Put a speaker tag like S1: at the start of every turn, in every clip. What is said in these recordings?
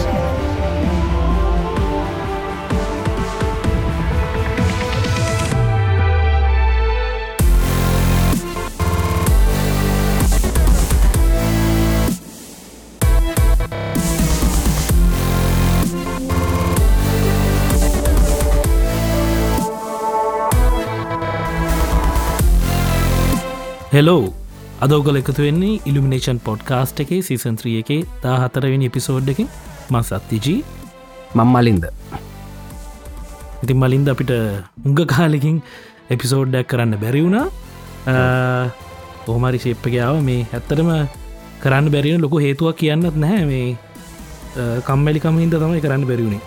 S1: Hello අදෝගල එකතු වෙන්නේ ඉල්ිමිනේෂන් පොඩ්කාස්ට් එකේ සීසන්ත්‍රිය එකේ තා හතරවෙනි එපිසෝඩ් එකින් මං සත්තිජී
S2: මංමලින්ද
S1: ඉතින් මලින්ද අපිට උංග කාලෙකින් එපිසෝඩ්ඩක් කරන්න බැරි වුණා හෝමරි ශේප්පකාව මේ ඇත්තටම කරන්න බැරිෙන ලොකු හේතුවක් කියන්නත් නැහැ මේ අ, කම්මැලිකම හින්ද තමයි කරන්න බැරිවුණේ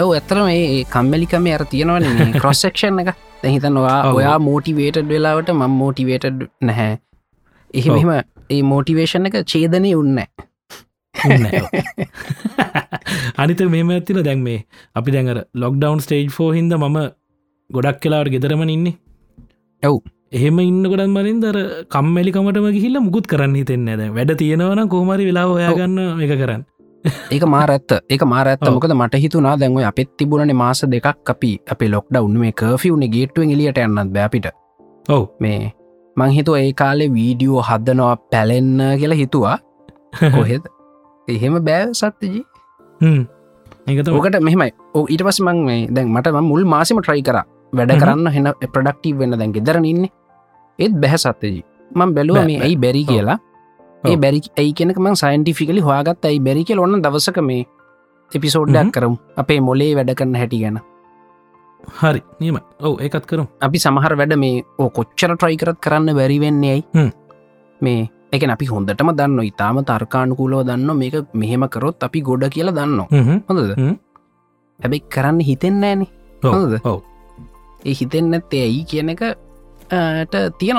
S2: ඇව ඇතර මේ කම්මලිකම අර තියෙනවන කොස්සක්ෂන් එක දැහිතනවා
S1: ඔව්.
S2: ඔයා මෝටිවේටඩ් වෙලාවට මං මෝටිවේටඩ් නැහැ
S1: ඔව්.
S2: එහෙම ඒ මෝටිවේෂන් එක චේදනය උන්න
S1: අනිත මෙම ඇතින දැන් මේ අපි දැඟර ලොක්ඩවන් ස්ටේජ් ෝ හින්ද මම ගොඩක් කලාට ගෙදරමන ඉන්නේ
S2: ඔව්.
S1: එහෙම ඉන්න ගොඩන් මරින් දර කම්මැලිකමටම ගිහිල්ල මුකුත් කරන්න හිතෙන්නේ ඇද වැඩ තියෙනවන කෝමරි වෙලා ඔයාගන්න එක කරන්න
S2: ඒක මාර ඇත්ත ඒක මාර ඇත්ත
S1: ඔව්.
S2: මොකද මට හිතුනා දැන්ව අපත් තිබුණන මාස දෙකක් අපි අපේ ලොක්ඩ උන්න මේ කර්ෆිවුන ගේටුවෙන් එලියට යන්නත් බෑපිට
S1: ඔව්
S2: මේ මංහිතුව ඒ කාලේ වීඩියෝ හදනවා පැලෙන්න කියලා හිතුවා කොහෙද එහෙම බෑ සත්්‍යජී
S1: හ්ම්. ඒක තමයි.
S2: ඕකට මෙහමයි ඕ ඊට පස් මං මේ දැන් මට මං මුල් මාසම ට්‍රයි කර වැඩ
S1: හ්ම්.
S2: කරන්න හෙන ප්‍රඩක්ටීව වෙන්න දැන් ගෙදරන ඉන්න ඒත් බැහැ සත්තජී මං බැලුව
S1: බෑ,
S2: මේ
S1: බෑ.
S2: ඇයි බැරි
S1: ඔව්.
S2: කියලා ඒ
S1: ඔව්.
S2: බැරි ඇයි කෙනක මං සයින්ටිෆිකලි හොයාගත් ඇයි බැරි කියල ඔන්න දවසක මේ එපිසෝඩ්ඩක්
S1: හ්ම්.
S2: කරම් අපේ මොලේ වැඩ කරන්න හැටි ගැන
S1: හරි නියම ඔව ඒකත් කරු
S2: අපි සමහර වැඩ මේ ඕ කොච්චර ට්‍රයිකරත් කරන්න බැරිවෙන්නේ ඇයි
S1: හ්ම්.
S2: මේ එක අපි හොඳටම දන්න ඉතාම තර්කාණුකූලව දන්න මේක මෙහෙම කරොත් අපි ගොඩ කියලා දන්න හොඳද
S1: හ්ම්.
S2: හැබැයි කරන්න හිතෙන්නෑන හොඳද?
S1: ඔව
S2: ඒ හිතෙන් නැත්තේ ඇයි කියන එක ට තියන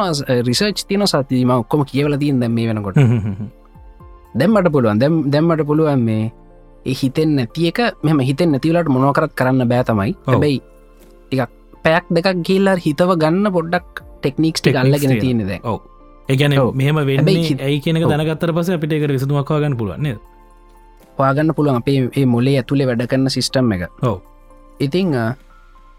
S2: රිසර්ච් තියන සතිීම ඔක්කොම කියවල තින් දැම් මේ වෙනකොට දැම්මට පුළුවන් දැම් දැම්මට පුළුවන් මේ ඒ හිතෙන් නැතික මෙම හිතෙන් නැතිවලට මොනොකරත් කරන්න බෑතමයි
S1: ඔව්.
S2: හැබැයි එකක් පැක් දෙකක් ගිල්ලර් හිතව ගන්න පොඩ්ඩක් ටෙක්නික්ස් ගල්ලගෙන
S1: Techniques
S2: තියෙන දැ
S1: ඔව් ඒගැන
S2: ඔව්.
S1: මෙහම වෙන්නේ
S2: හැබැයි කි-
S1: ඇයි කෙනක
S2: ඔව්.
S1: දැනගත්තර පස අපිට එක විසඳමක්වාගන්න පුළුවන්න්නේ
S2: හවාගන්න පුළුවන් අපේ ඒ මොලේ ඇතුළේ වැඩ කරන්න සිිස්ටම් එක
S1: ඔව්.
S2: ඉතිං අ,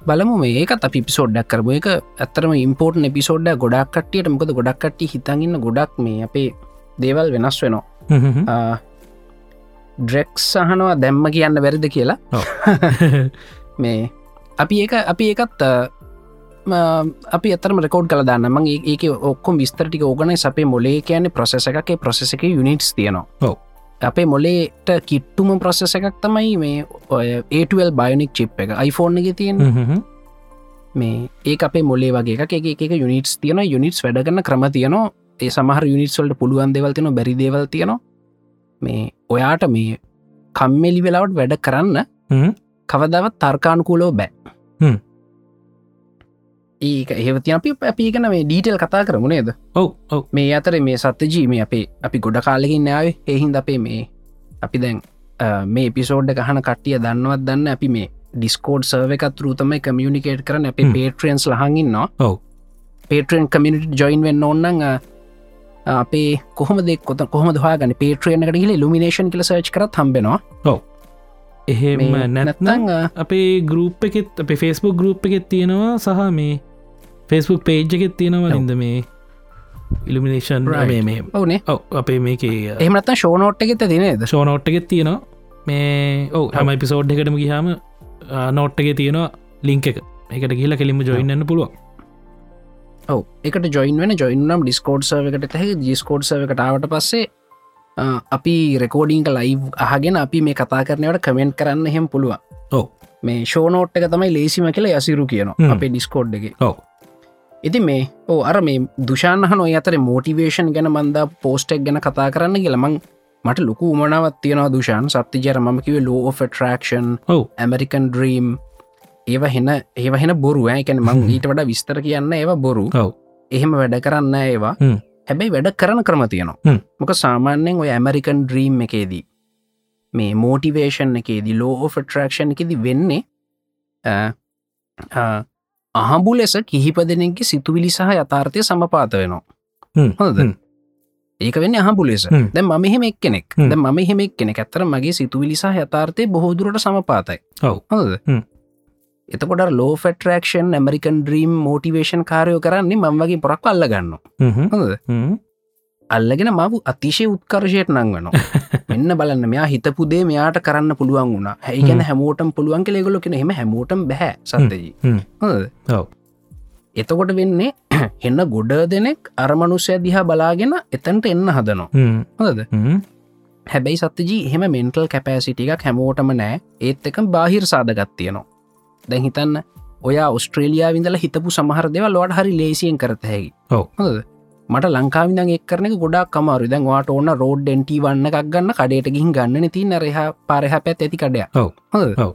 S2: බලමු මේකත් අපි පිසෝඩ්ඩක් කරම එක ඇත්තරම ඉම්පෝර්ට් එපිසෝඩ්ඩ ගොඩක් කටියට මොකද ගොඩක් කට්ටි හිතන්න ගොඩක් මේ අපේ දේවල් වෙනස් වෙනවා ආ, ඩ්‍රෙක්ස් සහනවා දැම්ම කියන්න වැරද කියලා මේ අපි ඒ අපි ඒකත් අ, ම, අපි අතරම රකෝඩ් කල දන්නම ඒක ඔක්කො විස්තරටි ඕගනයි අපේ මොලේ කියන්නේ ප්‍රසෙස එකේ ප්‍රසෙස එක යුනිටස් තියෙනවා
S1: ඔව්.
S2: අපේ මොලේට කිට්ටුම ප්‍රසෙස එකක් තමයි මේ ඔය ඒටවල් බයනික් චිප් එක iPhoneෆෝන් එක තියෙන මේ ඒ අපේ මොලේ වගේ එක එක යුනිටස් තියන යුනිටස් වැඩගන්න ක්‍රම තියනවා ඒ සමහර යුනිටස්වල්ට පුළුවන් දෙවල් තියන බැරි දේවල් තියනවා මේ ඔයාට මේ කම්මෙලි වෙලාවට වැඩ කරන්න
S1: හ්ම්.
S2: කවදාවත් තර්කානුකූලෝ බෑ
S1: හ්ම්.
S2: ඒක ඒවති අපි අපිගන මේ ඩීටල් කතා කරමු නේද
S1: ඔව් ඔව්
S2: මේ අතර මේ සත්‍යජී මේ අපේ අපි ගොඩ කාලෙකින් නාවේ එහින්ද අපේ මේ අපි දැන් අ, මේ පිසෝඩ් ගහන කට්ටිය දන්නවත් දන්න අපි මේ ඩිස්කෝඩ් සර්ව එකත් රූතමයි කමියනිකේට් කරන අපේ
S1: හ්ම්.
S2: පේට්‍රියන්ස් ලහඟන්නවා
S1: ඔව්.
S2: පේටෙන් කමිනිට ජොයින් වෙන්න ඔන්නන් අපේ කොහම දෙකොත කොහම දහගන පේට්‍රියන කටහිල ලුමිනේෂන් කල සර්ච් කර හම්බෙනවා
S1: එහෙම
S2: මේ
S1: නැත්නම්
S2: නැත්නම් අ,
S1: අපේ ගරුප් එකෙත් අපේ ෆෙස්බුක් ගරුප් එකෙත් තියෙනවා සහ මේ ෆෙස්බුක් පේජ් එකෙත් තියෙනවා ලින්ද මේ ඉල්ිමිනේෂන්
S2: Right.
S1: මේ
S2: ඔවනේ
S1: ඔව් අපේ මේකේ uh,
S2: එහමත් ෂෝනෝට් එකෙත තිනේද
S1: ෂෝ නෝට්ටකෙත් තියෙනවා මේ ඔව හම පිසෝඩ් එකටම ගිහාම නෝට්ටක uh, තියෙනවා ලිංක එක එකට කියලා කෙලිම ජොයින්න පුළුව
S2: ඔව එකට ජොයින් වෙන ජොයින්නම් ඩිස්කෝඩ් සවකට හැ ජිස්කෝඩ් සවකටාවට පස්සේ අ, අපි රෙකෝඩිංක ලයි් අහගෙන අපි මේ කතා කරනවට කමෙන්ට් කරන්න හෙම පුළුව
S1: ඔව්.
S2: මේ ෂෝනෝට් එක තමයි ලේසිම කියලා යසිරු
S1: හ්ම්.
S2: කියනවා අපේ ඩිස්කෝඩ් එක
S1: ඔව්.
S2: ඉති මේ ඕ අර මේ දුෂාන්හන ඔය අතර මෝටිවේෂන් ගැන මන්දා පෝස්ටෙක් ගැන කතා කරන්න කියලමං මට ලොකු උමනාවත් තියෙනවා දුෂාන් සත්තිජර ම කිවේ ලෝ ට්‍රක්ෂන්
S1: ඔව්
S2: ඇමරිකන් ඩ්‍රීම් ඒව හෙන ඒව හෙන බොරු ඇකැන මං ඊට වඩ විස්තර කියන්න ඒව බොරු
S1: ඔව්.
S2: එහෙම වැඩ කරන්න ඒවා
S1: හ්ම්.
S2: හැබැයි වැඩ කරන ක්‍රම තියනවා
S1: හ්ම්.
S2: මොක සාමාන්‍යෙන් ඔය ඇමරිකන් ඩ්‍රීම් එකේදී මේ මෝටිවේෂන් එකේදී ලෝ ෆටරක්ෂන් එකෙදි වෙන්නේ අ, අ, අහඹු ලෙස කිහිප දෙනෙගේ සිතුවිලි සහ යථාර්ථය සමපාත වෙනවා හොඳද? ඒක වෙන්න හපු ලෙස
S1: හ්ම්.
S2: දැ ම මෙහෙමක් කෙනෙක්
S1: හ්ම්.
S2: ද ම මෙහෙමක් කෙනෙ ඇත්තර මගේ සිතුවිලිසා යථාර්ථය බොහෝදුරට සමපාතයි
S1: ඔව්.
S2: හොද
S1: හ්ම්.
S2: එතකොට ලෝ ෆෙටරක්ෂන් ඇමරිකන් ්‍රීම් මෝටිවේෂන් කාරයෝ කරන්නේ මං වගේ පොරක් අල්ලගන්න හොද අල්ලගෙන මව අතිශය උත්කර්ශයට නං වෙන මෙන්න බලන්න මෙයා හිතපුදේ මෙයාට කරන්න පුළුවන් වුණ හැයිගැන හැමෝටම් පුළුවන් කෙළෙගොලො කෙන හෙම හැමෝටම් බැහැ සන්දයි
S1: හ්ම්.
S2: හොද
S1: ඔව්.
S2: එතකොට වෙන්නේ එන්න ගොඩ දෙනෙක් අරමනුසය දිහා බලාගෙන එතන්ට එන්න හදනවා හොද හැබැයි සත්තජී එහෙම මෙන්ටල් කැපෑසිටිකක් හැමෝටම නෑ ඒත් එක බාහිර සාධගත්තියනවා දැන් හිතන්න ඔයා ඔස්ට්‍රේලයා විඳල හිතපු සමහර දෙවල් ලොඩ හරි ලේසියෙන් කරත හැකි
S1: ඔව්.
S2: හොද මට ලංකාවිද එක් කරන ගොඩක් කමරු දැන් වාට ඕන්න රෝඩ් ඩෙන්ටි වන්න එකක් ගන්න කඩයට ගිහින් ගන්න නති නරහ පරහ පැත් ඇති කඩය
S1: ඔව්. ඔව්.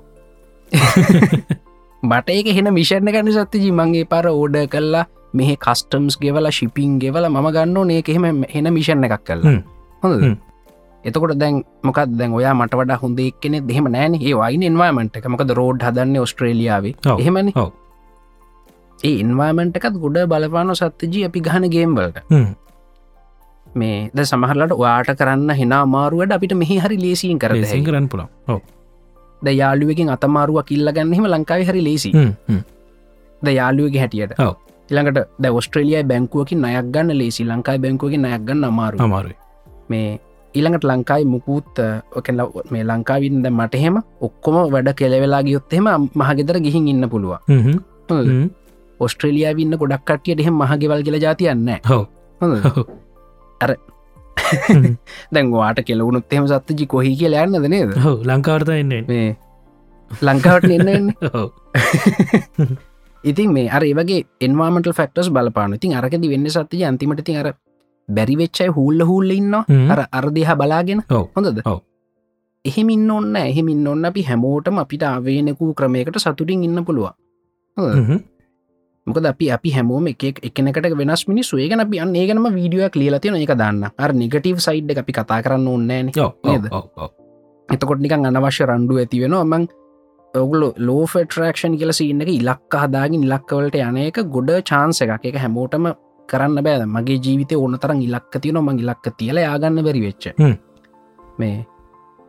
S2: මට ඒක හෙන මිෂණ ගන්න සත්තජී මගේ පර ඕඩ කල්ලා මෙහ කස්ටම්ස් ගෙවල ශිපින් ගෙවල ම ගන්න ඕනේ එහෙම හෙන මිෂණ එකක් කල්ලා
S1: හ්ම්.
S2: හොඳ
S1: හ්ම්.
S2: එතකොට දැන් මොකක් දැන් ඔයා මට වඩ හොඳ එක්නෙ දෙෙම නෑන ඒ වයින් එන්වාමට එක මොකද රෝඩ් හදන්න ඔස්ට්‍රේලියාව
S1: ඔව්.
S2: එහෙමනි
S1: ඔව්.
S2: ඒ ඉන්වාමෙන්ට එකත් ගොඩ බලපාන සත්තජී අපි ගහන ගේම්වලට මේ ද සමහරලට වාට කරන්න හෙන මාරුවට අපිට මෙහි හරි ලේසින් කර
S1: සිංකරන් පුළන් ඔව්.
S2: ද යාලුවකින් අතමාරුව කිල්ලගන්නෙම ලංකාව හරි ලේසි
S1: හ්ම්. හ්ම්.
S2: ද යාලුවගේ හැටියට
S1: ඔව්.
S2: ඉළඟට ද ඔස්ට්‍රේලියයි බැංකුවකින් අයක් ගන්න ලේසි ලංකායි බැංකුවගේ අයක්ගන්න අමාරු
S1: අමාරුයි
S2: මේ ඊළඟට ලංකායි මුකූත් ඔකල මේ ලංකාවින්ද මටහෙම ඔක්කොම වැඩ කෙලවෙලා ගියොත්තෙම මහගෙදර ගිහින් ඉන්න පුළුව
S1: හ්ම්. හ්ම්. හ්ම්.
S2: ඔස්ට්‍රලියයා වින්න ගොඩක් කටියට එහෙම මහගෙවල් කියල ජාතියන්න
S1: ඔව්. ඔව්. හ්ම්.
S2: දැන්වාට කෙලවුණුත් එෙම සත්තජි කොහහි කියල යන්නද නේද
S1: ඔව්. ලංකාවර්ත එන්නේ
S2: මේ ලංකාවට එන්න
S1: ඔව්.
S2: ඉතින් මේ අර ඒවගේ එන්වාමට ෆක්ටස් බලපාන ඉතින් අරකද වෙන්න සත්තිජ අන්තිමට ති අර බැරිවෙච්චයි හුල්ල හුල්ල ඉන්න
S1: හ්ම්.
S2: අර අර්දිහ බලාගෙන
S1: ඔව්.
S2: හොඳද
S1: ඔව්.
S2: එහෙමින් ඔන්න එහෙමින් ඔන්න අපි හැමෝටම අපිට අවේනකූ ක්‍රමයකට සතුටින් ඉන්න පුළුව
S1: හ්ම්.
S2: මොකද අපි අපි හැමෝම එකෙක් එකනකට වෙනස් මිනි සුවේගන අපි අන්න ඒගනම වීඩියක් ලියලතියන එක දන්න අර නිගටීව් සයිඩ් එක අපි කතා කරන්න ඕන්නෑන
S1: ඔව්. ඔව්.
S2: නේද?
S1: ඔව්. ඔව්.
S2: එතකොට නිකන් අනවශ්‍ය රණ්ඩු ඇති වෙන මං ඔගුලු ලෝෆෙටරක්ෂන් කියල සින්න එක ඉලක් අහදාගින් ඉලක්කවලට යන එක ගොඩ චාන්ස එකක් එක හැමෝටම කරන්න බෑද මගේ ජීවිතය ඕන තරන් ඉලක්ක තියෙන මං ඉලක්ක තියල යාගන්න බැරි වෙච්ච
S1: හ්ම්.
S2: මේ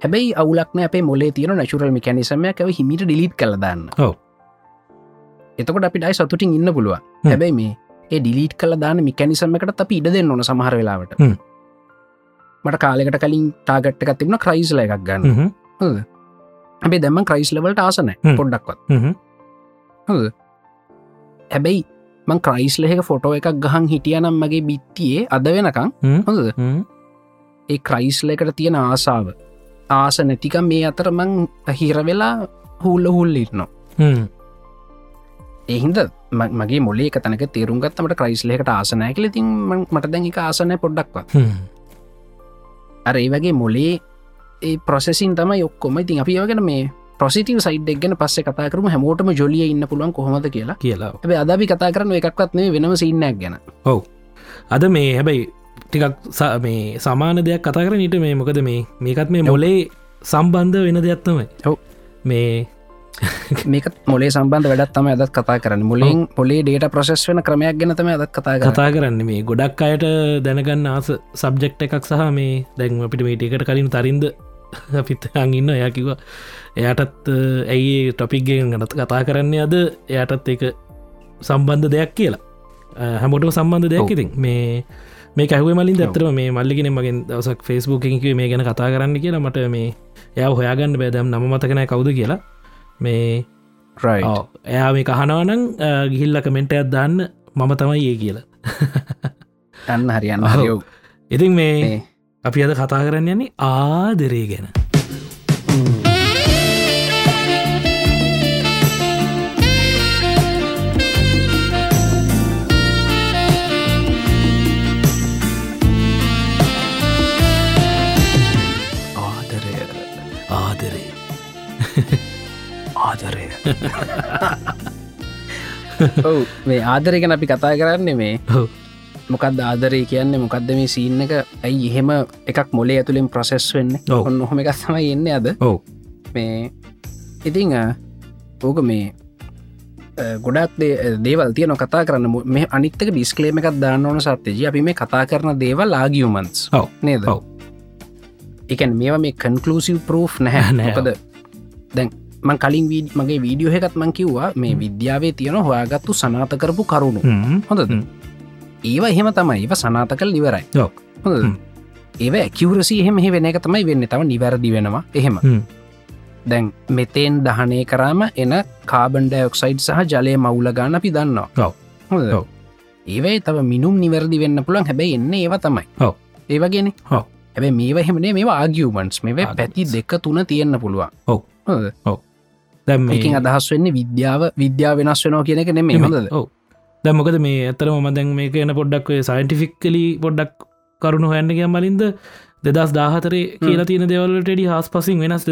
S2: හැබයි අවුලක්න අප මොලේ තියෙන නැශුරල් මිකැනිසමයක් ඇව හිමිට ඩිලිට් කළදන්න
S1: ඔව්.
S2: එතකොට අපිටයි සතුටින් ඉන්න පුළුවන්
S1: හ්ම්.
S2: හැබැයි මේ ඒ ඩිලීට් කල දාන මිකැනිසමකට අපි ඉඩ දෙන්න ඕන සමහර වෙලාවට
S1: හ්ම්.
S2: මට කාලෙකට කලින් තාගට්ට එකතිබන ක්‍රයිස්ල එකක් ගන්න
S1: හ්ම්.
S2: හැබේ දැම ක්‍රයිස්ලවලට ආසන
S1: හ්ම්.
S2: පොඩ්ඩක්වත්
S1: හ්ම්.
S2: හැබැයි මං ක්‍රයිස්ලෙක ෆොටෝ එකක් ගහන් හිටියනම් මගේ බිත්තියේ අද වෙනකං
S1: හ්ම්.
S2: හොඳද
S1: හ්ම්.
S2: ඒ ක්‍රයිස්ලකට තියෙන ආසාාව ආස නැතික මේ අතර මං හිරවෙලා හූල්ල හුල් ඉන්නවා
S1: හ්ම්.
S2: එහින්ද ම- මගේ මොලේ තනක තේරුම්ගත්තමට ක්‍රයිස්ලෙකට ආසනෑකල තින් මට දැන් එක ආසනය පොඩ්ඩක්ව
S1: හ්ම්.
S2: අර ඒ වගේ මොලේ ඒ ප්‍රසෙසින් තම යොක්කොම ඉතින් අපි ඒවගෙන මේ ප්‍රසිටව සයිඩ් එක්ගෙන පස්ස කතාකරම හැමෝටම ජොලිය ඉන්න පුළුවන් කොහොමද කියලා
S1: කියලා
S2: ඇබේ අදි කතා කරන එකක්වත් මේ වෙනම සින්නක් ගැන
S1: අද මේ හැබැයි ටිකක් ස- මේ සමාන දෙයක් කතා කර නිට මේ මොකද මේ මේකත් මේ මොලේ සම්බන්ධ වෙන දෙයක්ත්තමයි
S2: ඔව්.
S1: මේ
S2: මේක මොලේ සම්බන්ධ වැඩත් තම ඇදත් කතා කරන මුලින් පොලේ ඩේට ප්‍රසෙස් වෙන ක්‍රමයක් ගැනතම ඇදත් කතා කර
S1: කතා කරන්න මේ ගොඩක් අයට දැනගන්න ආස සබ්ජෙක්් එකක් සහ මේ දැන් අපිට මේටකට කලින් තරින්ද අපිත් අඟන්න යකිව එයටත් ඇයි ටොපික්ගෙන් ගනත කතා කරන්නේ අද එයටත් එක සම්බන්ධ දෙයක් කියලා අ, හැමෝටම සම්බන්ධ දෙයක්
S2: ඔව්.
S1: ඉතින් මේ මේ කැහුව මලින්
S2: ඔව්.
S1: දත්තරම මේ මල්ලිගෙන මගෙන් දවසක් ෆෙස්බුකින්කිව මේ ගැන කතා කරන්න කියලා මට මේ එය හොයාගන්න බෑදම් නම මතකනෑ කවුද කියලා මේ ඔව්. එයා මේ කහනවනං ගිහිල්ල කමෙන්ටයක් දාන්න මම තමයි ඒ කියලා
S2: න්න හරියන්න
S1: ඔව්.
S2: හරියෝ
S1: ඉතින් මේ
S2: මේ.
S1: අපි අද කතා කරන්න යන්නේ ආදරේ ගැන
S2: ආදරය
S1: ආදරේ
S2: ආදරය ඔව් මේ ආදරයගෙන අපි කතා කරන්නේ මේ
S1: ඔව්.
S2: මොකක්ද ආදරය කියන්නේ මොකක්ද මේ සීන්න එක ඇයි එහෙම එකක් මොලේ ඇතුළින් ප්‍රසෙස් වෙන්න
S1: ඔව්.
S2: ඔන්න හොම එකක් තමයි එන්න අද
S1: ඔව්.
S2: මේ ඉතිං ඕක මේ ගොඩක් දේවල් තියන කතා කරන්න මේ අනිත්තක ඩිස්කලේම එකක් දාන්න ඕන සත්්‍යජ අපි මේ කතා කරන දේවල් ආගියමන්ස්
S1: ඔව්.
S2: නේද
S1: ඔව්.
S2: එකන් මේවා මේ කන්කලසිව ප්‍රෝ් නැහැ
S1: නෑ.
S2: නැකද දැන් මං කලින් වීඩ මගේ වීඩියෝ එකත් මං කිව්වා මේ විද්‍යාවේ තියෙන හොයාගත්තු සනාත කරපු කරුණු
S1: හ්ම්.
S2: හොඳද
S1: හ්ම්.
S2: ඒවා එහෙම තමයි ඒව සනාත කල් නිවරයි
S1: ඔව්.
S2: හොඳද?
S1: හ්ම්.
S2: ඒවා ඇකිවරසි එහෙම හෙ වෙන එක තමයි වෙන්න තම නිවැරදි වෙනවා එහෙම
S1: හ්ම්.
S2: දැන් මෙතෙන් දහනය කරාම එන කාබන්ඩයොක්සයිඩ් සහ ජලය මවුලගාන අපි දන්නවා
S1: ඔව්.
S2: හොඳද?
S1: ඔව්.
S2: ඒවයි තව මිනුම් නිවැරදි වෙන්න පුළන් හැබැයි එන්න ඒව තමයි
S1: ඔව්.
S2: ඒවගෙන
S1: ඔව්.
S2: හැබැ මේව හෙමනේ මේ ආගියවමන්ස් මෙ පැති
S1: Arguments.
S2: දෙක තුන තියෙන්න්න පුළුවන්
S1: ඔව්.
S2: හොඳද?
S1: දැම්
S2: මේකින් අදහස් වෙන්න විද්‍යාව විද්‍යා වෙනස් වෙනවා කියන එක නෙමේ හොඳද
S1: ඔව දැමකද මේ ඇතර ම දැන් මේ කියන පොඩ්ඩක් සයින්ටිෆික්කලි පොඩ්ඩක් කරුණු හොයන්නගම් මලින්ද දෙදස් දාහතරේ කියල තින දෙවලටඩි හස් පසින් වෙනස්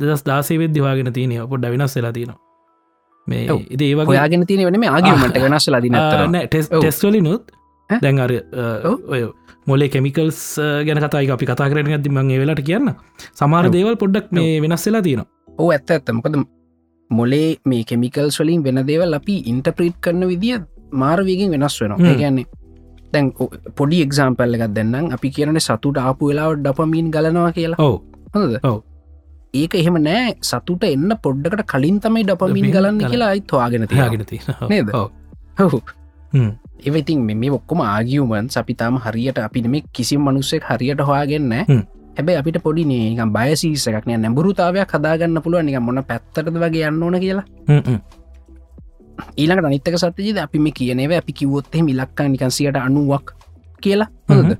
S1: දෙදස් දාසේ වෙද්දිවාගෙන තියනය පොඩ්ඩ වෙනස් වෙලා තිනවා මේ
S2: ඔව්.
S1: ඉති ඒ වගේ
S2: ඔයාගෙන තියෙන වෙන මේ ආගියමට වෙනස් ලදින අතර ඔව්.
S1: ටෙස්වලිනුත්
S2: ඈ?
S1: දැන් අර
S2: ඔව්.
S1: ඔය මොලේ කෙමිකල්ස් ගැන කතයි අපි කතා කරන ඇති මගේ වෙලට කියන්න සමාර
S2: ඔව්.
S1: දේවල් පොඩ්ඩක් මේ වෙනස් වෙලා තියනවා
S2: ඕ ඇත්ත ඇත්තමකද මොලේ මේ කෙමිකල් ස්වලින් වෙන දේවල් අපි ඉන්ටප්‍රීට් කරන විදිිය මාර්වයකින් වෙනස් වෙනවා
S1: හ්ම්.
S2: ගැන්නේ තැන් පොඩි එක්සාම්පල්ල එකක් දෙන්නම් අපි කියරන සතුට ආපු වෙලාවට ඩපමීන් ගලනවා කියලා
S1: ඔව
S2: හොඳද
S1: ඔව්.
S2: ඒක එහෙම නෑ සතුට එන්න පොඩ්ඩකට කලින් තමයි ඩපමීන්
S1: dopamine
S2: ගලන්න
S1: ගලන.
S2: කියලා අයිත්වාගෙන තියාගෙන
S1: යාගෙන තිය
S2: නේද? හහු
S1: හ්ම්.
S2: එවතින් මේ ඔක්කොම ආගියුමන් අපිතාම හරියට අපි මේ කිසි මනුස්සෙක් හරියට හොයාගන්න
S1: හ්ම්.
S2: හැබැයි අපිට පොඩි නේක බයසීසකක්නය නැඹරුතාවයක් හදාගන්න පුළුව නික මොන පැත්තරද වගේ යන්න ඕන කියලා ඊළඟට අනිත්තක සටජද අපි මේ කියනව අපි කිවොත්තේ මිලක්කා නිකන්සියට අනුවක් කියලා හොඳද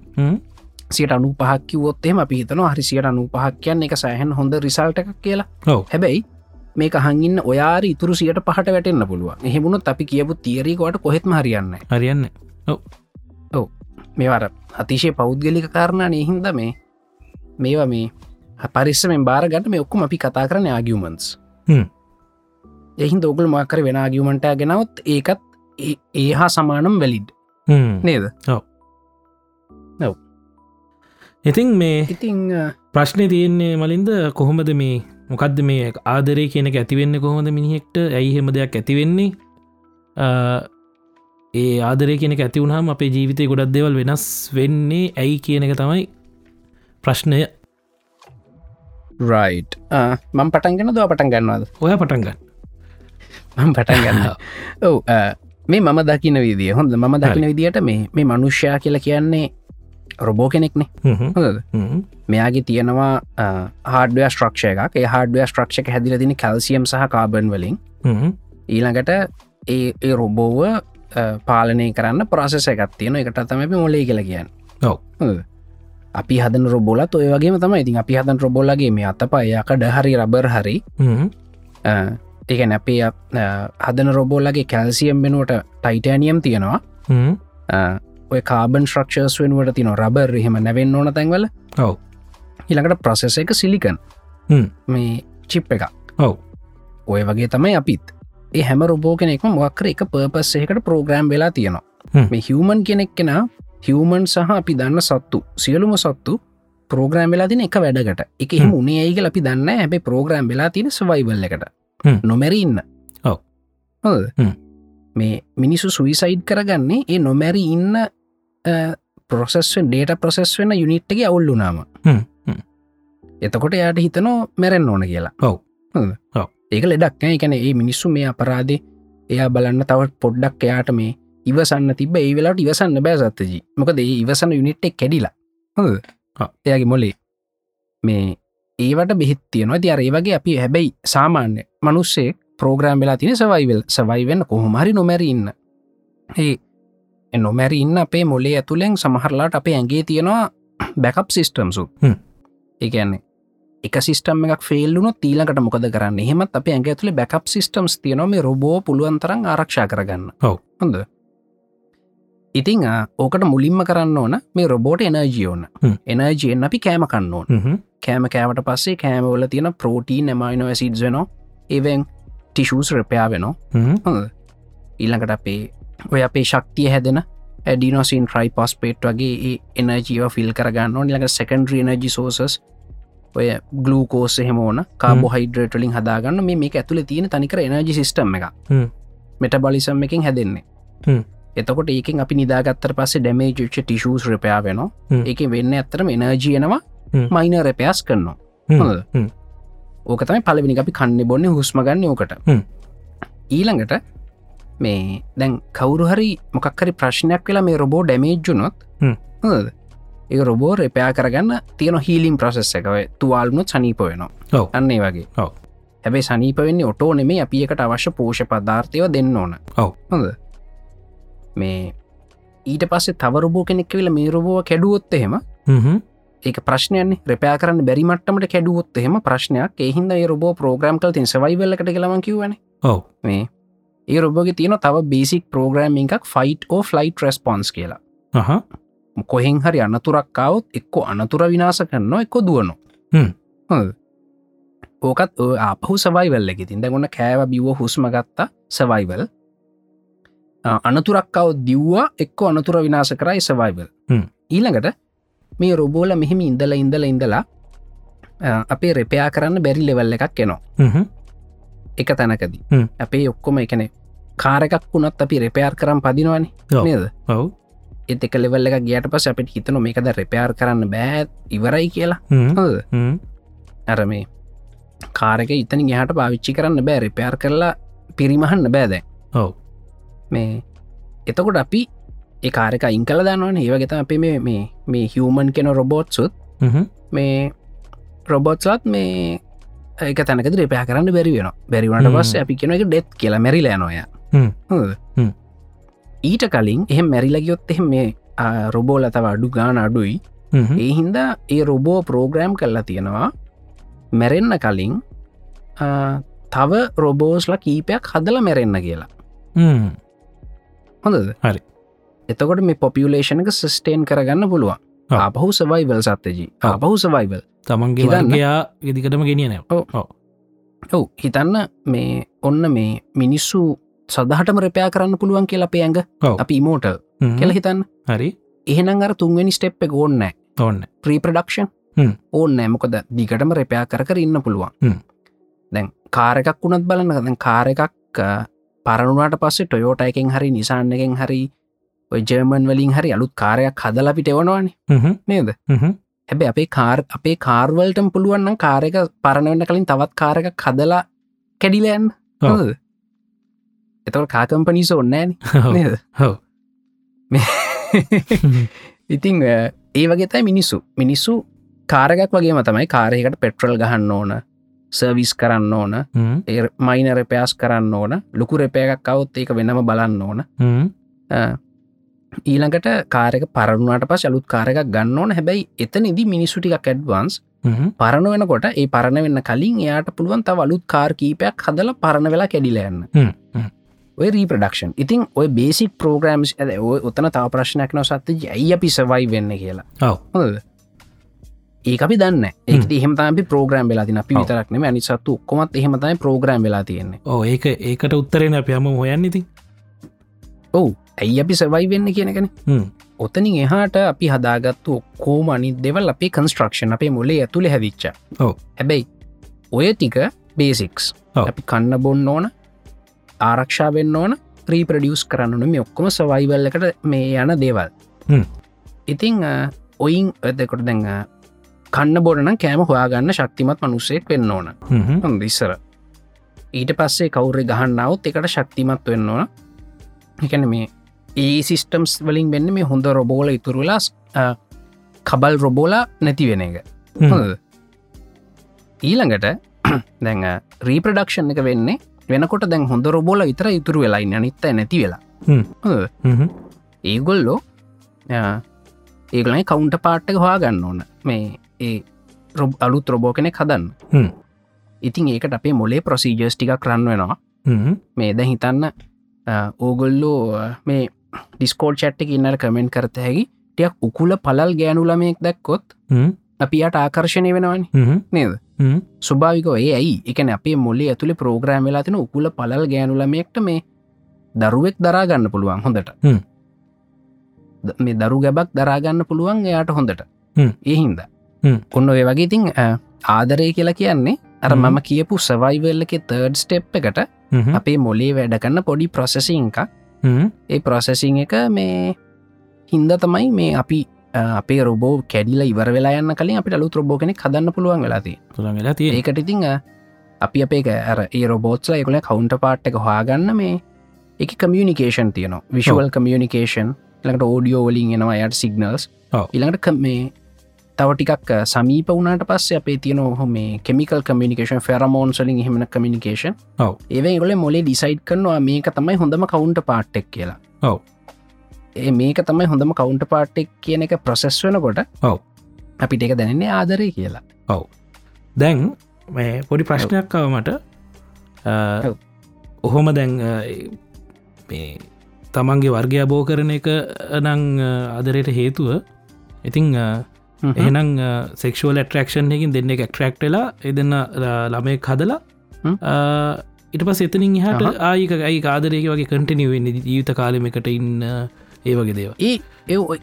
S2: සියට අනු පහක් කිවොත්තේම අපි හිතන හරිසියට අනු පහක් කියන්න එක සෑහන් හොඳ රිසල්ට එකක් කියලා
S1: ඔව්.
S2: හැබැයි මේ කහගන්න ඔයාර ඉතුරු සියට පහට වැටෙන්න්න පුළුව එහෙමුණොත් අපි කියපු තිේරීකොට කොහෙත්ම හරියන්න
S1: හරියන්න
S2: මේවර අතිශය පෞද්ගලික කාරණානය හින්ද මේ මේවා මේ පරිස්සමෙන් බාරගට මේ ඔක්කුම අපි කතා කරන ආගියමන්ස්
S1: හ්ම්.
S2: එහින් දෝගල් මාකර වෙන ආගියමට ගෙනවත් ඒකත් ඒ- ඒ හා සමානම් වැලිඩ්
S1: හ්ම්.
S2: නේද
S1: ඉතින් මේ
S2: ඉතිං
S1: ප්‍රශ්නය තියෙන්නේ මලින්ද කොහොමද මේ මොකක්ද මේ ආදරය කියනක ඇතිවෙන්න කොහොමද මිනිහෙක්ට ඇයිහෙම දෙයක් ඇතිවෙන්නේ අ, ඒ ආදරය කෙනෙක ඇති වුණහම අපේ ජීවිතය ගොඩක් දෙවල් වෙනස් වෙන්නේ ඇයි කියන එක තමයි ප්‍රශ්නය
S2: රයි් මං පටන්ගෙන දව පටන් ගන්නවාද
S1: ඔය පටන්ගන්න
S2: මං පටන් ගන්න ඔව මේ මම දකින විදිිය හොඳ ම දකින විදිහට මේ මේ මනුෂ්‍යයා කියලා කියන්නේ රොබෝ කෙනෙක්නේ හොඳද මෙයාගේ තියෙනවා හාඩුව ස්ට්‍රක්ෂය එකක් හාඩුව ස්ට්‍රක්ෂක හැදිල දින කැල්සියම් සහ කාබන් වලින් ඊළඟට ඒ ඒ රොබෝව අ, පාලනය කරන්න ප්‍රසෙස එකක් තියෙන එකට තම අපි මොලේ කියල කියන්න
S1: ඔව්.
S2: හොඳද? අපි හදන රොබොලත් ඔය වගේ තම ඉතින් අපි හදන් රොබොලගේ මේ අත පයකඩ හරි රබර් හරි අ, ඒ නැපේ හදන රොබෝලගේ කැල්සියම් වෙනුවට ටයිටෑනියම් තියෙනවා අ, ඔය කාබන් ශ්‍රක්ෂර්ස් වෙනුවට තින රබර් එහෙම නැවෙන්න ඕන තැන්වල
S1: ඔව්.
S2: ඊළඟට ප්‍රසෙස එක සිලිකන්
S1: හ්ම්.
S2: මේ චිප් එකක්
S1: ඔව්.
S2: ඔය වගේ තමයි අපිත් ඒ හැම රොබෝ කෙනෙක්ම මොක්කර එක පර්පස් එකට ප්‍රෝග්‍රම් වෙලා තියෙනවා
S1: හ්ම්.
S2: මේ හිවමන් කෙනෙක් කෙන හිවමන් සහ අපි දන්න සත්තු සියලුම සත්තු ප්‍රෝග්‍රම් වෙලා තින එක වැඩකට එක
S1: හ්ම්.
S2: එහම උනේ ඒග අපි දන්න හැබේ ප්‍රෝග්‍රම් වෙලා තියෙන ස්වයිවල් එකට
S1: හ්ම්.
S2: නොමැරි ඉන්න
S1: ඔව්.
S2: හොඳද?
S1: හ්ම්.
S2: මේ මිනිසු සුවිසයිඩ් කරගන්නේ ඒ නොමැරි ඉන්න පොසෙස්ෙන් ඩේට ප්‍රසෙස් වෙන යුනිට්ගේ අවුල්ලුනාම එතකොට යායට හිතනෝ මැරෙන් ඕන කියලා
S1: ඔව්.
S2: හොඳද?
S1: ඔව්.
S2: ඒක ලෙඩක් එකැන ඒ මිනිස්සු මේ අපරාධ එයා බලන්න තවත් පොඩ්ඩක් එයාට මේ ඉවසන්න තිබ ඒ වෙලාට ඉවසන්න බෑ සත්තජී මොකද ඒ ඉවසන්න යුනිට්ටෙක් කැඩිලා හොඳ
S1: ඔව්.
S2: එයාගේ මොලේ මේ ඒවට බෙහිත් තියෙනවා තියර ඒ වගේ අපි හැබැයි සාමාන්‍ය මනුස්සේ ප්‍රෝග්‍රම් වෙලා තින සවයිවල් සවයිවෙන්න කොහොමහරි නොමැරඉන්න ඒ නොමැරි ඉන්න අපේ මොලේ ඇතුළෙන් සමහරලාට අපේ ඇගේ තියෙනවා බැකප් සිිස්ටම්සු
S1: හ්ම්.
S2: ඒන්නේ එක සිිටම් එකක් ෆෙල්ලුන තීලකට මොකද කරන්න එහෙමත් අප ඇගේ ඇතුළ බැකප් සිිටම්ස් තියනොම රොබෝ පුළුවන්තරන් ආරක්ෂා කරගන්න
S1: ඔව්.
S2: හොඳ ඉතිං ආ, ඕකට මුලින්ම කරන්න ඕන මේ රොබෝට එනර්ජියෝන
S1: හ්ම්.
S2: එනර්ජයෙන් අපි කෑම කන්න ඕන කෑම කෑවට පස්සේ කෑමවල තියෙන ප්‍රෝටී නමයින ඇසිඩ් වෙනවා එවෙන් ටිෂූස් රපයා වෙනවා හොඳ ඊළඟට අපේ ඔය අපේ ශක්තිය හැදෙන ඇඩිනෝසින් ට්‍රයි පොස්පේට් වගේ ඒ එනජීව ෆිල් කරගන්න නිලක සෙකන්ඩ්‍රී නජි සෝසස් ඔය ගලූකෝස හෙමෝන කාබ හයිඩ්‍රේටලින් හදාගන්න මේ මේක ඇතුළ තියෙන තනිකර එනජි සිිටම් එක
S1: හ්ම්.
S2: මෙට බලිසම් එකින් හැදෙන්නේ
S1: හ්ම්.
S2: එතකොට ඒකින් අපි නිදාගත්තර පස්සේ ඩැමේ ච් ටිෂූස් රපයා වෙන
S1: හ්ම්.
S2: එක වෙන්න ඇත්තරම එනර්ජයනවා
S1: හ්ම්.
S2: මයින රැපයස් කරනවා හොඳද? ඕකතම පලවිනි අපි කන්න බොන්නේ හුස්මගන්න ඕකට
S1: හ්ම්.
S2: ඊළඟට මේ දැන් කවුරුහරි මොකක්කරි ප්‍රශ්නයක් වෙලා මේ රොබෝ ඩැමේජ්ජුනොත්
S1: හ්ම්.
S2: හොඳද? ඒ රොබෝ රෙපයා කරගන්න තියෙන හීලිම් ප්‍රසෙස් එකව තුවාල්නුත් සනීප වෙනවා
S1: ඔව්.
S2: අන්නේ වගේ
S1: ඔව්.
S2: හැබේ සනීපවෙන්නේ ඔටෝ නෙමේ අපි එකට අවශ්‍ය පෝෂ පධාර්ථයව දෙන්න ඕන
S1: ඔව්.
S2: හොඳ මේ ඊට පස්සේ තවරබෝ කෙනෙක් වෙල මේ රොබෝ කැඩුවොත් එහෙම ඒක ප්‍රශ්නයන්නේ රපයා කරන්න බැරිමටමට කැඩුවොත් එහෙම ප්‍රශ්නයක් එහින්ද රබෝ ප්‍රෝග්‍රම් කල් තින් සවයිවල්ලට කලම කිවන
S1: ඔව්.
S2: මේ ඒ රොබෝග තියෙන තව බේසික් ප්‍රෝග්‍රම් එකක් ෆයිට් ෝ ෆලයිට් රෙස්පොන්ස් කියලා
S1: හහ
S2: කොහෙන් හරි අනතුරක්කාවත් එක්ක අනතුර විනාස කරන්න එක්ක දුවනු
S1: හ්ම්.
S2: හොඳ. ඕකත් ඔය ආපහු සවයිවල්ල එක තින් දැගොන්න කෑව බිව්ව හුස්මගත්තා සවයිවල් අනතුරක්කව දිව්වා එක්ක අනතුර විනාස කරයි සවයිවල්
S1: හ්ම්.
S2: ඊළඟට මේ රොබෝල මෙහෙම ඉඳල ඉඳල ඉඳලා අ, අපේ රෙපයා කරන්න බැරි ලෙවල් එකක් එනවා එක තැනකදී
S1: හ්ම්.
S2: අපේ ඔක්කොම එකනෙ කාරකක් වුණත් අපි රෙපයාර් කරම් පදිනවනේ
S1: ඔව්.
S2: නේද
S1: ඔව්
S2: එත් එක ලෙවල්ල එක ගියට පස අපට හිතන මේකද රෙපයාර් කරන්න බෑ ඉවරයි කියලා
S1: හ්ම්.
S2: හොඳ
S1: හ්ම්.
S2: අර මේ කාරක ඉතන ගහට පාවිච්චි කරන්න බෑ රෙපයාර් කරලා පිරිමහන්න බෑදැ
S1: ඔව්.
S2: මේ එතකොට අපි ඒකාරක ඉංකල දන්නවන ඒවගෙත අපි මේ මේ මේ හියමන් කෙන රොබෝට්සුත්
S1: හ්ම්.
S2: මේ රොබොට්ස්ලත් මේ ඒක තැනක රපා කරන්න බැරි වෙන බැරිවනට
S1: හ්ම්.
S2: පස්ස අපි කෙන එක ඩෙත් කියලා මැරිලා නොය
S1: හ්ම්. හ්ම්.
S2: ඊට කලින් එහ මැරිලගියොත් එහෙ මේ රොබෝල තව අඩු ගාන අඩුයි
S1: හ්ම්.
S2: ඒ හින්දා ඒ රොබෝ ප්‍රෝග්‍රෑම් කරලා තියෙනවා මැරෙන්න කලින් අ, තව රොබෝස්ල කීපයක් හදල මැරෙන්න කියලා
S1: හ්ම්.
S2: හොඳද
S1: හරි.
S2: එතකොට මේ පොපියුලේෂන එක සස්ටේන් කරගන්න පුළුවන්
S1: ඔව්.
S2: අපහු සවයිවල් සත්තජී
S1: ඔව්.
S2: අපහු සවයිවල්
S1: තමන්ගේ
S2: හිතන්න.
S1: වර්ගයා ඉදිකටම ගෙනිය නෑ
S2: ඔව හිතන්න මේ ඔන්න මේ මිනිස්සු සදහටම රැපයා කරන්න පුළුවන් කියලා පේඇඟ
S1: ඔව්.
S2: අපි ඉමෝටල්
S1: හ්ම්.
S2: කෙල හිතන්න
S1: හරි
S2: එහෙනම් අර තුන්වැනි ස්ටෙප් එක ඕන්න
S1: ඔන්න
S2: ප්‍රීප්‍රඩක්ෂන්
S1: හ්ම්.
S2: ඕන්න මොකද දිගටම රැපයා කර කර ඉන්න පුළුවන්
S1: හ්ම්.
S2: දැන් කාරකක් වුණත් බලන්න දැන් කාරකක් පරණුවට පස්සේ ටොයෝට එකෙන් හරි නිසාන්න එකෙන් හරි ඔය ජර්මන් වලින් හරි අලුත් කාරයක් හදලපිට එවනවානේ
S1: හ්ම්.
S2: නේද
S1: හ්ම්.
S2: හැබැ අපේ කාර් අපේ කාර්වල්ටම් පුළුවන්නම් කාරක පරණවෙන්න කලින් තවත් කාරක කදලා කැඩිලෑන්
S1: ඔව්.
S2: හොද එතවට කාකම්පනිස ඔන්නෑන
S1: ඔව්.
S2: නේද
S1: ඔව්. හ්ම්.
S2: ඉතිං අ, ඒ වගේතයි මිනිස්සු මිනිස්සු කාරගක් වගේ මතමයි කාරයකට පෙට්‍රල් ගහන්න ඕන සර්විස් කරන්න ඕන
S1: හ්ම්.
S2: ඒ මයින රැපයාස් කරන්න ඕන ලොකු රැපයකක් කවත් ඒක වෙනම බලන්න ඕන
S1: හ්ම්.
S2: අ, ඊළඟට කාරක පරණුවට පස් අලුත් කාරක ගන්න ඕන හැබැයි එතනිදි මිනිස්සුටික කැඩ්වන්ස්
S1: හ්ම්.
S2: පරණ වෙනකොට ඒ පරණ වෙන්න කලින් එයාට පුළුවන් තව අලුත් කාර්කීපයක් හදල පරණ වෙලා කැඩිලයන්න
S1: හ්ම්. හ්ම්.
S2: ඔය රීපඩක්ෂන් ඉතින් ඔය බේසික් පෝග්‍රම්ස් ඇද ඔය ඔතන තව ප්‍රශ්නයක් නො සත්ති ඇයි අපි සවයි වෙන්න කියලා
S1: ඔව්.
S2: හොඳද? ඒ අපි දන්න
S1: හ්ම්.
S2: ඒක එහෙමතම ප්‍රෝග්‍රම් වෙලා තින අපි
S1: ඔව්.
S2: විතරක්නම අනිසත්තු කොමත් එහෙමතයි ප්‍රෝග්‍රම් වෙලා තියෙන්නේ
S1: ඕ ඒක ඒකට උත්තරෙන අප යම හොයන්න ඉතින්
S2: ඔවු ඇයි අපි සවයි වෙන්න කියනකන
S1: හ්ම්.
S2: ඔතනින් එහාට අපි හදාගත්තු ඔක්කෝම අනි දෙවල් අපේ කන්ස්ට්‍රක්ෂන් අපේ මොලේ ඇතුළෙ හැවිච්ච
S1: ඔව්.
S2: හැබැයි ඔය ටික බේසික්ස්
S1: ඔව්.
S2: අපි කන්න බොන්න ඕන ආරක්ෂා වෙන්න ඕන ප්‍රීප්‍රඩියස් කරන්නන මේ ඔක්කොම සවයිවල්ලකට මේ යන දේවල්
S1: හ්ම්.
S2: ඉතිං අ, ඔයින් ඇදකොට දැඟ කන්න බොරන කෑම හොයාගන්න ශක්තිමත් මනුස්සෙක් වෙන්න ඕන
S1: හ්ම්. හ්ම්.
S2: හොඳ ඉස්සර ඊට පස්සේ කවුරෙ ගහන්නාවත් එකට ශක්තිමත් වෙන්න ඕන එකන මේ ඒ සිිස්ටම්ස් වලින් වෙන්න මේ හොඳ රොබෝල ඉතුරුලා කබල් රොබෝල නැති වෙන එක
S1: හ්ම්.
S2: හොඳද? ඊළඟට දැන් රීප්‍රඩක්ෂන් එක වෙන්නේ වෙනකොට දැන් හොඳ රොබෝල ඉතර ඉතුරු වෙලායි අනිත්ත නැති වෙලා
S1: හ්ම්.
S2: හොඳද?
S1: හ්ම්.
S2: ඒගොල්ලෝ අ, ඒගොලයි කවුන්ට පාට්ට හවා ගන්න ඕන මේ ඒ රොබ් අලුත් රොබෝ කෙනෙ
S1: හ්ම්.
S2: කදන්න ඉතින් ඒකට අපේ මොලේ ප්‍රොසීජස් ටික කරන්න වෙනවා
S1: හ්ම්.
S2: මේ දැ හිතන්න අ, ඕගොල්ලෝ අ, මේ ඩිස්කෝල් චට්ටි ඉන්නට කමෙන්ට් කරත හැකි ටියක් උකුල පලල් ගෑනුලමයෙක් දැක්කොත්
S1: හ්ම්.
S2: අපියට ආකර්ශණය වෙනවනි
S1: හ්ම්.
S2: නේද
S1: හ්ම්.
S2: ස්වභාවිකෝ ඒ ඇයි එකන අපේ මොලේ ඇතුළි ප්‍රෝග්‍රෑම් වෙලා තින උකුල පලල් ගෑනුලමෙක්ට මේ දරුවෙක් දරාගන්න පුළුවන් හොඳට
S1: හ්ම්.
S2: ද- මේ දරු ගැබක් දරාගන්න පුළුවන් එයාට හොඳට
S1: හ්ම්.
S2: ඒහින්ද
S1: හ්ම්.
S2: ඔන්න ඔය වගේ ඉතිං ආදරය කියලා කියන්නේ අර මම කියපු සවයිවල්ල එක තර්ඩ් ස්ටෙප් එකට අපේ මොලේ වැඩකන්න පොඩි ප්‍රොසෙසිං එකක් ඒ ප්‍රොසෙසිං එක මේ හින්ද තමයි මේ අපි අපේ රොබෝ කැඩිල ඉවර වෙලා යන්න කලින් අපිට අලුත් රොබෝ කෙනෙ කදන්න පුළුවන් වෙලාති
S1: තුළන් වෙලා තිය
S2: ඒකට ඉතිං අපි අපේ ඇර ඒ රොබෝත්ල එකල කවුන්ට පාට් එක හොයාගන්න මේ එක කමියනිකේෂන් තියන විශවල් කමියනිකේෂන් ලට ෝඩියෝලින් එනවා යට සිගනල්ස්
S1: ඔව්.
S2: ඉළඟට මේ තව ටිකක් සමීප වුණට පස්සේ අපේ තියන ඔහොම කෙමිකල් කමිනිකේෂන් ෆෙරමෝන්සලින් හෙමන කමිනිකේෂන්
S1: ඔව්.
S2: ඒවගොල මොලේ ඩිසයිඩ් කරනවා මේක තමයි හොඳම කවුන්ට පාට්ටෙක් කියලා
S1: ඔව්.
S2: ඒ මේක තමයි හොඳම කවුන්ට පාට්ටෙක් කියන එක ප්‍රසෙස් වෙනකොට
S1: ඔව්.
S2: අපිට එක දැනන්නේ ආදරය කියලා
S1: දැන් මේ පොඩි ප්‍රශ්නයක් අවමට
S2: ඔව්.
S1: ඔහොම දැන් අ, ඒ- මේ තමන්ගේ වර්ගය බෝ කරන එක නං අදරයට හේතුව ඉතිං අ,
S2: හ්ම්.
S1: එහෙනම් uh, සෙක්ෂුවල් ඇට්‍රක්ෂන් එකින් දෙන්න එක ට්‍රක්ටලා එදන්න ළමය කදලා
S2: හ්ම්. Uh-huh.
S1: ඉට පස් uh, එතනින් හට
S2: අහහ.
S1: ආයක ගයි ආදරයක වගේ කටිනිවෙන්න ජීවිත කාලමකට ඉන්න uh, ඒ වගේ දේව
S2: ඒ ඒ ඔය-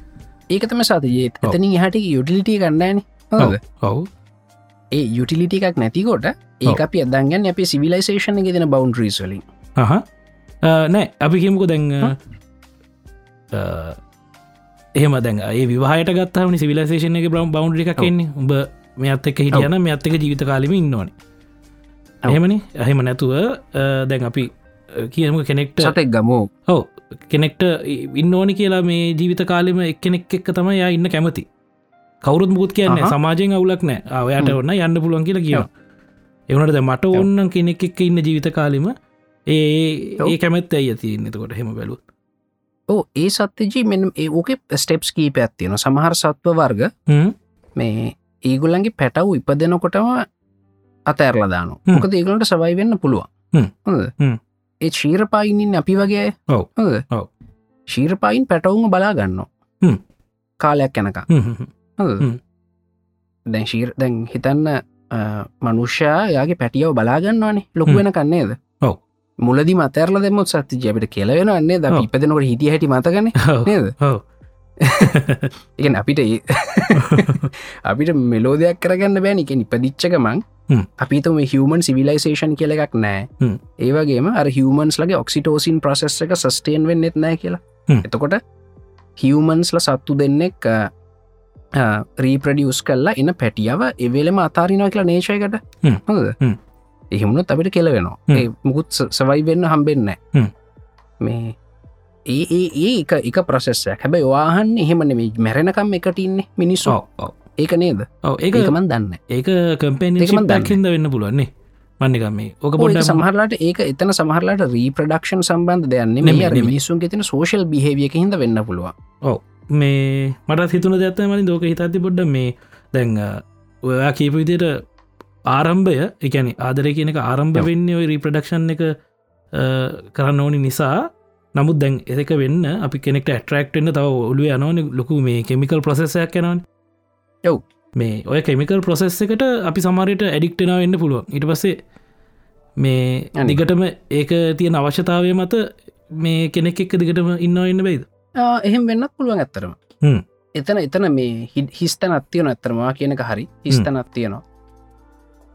S2: ඒක තම සතියේත්
S1: ඔව්.
S2: එතනින් හට යුටිලිටිය ගණ්ඩෑන
S1: ඔවු
S2: ඒ යුටිලිටි එකක් නැතිකොට ඒ
S1: ඔව්.
S2: අපි අදන්ගන්න අප සිවිලයිසේෂන එක දෙන බෞන්ඩ්‍රීස්වලින්
S1: අහ Uh-huh. Uh, නෑ අපි කියමුකු දැන් uh, අ, අ, uh, එහෙම දැන් ඒ විවාහයට ගත්තම සිවිලසේෂන එක බ්‍රම් බෞන්ඩ් එකක් කියන්නේ උඹ මෙත් එක
S2: ඔව්.
S1: හිටියන මෙත් එක ජීවිත කාලෙම ඉන්නවන
S2: ඔව්.
S1: එහෙමනි එහෙම නැතුව අ, දැන් අපි අ, කියමු කෙනෙක්ට
S2: සතෙක් ගමෝ
S1: ඔව කෙනෙක්ට ඉන්න ඕනි කියලා මේ ජීවිත කාලෙම එක්කෙනෙක් එක්ක තම යා ඉන්න කැමති කවරුත් මුත් කියන්න
S2: අහහ.
S1: සමාජයෙන් අවුලක් නෑ ආ, ඔයාට ඔන්න යන්න පුළුවන් කියලා කියන එවනට මට ඔන්න කෙනෙක් එක්ක ඉන්න ජීවිත කාලෙම ඒ
S2: ඔව්.
S1: ඒ කැමැත් ඇයි තියන්නකොට හෙම බැලු
S2: ඕ ඒ සත්‍යජී මෙ ඒ ඕක ස්ටෙප්ස් කීප ඇත්තියෙන සමහර සත්ව වර්ග මේ ඒගොල්ලන්ගේ පැටව් ඉපදෙනකොටම අතඇරලදාන
S1: හ්ම්.
S2: මොකද ඒගලට සවයි වෙන්න පුළුවන්
S1: හ්ම්.
S2: හොඳද?
S1: හ්ම්.
S2: ඒ ශීරපායිනින් අපි වගේ
S1: ඔව්.
S2: හොඳද?
S1: ඔව්.
S2: ශීරපායින් පැටවුම බලා ගන්න
S1: හ්ම්.
S2: කාලයක් යැනක
S1: හ්ම්.
S2: දැන් ශීර දැන් හිතන්න අ, මනුෂ්‍යයා යාගේ පැටියව බලාගන්නවානේ ලොක
S1: හ්ම්.
S2: වෙන කන්නේද
S1: ඔව්.
S2: මුලදි මතරල දෙමුත් සත්ති ජැපිට කෙලවෙනන්නේ ද
S1: ඔව්.
S2: ඉපදනකට හිටිය හැටි මතගන නේද
S1: ඔව්.
S2: එක අපිට ඒ- අපිට මෙලෝ දෙයක් කරගන්න බෑන එක ඉපදිච්චකමං
S1: හ්ම්.
S2: අපිතම හිවමන් සිවිලයිසේෂන් කියල එකක් නෑ
S1: හ්ම්.
S2: ඒවගේම අර හිවමන්ස් ලගේ ඔක්සිටෝසින් ප්‍රසෙස් එක සස්ටේන් වෙන්නෙත් නෑ කියලා
S1: හ්ම්.
S2: එතකොට හිවමන්ස්ල සත්තු දෙන්නෙක් රීප්‍රඩියස් කල්ලා එන්න පැටියාව එවෙලම අතාරිනවා කියලා නේශයකට
S1: හ්ම්.
S2: හොද
S1: හ්ම්.
S2: එහෙමුණොත් අපිට කෙලවෙනවා
S1: හ්ම්.
S2: ඒ මුකුත් ස- සවයි වෙන්න හම්බෙන්න
S1: හ්ම්.
S2: මේ ඒ ඒ ඒ එක එක ප්‍රසෙස්සයක් හැබැයි වාහන් එහෙමන මේ මැරෙනකම් එකටඉන්නේ මිනිස්සෝ
S1: ඔව්, ඔව්.
S2: ඒක නේද
S1: ඔව්, ඒක
S2: ඒකමන් දන්න
S1: ඒක කම්පෙන්ි
S2: ඒකම දන්නේ.
S1: දක්කින්ද වෙන්න පුළුවන්නේ මන්නකම මේ ඕක
S2: ඔය
S1: පොඩ
S2: සමහරලාට ඒක එතන සමහරලාට රීප්‍රඩක්ෂන් සම්බන්ධ දෙයන්නේ
S1: නෙමෙයි,
S2: මේ
S1: නෙමෙයි.
S2: මිනිස්සුන් තින සෝශල් බිහවියක හිද වෙන්න පුළුවන්
S1: මේ මට හිතුන දෙත්ත මනි දෝක හිතාති බොඩ්ඩ මේ දැන් අ, ඔයා කීපු විදියට ආරම්භය එකන ආදර කියන එක ආරම්භ
S2: ඔව්.
S1: වෙන්න ඔයි රීප්‍රඩක්ෂන් එක අ, කරන්න ඕනි නිසා නමුත් දැන් එසක වෙන්න අපි කෙනෙක්ට ඇටරක්ටන්න තව ඔලුව යනෝන ලොකු මේ කෙමිකල් ප්‍රසෙසයක් යනවන
S2: ඔව්.
S1: මේ ඔය කෙමිකල් ප්‍රොසෙස් එකට අපි සමරයට ඇඩික්ටෙනාව වෙන්න පුළුවන් ඉට පස්සේ මේ
S2: අනිවාර්යෙන්.
S1: දිගටම ඒක තියෙන අවශ්‍යතාවය මත මේ කෙනෙක් එක්ක දිගටම ඉන්නව ඉන්න බයිද
S2: ආ, එහෙම වෙන්නත් පුළුවන් ඇත්තරම
S1: හ්ම්.
S2: එතන එතන මේ හි- හිස්තන අත්තියන ඇත්තරමවා කියනක හරි හිස්තන අත්තියනවා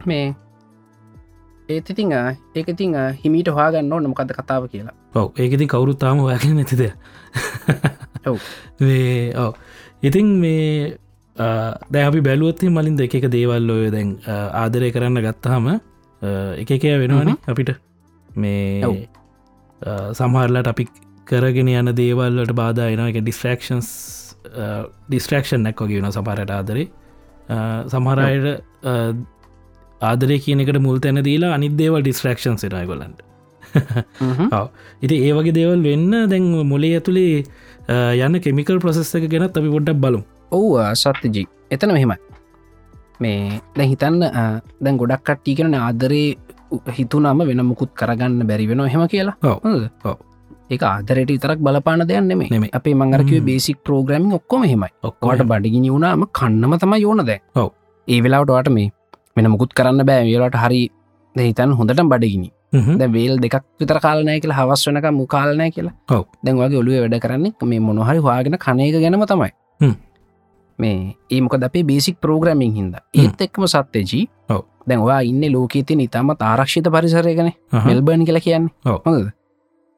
S2: මේ ඒතිතිං ඒකතිං හිමීට හාගන්න නොමකද කතාව කියලා
S1: ඔව ඒකති කවුරුත් තාම හොයාගෙන නැතිද
S2: ඔව්.
S1: වේ ඔව ඉතින් මේ දැහි බැලුවත්ේ මලින් දෙ එක දේවල්ලෝය දැන් අ, ආදරය කරන්න ගත්තාම එකකය වෙනවාන අපිට මේ
S2: ඔව්.
S1: අ, සමහරලට අපි කරගෙන යන දේවල්ලට බාධ එන එක ඩිස්ට්‍රක්ෂන්ස් ඩිස්ට්‍රක්ෂන් නැක් වගේ වෙන සමහරට ආදරේ අ, සමහරයට අ, ආදරය කියනකට මුල් තැන දීලා අනිදේවල් ඩිස්ට්‍රක්ෂන් සිරයි ගොලන්ට
S2: හ්ම්.
S1: ඉති ඒවගේ දේවල් වෙන්න දැන් මොලේ ඇතුළේ අ, යන්න කෙමිකල් ප්‍රසෙස්සක ගැනත් අපි පොඩ්ඩක් බලු
S2: ඔව් සත්්‍යජී එතන මෙහෙමයි මේ දැ හිතන්න අ, දැන් ගොඩක් කට්ටි කරන ආදරේ උ- හිතුනම වෙන මුකුත් කරගන්න බැරි වෙන හෙම කියලා
S1: ඔව්.
S2: හොඳද?
S1: ඔව්.
S2: ඒක ආදරයට ඉතරක් බලපාන දෙයන්නෙම
S1: නෙමෙයි.
S2: අපේ මංගරකිව
S1: හ්ම්.
S2: බේසික් ප්‍රෝග්‍රමින් ඔක්කොම හෙමයි වාට
S1: ඔක්කොට
S2: බඩිගිනි වුණාම කන්නම තම යෝන දැ
S1: ඔව්.
S2: ඒ වෙලාට වාට මේ වෙන මුකුත් කරන්න බෑ වෙලාට හරි දැන් හිතන් හොඳට බඩිගිනි දැ වේල් දෙකක් විතර කාලනය කියලා හවස් වනක මුකාලනය කියලා
S1: ඔව්.
S2: දැන් වගේ ඔලුව වැඩ කරන්නේ මේ මොනොහරි හවාගෙන කනයක ගැනම තමයි
S1: හ්ම්.
S2: මේ ඒමක අපේ බේසික් ප්‍රෝග්‍රමින් හින්ද ඒත් එක්ම සත්්‍යජී
S1: ඔව්.
S2: දැන්වා ඉන්න ලෝකී තින ඉතාම ආරක්ෂිත පරිසරයගන මෙල්බර්න් කියලා කියන්න
S1: ඔව්.
S2: මද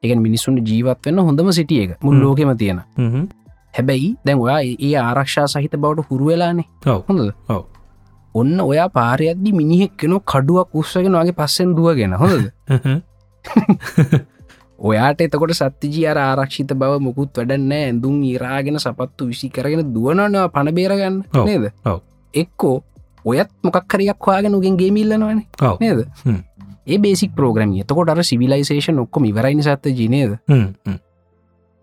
S2: එක මිනිස්සුන් ජීවත් වන්න හොඳම සිටිය එක මුල්
S1: හ්ම්.
S2: ලෝකෙම තියෙන හැබැයි දැන් ඔයා ඒ- ඒ ආරක්ෂා සහිත බවට හුරුවෙලානේ
S1: ඔව්
S2: හොඳද
S1: ඔව්.
S2: ඔන්න ඔයා පාරයද්දි මිනිහෙක් කෙන කඩුවක් උස්සගෙන වගේ පස්සෙන් දුවගෙන හොඳද ඔයාට එතකොට සත්තිජී අර ආරක්ෂිත බව මුකුත් වැඩන්න ඇඳුම් ඒරාගෙන සපත්තු විසි කරගෙන දුවනවා පණබේරගන්න
S1: ඔව්.
S2: නේද
S1: ඔව්.
S2: එක්කෝ ඔයත් මොකක්කරයක් වාගෙන උගෙන් ගේමිල්ලනවන
S1: ඔව්
S2: නේද
S1: හ්ම්.
S2: ඒ බේසික් ප්‍රෝග්‍රමිය තකොට අර සිවිලයිසේෂන් ඔක්කොම ඉවරයිනි සත්ත ජීනේද
S1: හ්ම්, හ්ම්.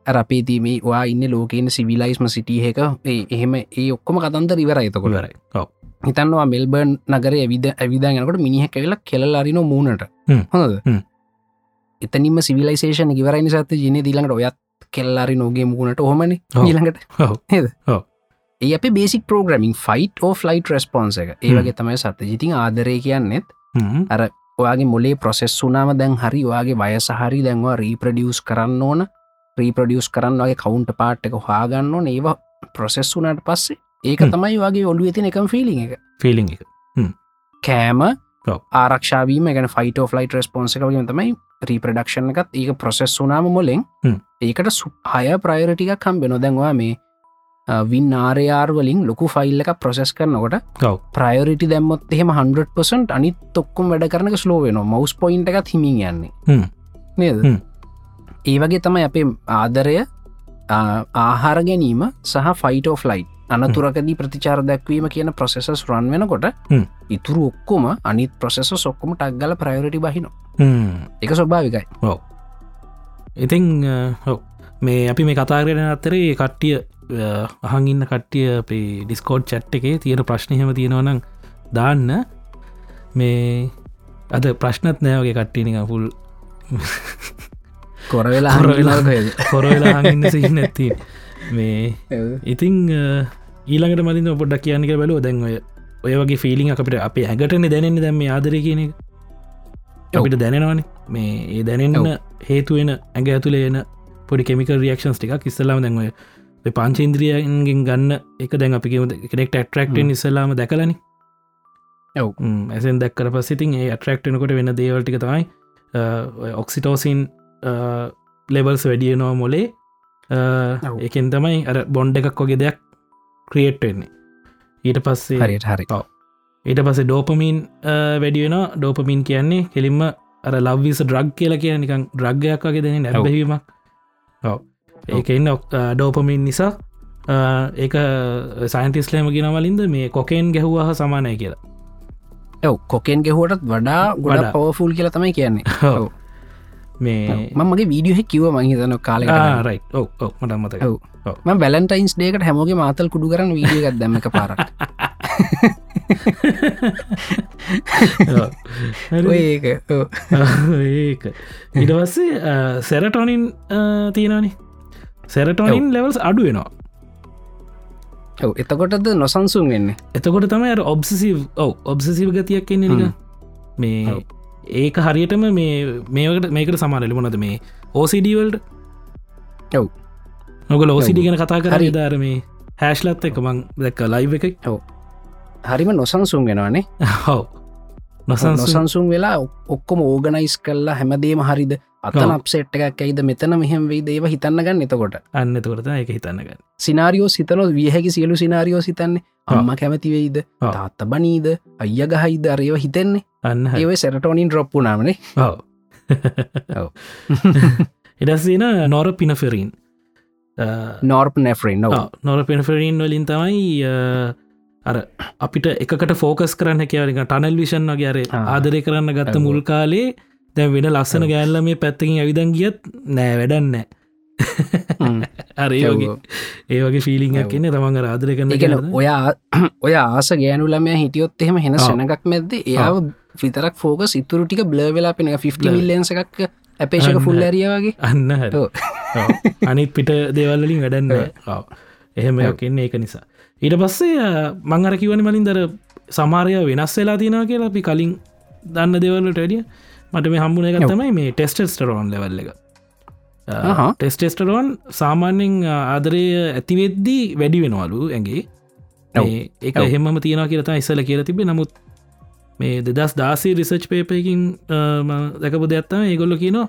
S2: අර අපේ තීමේ වා ඉන්න ලෝකන සිවිලයිස්ම සිටියහක එහෙම ඒ ඔක්කොම කතන්ද ඉවරයිතකොට
S1: ඉවරයි. ඔව්
S2: හිතන්නවා මෙල්බර්න් නගර ඇවිද ඇවිදාගෙනකට මිනිහ කැවෙල කෙල්ලාරින මූුණට
S1: හ්ම්.
S2: හොඳද
S1: හ්ම්.
S2: එතනිම සිවිලයිසේෂන් ඉවරයි සත ජන දිලඟට ඔයත් කෙල්ලාරි නෝගේ මුණට
S1: ඔව්.
S2: හොමන ඊළඟට
S1: ඔව්
S2: නේද
S1: ඔව්.
S2: ඒ අප basic programming fight or flight රස්පොන්ස එක ඒවගේ තමයි සත්ත ජිතින් ආදරය කියන්නෙත්
S1: හ්ම්.
S2: ඔයාගේ මොලේ ප්‍රොසෙස් වුනාම දැන් හරි වාගේ වයසහරි දැන්වා රීප්‍රඩියස් කරන්න ඕන රීප්‍රඩියස් කරන්න වගේ කවුන්ට පාට් එක හාගන්න ඕන ඒවා ප්‍රොසෙස් වුනාට පස්සේ ඒක
S1: හ්ම්.
S2: තමයි වගේ ඔලු ඇතින එකම් ෆිලි එක
S1: ෆිලිං එක
S2: කෑම
S1: ඔව්.
S2: ආරක්ෂාවීම ගැන ෆයිට ෆලයිට රස්පොන්ස එකගේ තමයි රීප්‍රඩක්ෂණ එකත් ඒක ප්‍රොසෙස් වුනාම මොලෙන්
S1: හ්ම්.
S2: ඒකට සු හය ප්‍රයරටික කම්බෙන දැන්වා මේ වින් ආරයාර්වලින් ලොකු ෆයිල් එක ප්‍රසෙස් කරනකොට
S1: ඔව්
S2: ප්‍රයෝරිටි දැම්මත් එහෙම 100% අනි තොක්කුම් වැඩ කරන ස්ලෝවෙන මවස් පොයින්ට එකත් හිමින් යන්නේ
S1: හ්ම්.
S2: නේද
S1: හ්ම්.
S2: ඒ වගේ තමයි අපේ ආදරය ආ, ආහාර ගැනීම සහ ෆයිටෝ ෆ්ලයි් අනතුරකදී ප්‍රතිචාර දැක්වීම කියන ප්‍රසෙසස් රන් වෙනකොට
S1: හ්ම්.
S2: ඉතුරු ඔක්කොම අනිත් ප්‍රසෙස සොක්කොම ටක්ගල ප්‍රයෝරිටි බහිනෝ
S1: හ්ම්.
S2: එක ස්වභාවිකයි
S1: ඉතිං හෝ මේ අපි මේ කතාරෙන අතරේ කට්ටිය අහන් ඉන්න කට්ටිය අපේ ඩිස්කෝඩ් චැට් එකේ තියෙන ප්‍රශ්නයම තියෙනවනම් දාන්න මේ අද ප්‍රශ්නත් නෑවගේ කට්ටිනික පුල්
S2: කොරවෙලා
S1: කොර වෙලා.
S2: හරලාකද
S1: කොරවෙලා හඟන්න සිහි නැත්ති මේ ඉතිං අ, ඊළඟට මලින් ඔපොඩක් කියන්නක බැලුව දැන්ව ඔය වගේ ෆිලිං අපිට අපේ ඇඟටන දැනෙන්නේ දැම ආදර කියන එක
S2: ඔව්.
S1: අපිට දැනෙනවානේ මේ ඒ දැනෙන්න
S2: ඔව්.
S1: හේතුවෙන ඇඟ ඇතුළේ එන පොඩි කෙමික රියක්ෂන්ස් ටික් ඉස්සලාම දැන්වය පංචේන්ද්‍රියන්ගෙන් ගන්න එක දැන් අපි කෙනෙක්ට ඇටරක්ටෙන් ඉස්සලාම දැකලනි
S2: ඔව්.
S1: ඇසෙන් දැක්කර පස්සිතින් ඒ ඇටරක්ටනකොට වෙන දේවල්ටික තමයි ඔක්සිටෝසින් ලෙවල්ස් වැඩියනවා මොලේ
S2: ඔව්.
S1: එකෙන් තමයි අර බොන්්ඩ එකක් වගේ දෙයක් ක්‍රියට් වෙන්නේ ඊට පස්සේ
S2: හරියට හරි
S1: ඊට පසේ ඩෝපමීන් වැඩිවෙන ඩෝපමීන් කියන්නේ කෙලින්ම අර ලව්විස ද්‍රග් කියලා කිය නිකං ද්‍රග්ගයක් වගේ දෙන
S2: ඔව්.
S1: නැබැවීමක් ඔව ඒක එන්න ඩෝපමීන් නිසා අ, ඒක සයින්තිස්ලේම ගෙනවලින්ද මේ කොකෙන් ගැහ්වාහ සමානය කියලා
S2: ඇව් කොකෙන් ගෙහුවටත් වඩා ගොඩ
S1: වඩා.
S2: පෝෆුල් කියලා තමයි කියන්නේ ඔව්.
S1: මේ
S2: මමගේ වීඩියහ කිව මහිතන කාලෙ
S1: ආරයි ඔව ඔව මට මතක
S2: ඔව්. ම බැලන්ටයින්ස් ඩේකට හැමෝගේ මාතල් කුඩු කරන වීඩියගත් දැම එක පාරක් ඔය ඒක ඔව්.
S1: ඒක ඉඩවස්සේ සැරටොනින් තියෙනනි සැරටොනින් ලෙවල්ස් අඩු වෙනවා
S2: ඔව් එතකොටද නොසන්සුන් වෙන්න
S1: එතකොට තමයි ඔබ්සිසිව් ඔව ඔබ්සිසිව් ගතියක් කියන්නේ නිකන්.
S2: හ්ම්.
S1: මේ
S2: ඔව්.
S1: ඒක හරියටම මේ මේකට මේකට සමානලි මොනද මේ ඕසිඩවල්ඩ
S2: ඔව්.
S1: නොගල ඕසිඩි ගැන කතා කර
S2: හරි.
S1: ධරම හැශ්ලත් එක මං දැක්ක ලයි් එකයි
S2: හරිම නොසන්සුන් වෙනවානේ
S1: හව නොසන්ස
S2: නොසන්සුන් වෙලා ඔක්- ඔක්කොම ඕගනයිස් කල්ලා හැමදේම හරිද අතන
S1: ඔව්.
S2: අපසේට් එකක් ඇයිද මෙතන මෙහෙම වෙයි දේව හිතන්න ගන්න එතකොට
S1: අන්නතකොරත එක හිතන්නගන්න
S2: සිනාරියෝ සිතනො වියහැකි සියලු සිනාරියෝ සිතන්නේ
S1: ඔව්.
S2: අම්ම කැමතිවෙයිද
S1: ඔව්.
S2: තාත්ත බනීද අය ගහයිද අරයව හිතෙන්නේ
S1: අන්න හරි.
S2: ඒව සැරටෝනින් ඩ්‍රොප්පු නාමනේ
S1: ඔව
S2: ඔව්.
S1: එඩස්සන නොර පිනෆෙරීන්
S2: නෝර්ප් නැෆරෙන් නොව
S1: නොර පිනෆෙරීන් වලින් තමයි අ, අර අපිට එකට ෆෝකස් කරන්න කියවරික ටනල් විෂන් වගේ අර
S2: ආ.
S1: ආදරය කරන්න ගත්ත
S2: ඔව්.
S1: මුල් කාලේ දැන් වෙන ලස්සන
S2: ඔව්.
S1: ගෑල්ල මේ පැත්තකින් ඇවිදන් ගියත් නෑ වැඩන්න අරේ වගේ ඒ වගේ ෆිලිංක්
S2: ඔව්.
S1: කියන්නේ තමන් ආදරය කරන්න
S2: එකන
S1: කියලා.
S2: ඔයා ඔයා ආස ගෑනුලම හිටියොත් එහෙම හෙන
S1: ආ.
S2: සැනකක් මැද ඒාව විතරක් ෆෝකස් ඉතුරු ටික බ්ලර් වෙලා පෙන 50
S1: Blur.
S2: මිල්ලන්ස එකක් අපේෂක
S1: අන්න.
S2: ෆුල් ඇරිය වගේ
S1: අන්න හරි.
S2: ඔව්.
S1: ඔව්. අනිත් පිට දේවල්ලින් වැඩන්න ඔව්. එහෙම
S2: ඔව්.
S1: යකන්නේ ඒක නිසා ඊට පස්සේ මං අර කිවන මලින් දර සමාරය වෙනස් වෙලා තියෙනවා කියලා අපි කලින් දන්න දෙවල්ලට වැඩිය මට මේ හම්බුණ එක
S2: ඔව්.
S1: තමයි මේ ටෙස්ටස්ටරෝන් ලෙවල්ල එක
S2: අහා.
S1: ටෙස්ටෙස්ටරෝන් සාමාන්‍යෙන් ආදරය ඇතිවෙද්දී වැඩි වෙනවලු ඇගේ
S2: ඔව්.
S1: ඒ
S2: ඔව්.
S1: එහෙම තියෙන කියරතා ඉස්සල කියලා තිබේ නමුත් මේ දෙදස් දාසී රිසර්ච් පේපයකින් දැකපු දෙයක්ත්තම ඒගොල්ල කියනො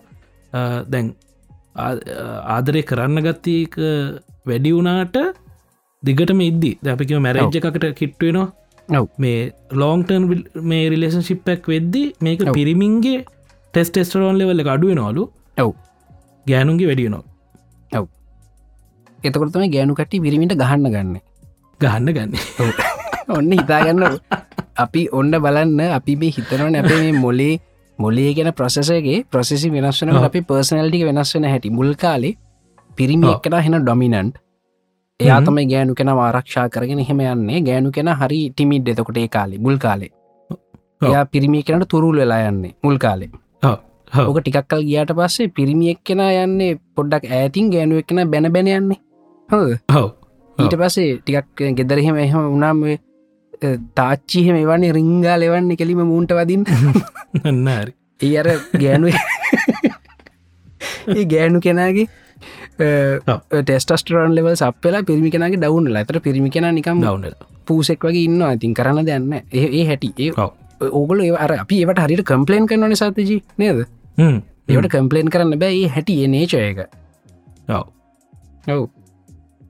S1: දැන් ආදරය කරන්න ගත්තක වැඩි වුණාට දිගටම ඉද්දි දැපිකම මැරජ් එකකට කිට්ටුවෙනවා
S2: ඔව්.
S1: මේ ලෝන්ටර්න් මේ රිලේෂන් ශිප්පැක් වෙද්දි මේක
S2: ඔව්.
S1: පිරිමින්ගේ ටෙස් ටෙස්ටරෝන් ලෙවල්ල අඩුව නොලු
S2: ඔව්.
S1: ගෑනුන්ගේ වැඩියනො
S2: එතකොටම ගෑනු කට්ටි පිරිමිට ගහන්න ගන්න
S1: ගහන්න ගන්න
S2: ඔන්න හිතාගන්න අපි ඔන්න බලන්න අපි මේ හිතනවන අප මේ මොලේ මොලේ ගැන ප්‍රසසගේ ප්‍රසෙසි වෙනස්සන
S1: ඔව්.
S2: අපි පර්සනල්ටි වෙනස්සෙන හැටි මුල් කාලේ පිරිමි
S1: ඔව්.
S2: එකන හෙන ඩොමිනන්ට් එයා තමයි ගෑනු කෙන ආරක්ෂා කරගෙන හෙම යන්නේ ගෑනු කෙන හරි ටිමිඩ් එතකොට ඒ කාලේ මුල් කාලේ
S1: ඔව්.
S2: එයා පිරිමි කෙනට තුරුල් වෙලා යන්නේ මුල් කාලේ
S1: හව
S2: ඕක ටිකක්කල් ගියාට පස්සේ පිරිමියෙක් කෙන යන්නේ පොඩ්ඩක් ඇතින් ගෑනුවක් කෙන බැන බැන යන්නේ හොද
S1: හව
S2: ඊට පස්සේ ටිකක් ගෙදරහෙම එහම උනාම ඔය, අ, තාච්චිහෙම එවන්නේ රිංගා ලෙවන්නේ කෙලිම මූන්ට වදින්
S1: නන්නරි
S2: ඒ අර ගෑනුව ඒ ගෑනු කෙනගේ
S1: ඔව්.
S2: ටෙස්ටස්ටරන් ලෙවල් සප්පලා පිරිමි කෙනගේ ඩවුන්ල අතර පිරිමි කෙන නිකම්
S1: ගවන්නල
S2: පූසෙක් වගේ ඉන්න අතින් කරන්න දෙන්න ඒ ඒ හැටි ඒ
S1: ඔව්.
S2: ඕගොල ඒ අර අපි ඒවට හරිට කම්පලේන් කරනන සතජී නේද ඒවට කම්පලේන් කරන්න බෑ ඒ හැටි නේචයක
S1: ඔව්.
S2: ඔව්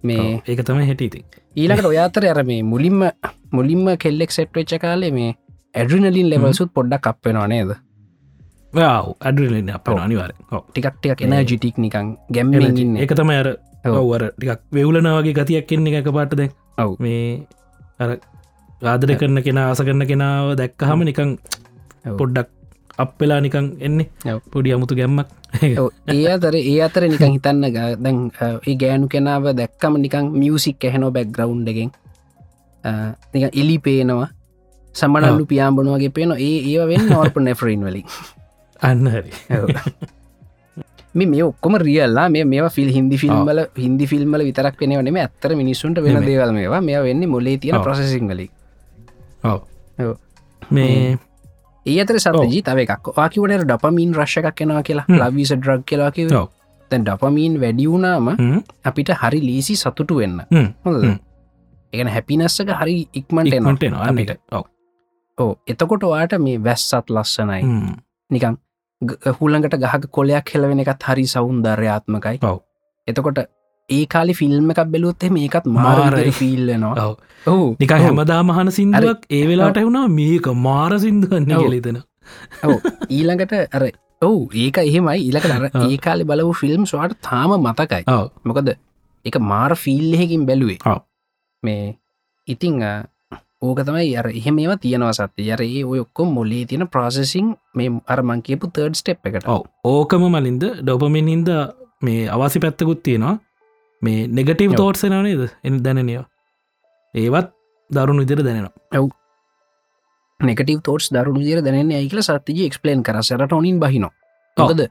S2: මේ
S1: ඒක තමයි හැටිති
S2: ඊලකට ඔයාතර ඇර මේ මුලින්ම මුලින්ම කෙල්ලෙක් සෙට්වෙච්ච කාලේ මේ ඇඩ්‍රිනලින් ලෙවල්සුත් පොඩ්ඩක් කප්පෙනවා නේද
S1: ව අඩුලන්න අප අනිවාර
S2: ටිකක්ටියක් එන ජිටික් නිකං ගැම්මගන්න
S1: එක තමයි අර
S2: ඔව්.
S1: ඔවර ටිකක් වෙවුලනාවගේ ගතියක් කෙන්නේ එක පාටද
S2: ඔව්.
S1: මේ අර ආදර කරන කෙන ආස කරන කෙනාව දැක්කහම නිකං
S2: ඔව්.
S1: පොඩ්ඩක් අප්පෙලා නිකං එන්නේ
S2: ඔව්.
S1: පොඩි අමුතු ගැම්මක්
S2: ඒ අතර ඒ අතර නිකං හිතන්න ග- දැන් අ, ඒ ගෑනු කෙනාව දැක්කම නිකං මියසික් ඇහෙනෝ බැක් ග්‍රවන්් එකෙන් නික එලි පේනවා සමනල්ලු පියාම්බනුවගේ පේන ඒ ඒ වෙන් නොල්ප නැෆරීන් වලින්
S1: අන්න හරි
S2: මේ මේ ඔක්කොම රියල්ලා මේ මේ ෆිල් හිදි ෆිල්ම්බල හිදි ෆිල්ම්බල විතරක් වෙනවනේ මේ ඇත්තර මිනිසුන්ට වෙන
S1: නෙමෙයි.
S2: දේවල් මේවා මේ වෙන්නේ මොලේ තියෙන
S1: ඔව්.
S2: ප්‍රසසිංහලි
S1: ඔව්.
S2: ඔව්.
S1: මේ
S2: ඒ අතර සරජී තව එකක් ආකිවට ඩපමීන් රශ්ක කෙනවා කියලා
S1: හ්ම්.
S2: ලවිස ඩ්‍රග් කියලාක
S1: ඔව්.
S2: තැන් ඩපමීන් වැඩියුනාම
S1: හ්ම්,
S2: අපිට හරි ලීසි සතුටු වෙන්න
S1: හ්ම්,
S2: හොඳද?
S1: හ්ම්.
S2: ඒකන හැපිනස්සක හරි ඉක්මට එන
S1: ඉක්මනට එනවා, අන්න
S2: අපිට.
S1: ඒක. ඔව්.
S2: ඕ එතකොට වාට මේ වැස්සත් ලස්සනයි
S1: හ්ම්.
S2: නිකං ග- හුළඟට ගහක කොලයක් හෙලවෙන එකත් හරි සෞන්දර්යාත්මකයි
S1: ඔව්.
S2: එතකොට ඒ කාලි ෆිල්ම් එකක් බැලුවොත් මේකත් මාර
S1: මාරයි.
S2: ෆිල්ලනවා
S1: ඔව්.
S2: ඔහු
S1: නිකං හැමදා මහන සිින්දුවක් ඒ වෙලාට එවුණා මේක මාර සිින්දුවන්න
S2: ඔව්.
S1: ගලිතෙන
S2: ඊළඟට අර ඔවු ඒක එහෙමයි ඉලක අර
S1: ඔව්.
S2: ඒ කාලි බලව ෆිල්ම් ස්වාට තාම මතකයි
S1: ඔව්.
S2: මොකද එක මාර ෆිල්හෙකින් බැලුවේ
S1: ඔව්.
S2: මේ ඉතිං අ, ඕක තමයි අර එහෙම ඒවා තියෙනවා සත්‍ය යර ඒ ඔයොක්කො මොලේ තියෙන ප්‍රසෙසින් මේ අර මංකපු තර්ඩ් ස්ටප් එකට
S1: ඔව්. ඕකම මලින්ද ඩොපමින් හින්ද මේ අවසි පැත්තකුත් තියෙනවා මේ නෙගටීව්
S2: ඔව්.
S1: තෝට්සෙනව නේද එ දැනනියෝ ඒවත් දරුණු විදිර දැනෙනවා
S2: නෙකටව තෝට්ස් දරුණු දිර දැනන්නේ ඇයිකල සත්තිජ එක්ස්පලේන් කරසරට ඔනින් බහිනෝ
S1: ඔව්.
S2: ඔකද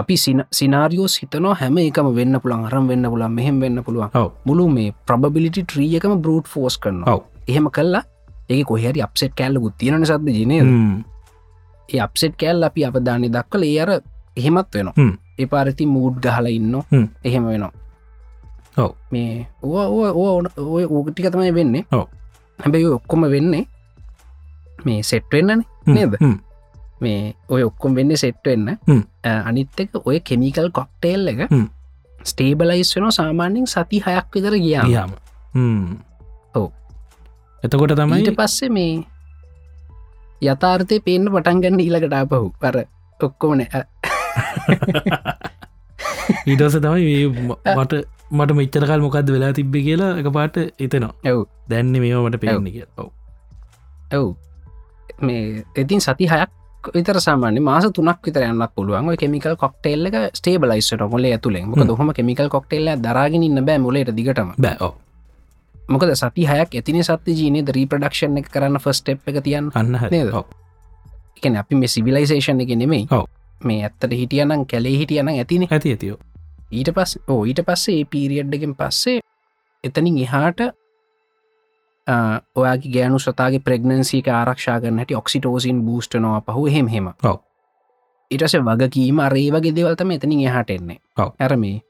S2: අපි සිනාරියෝ සිතනෝ හැම එකම වෙන්න පුළන් අරම් වෙන්න පුළන් මෙහෙම වෙන්න
S1: ඔව්.
S2: පුළුවන් මුළු මේ ප්‍රබිලිටි ට්‍රියකම බරුට් ෆෝස් කරනවා
S1: ඔව්.
S2: එහෙම කල්ලා ඒ කොහරි අපසෙට් කෑල්ලකුත් තියෙන සත්ද ජනය
S1: හ්ම්.
S2: ඒ අපසෙට් කෑල් අපි අපධානය දක්කල ඒ අර එහෙමත්
S1: හ්ම්.
S2: වෙනවා ඒ පාරිති මූඩ් ගහල ඉන්න
S1: හ්ම්.
S2: එහෙම වෙනවා
S1: ඔව්.
S2: මේ ඕ ඕ ඔය ඕගටික තමයි වෙන්නේ
S1: ඔව්.
S2: හැබැයි ඔය ඔක්කොම වෙන්නේ මේ සෙට්වෙන්නන
S1: හ්ම්.
S2: නේද?
S1: හ්ම්.
S2: මේ ඔය ඔක්කොම් වෙන්න සෙට්වෙන්න
S1: හ්ම්.
S2: අනිත් එක ඔය කෙමිකල් කොක්ටේල් එක
S1: හ්ම්.
S2: ස්ටේබලයිස් වෙන සාමාන්‍යෙන් සති හයක් විතර ගියා
S1: ගියාම. හ්ම්.
S2: ඔව්.
S1: එතකොට
S2: ඊට
S1: තමයි
S2: පස්සේ මේ යථාර්ථය පේන්න පටන්ගන්න ඉලකට අපහු අර ඔක්කොමන
S1: ඊටස තමයි මේ ම- මට මට මෙච්චරකල් මොකක්ද වෙලා තිබ්බ කියලා එක පාට එතනවා
S2: ඔව්.
S1: දැන්න මේවා මට පෙන්න්න කිය ඔව්.
S2: ඔව් මේ ඉතින් සති හයක් විතර සාමාන්‍ය මාස තුනක් විතර යන්න පුළුවන් ඔය කෙමිකල් කොක්ටේල් එක ස්ටේබලයිස්ට මොලේ ඇතුළෙන් මොක
S1: හ්ම්.
S2: දොහම කෙමිකල් කොක්ටේල්ල දරගෙන ඉන්න බෑ මොලට දිගටම
S1: බෑ ඔව්.
S2: මොකද සති හයක් ඇතින සත්ති ජීනය රීපඩක්ෂණ එක කරන්න ෆස්ටප් එක තියන්න
S1: අන්න හරි
S2: නේද?
S1: ඔව්.
S2: එකන අපි මේ සිවිලයිසේෂන් එක නෙමෙයි
S1: ඔව්.
S2: මේ ඇත්තට හිටියනම් කැලේ හිටියනම් ඇතින
S1: ඇති ඇතියෝ
S2: ඊට පස් ඕ ඊට පස්සේ ඒ පීරියඩ්ඩකින් පස්සේ එතනින් එහාට ආ, ඔයාගේ ගෑනු සතාගේ ප්‍රෙග්නන්සික ආරක්ෂාගන හැට ඔක්සිටෝසින් බූස්ටනවා පහු හෙම හෙම
S1: ඔව්.
S2: ඉටස වගකීම අරේවගේ දෙවල්තම එතනින් එහාට එන්නේ
S1: ඔව්.
S2: ඇර මේ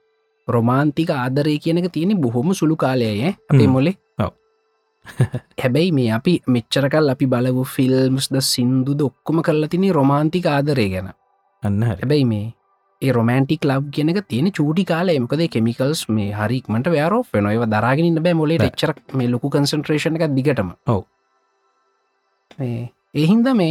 S2: රොමාන්තික ආදරය කියනක තියෙන බොහොම සුළු කාලයය අපේ
S1: හ්ම්.
S2: මොලේ
S1: ඔව්.
S2: හැබැයි මේ අපි මෙච්චරකල් අපි බලපු ෆිල්ම්ස්ද සින්දු දොක්කොම කරලා තිනේ රොමාන්තික ආදරය ගැන
S1: අන්න හරි
S2: හැබැයි මේ ඒ රොමන්ටික් ලබ් ගෙනක තියෙන චූටි කාල එමකද කෙමිකල්ස් මේ හරික්මට වයාරෝ වෙනොව දරාගෙනන්න බෑ මොලේ
S1: බෑ.
S2: රච්චරක් මේ ලොකු කන්සන්ට්‍රේෂණ එක දිගටම
S1: ඔව්.
S2: මේ එහින්ද මේ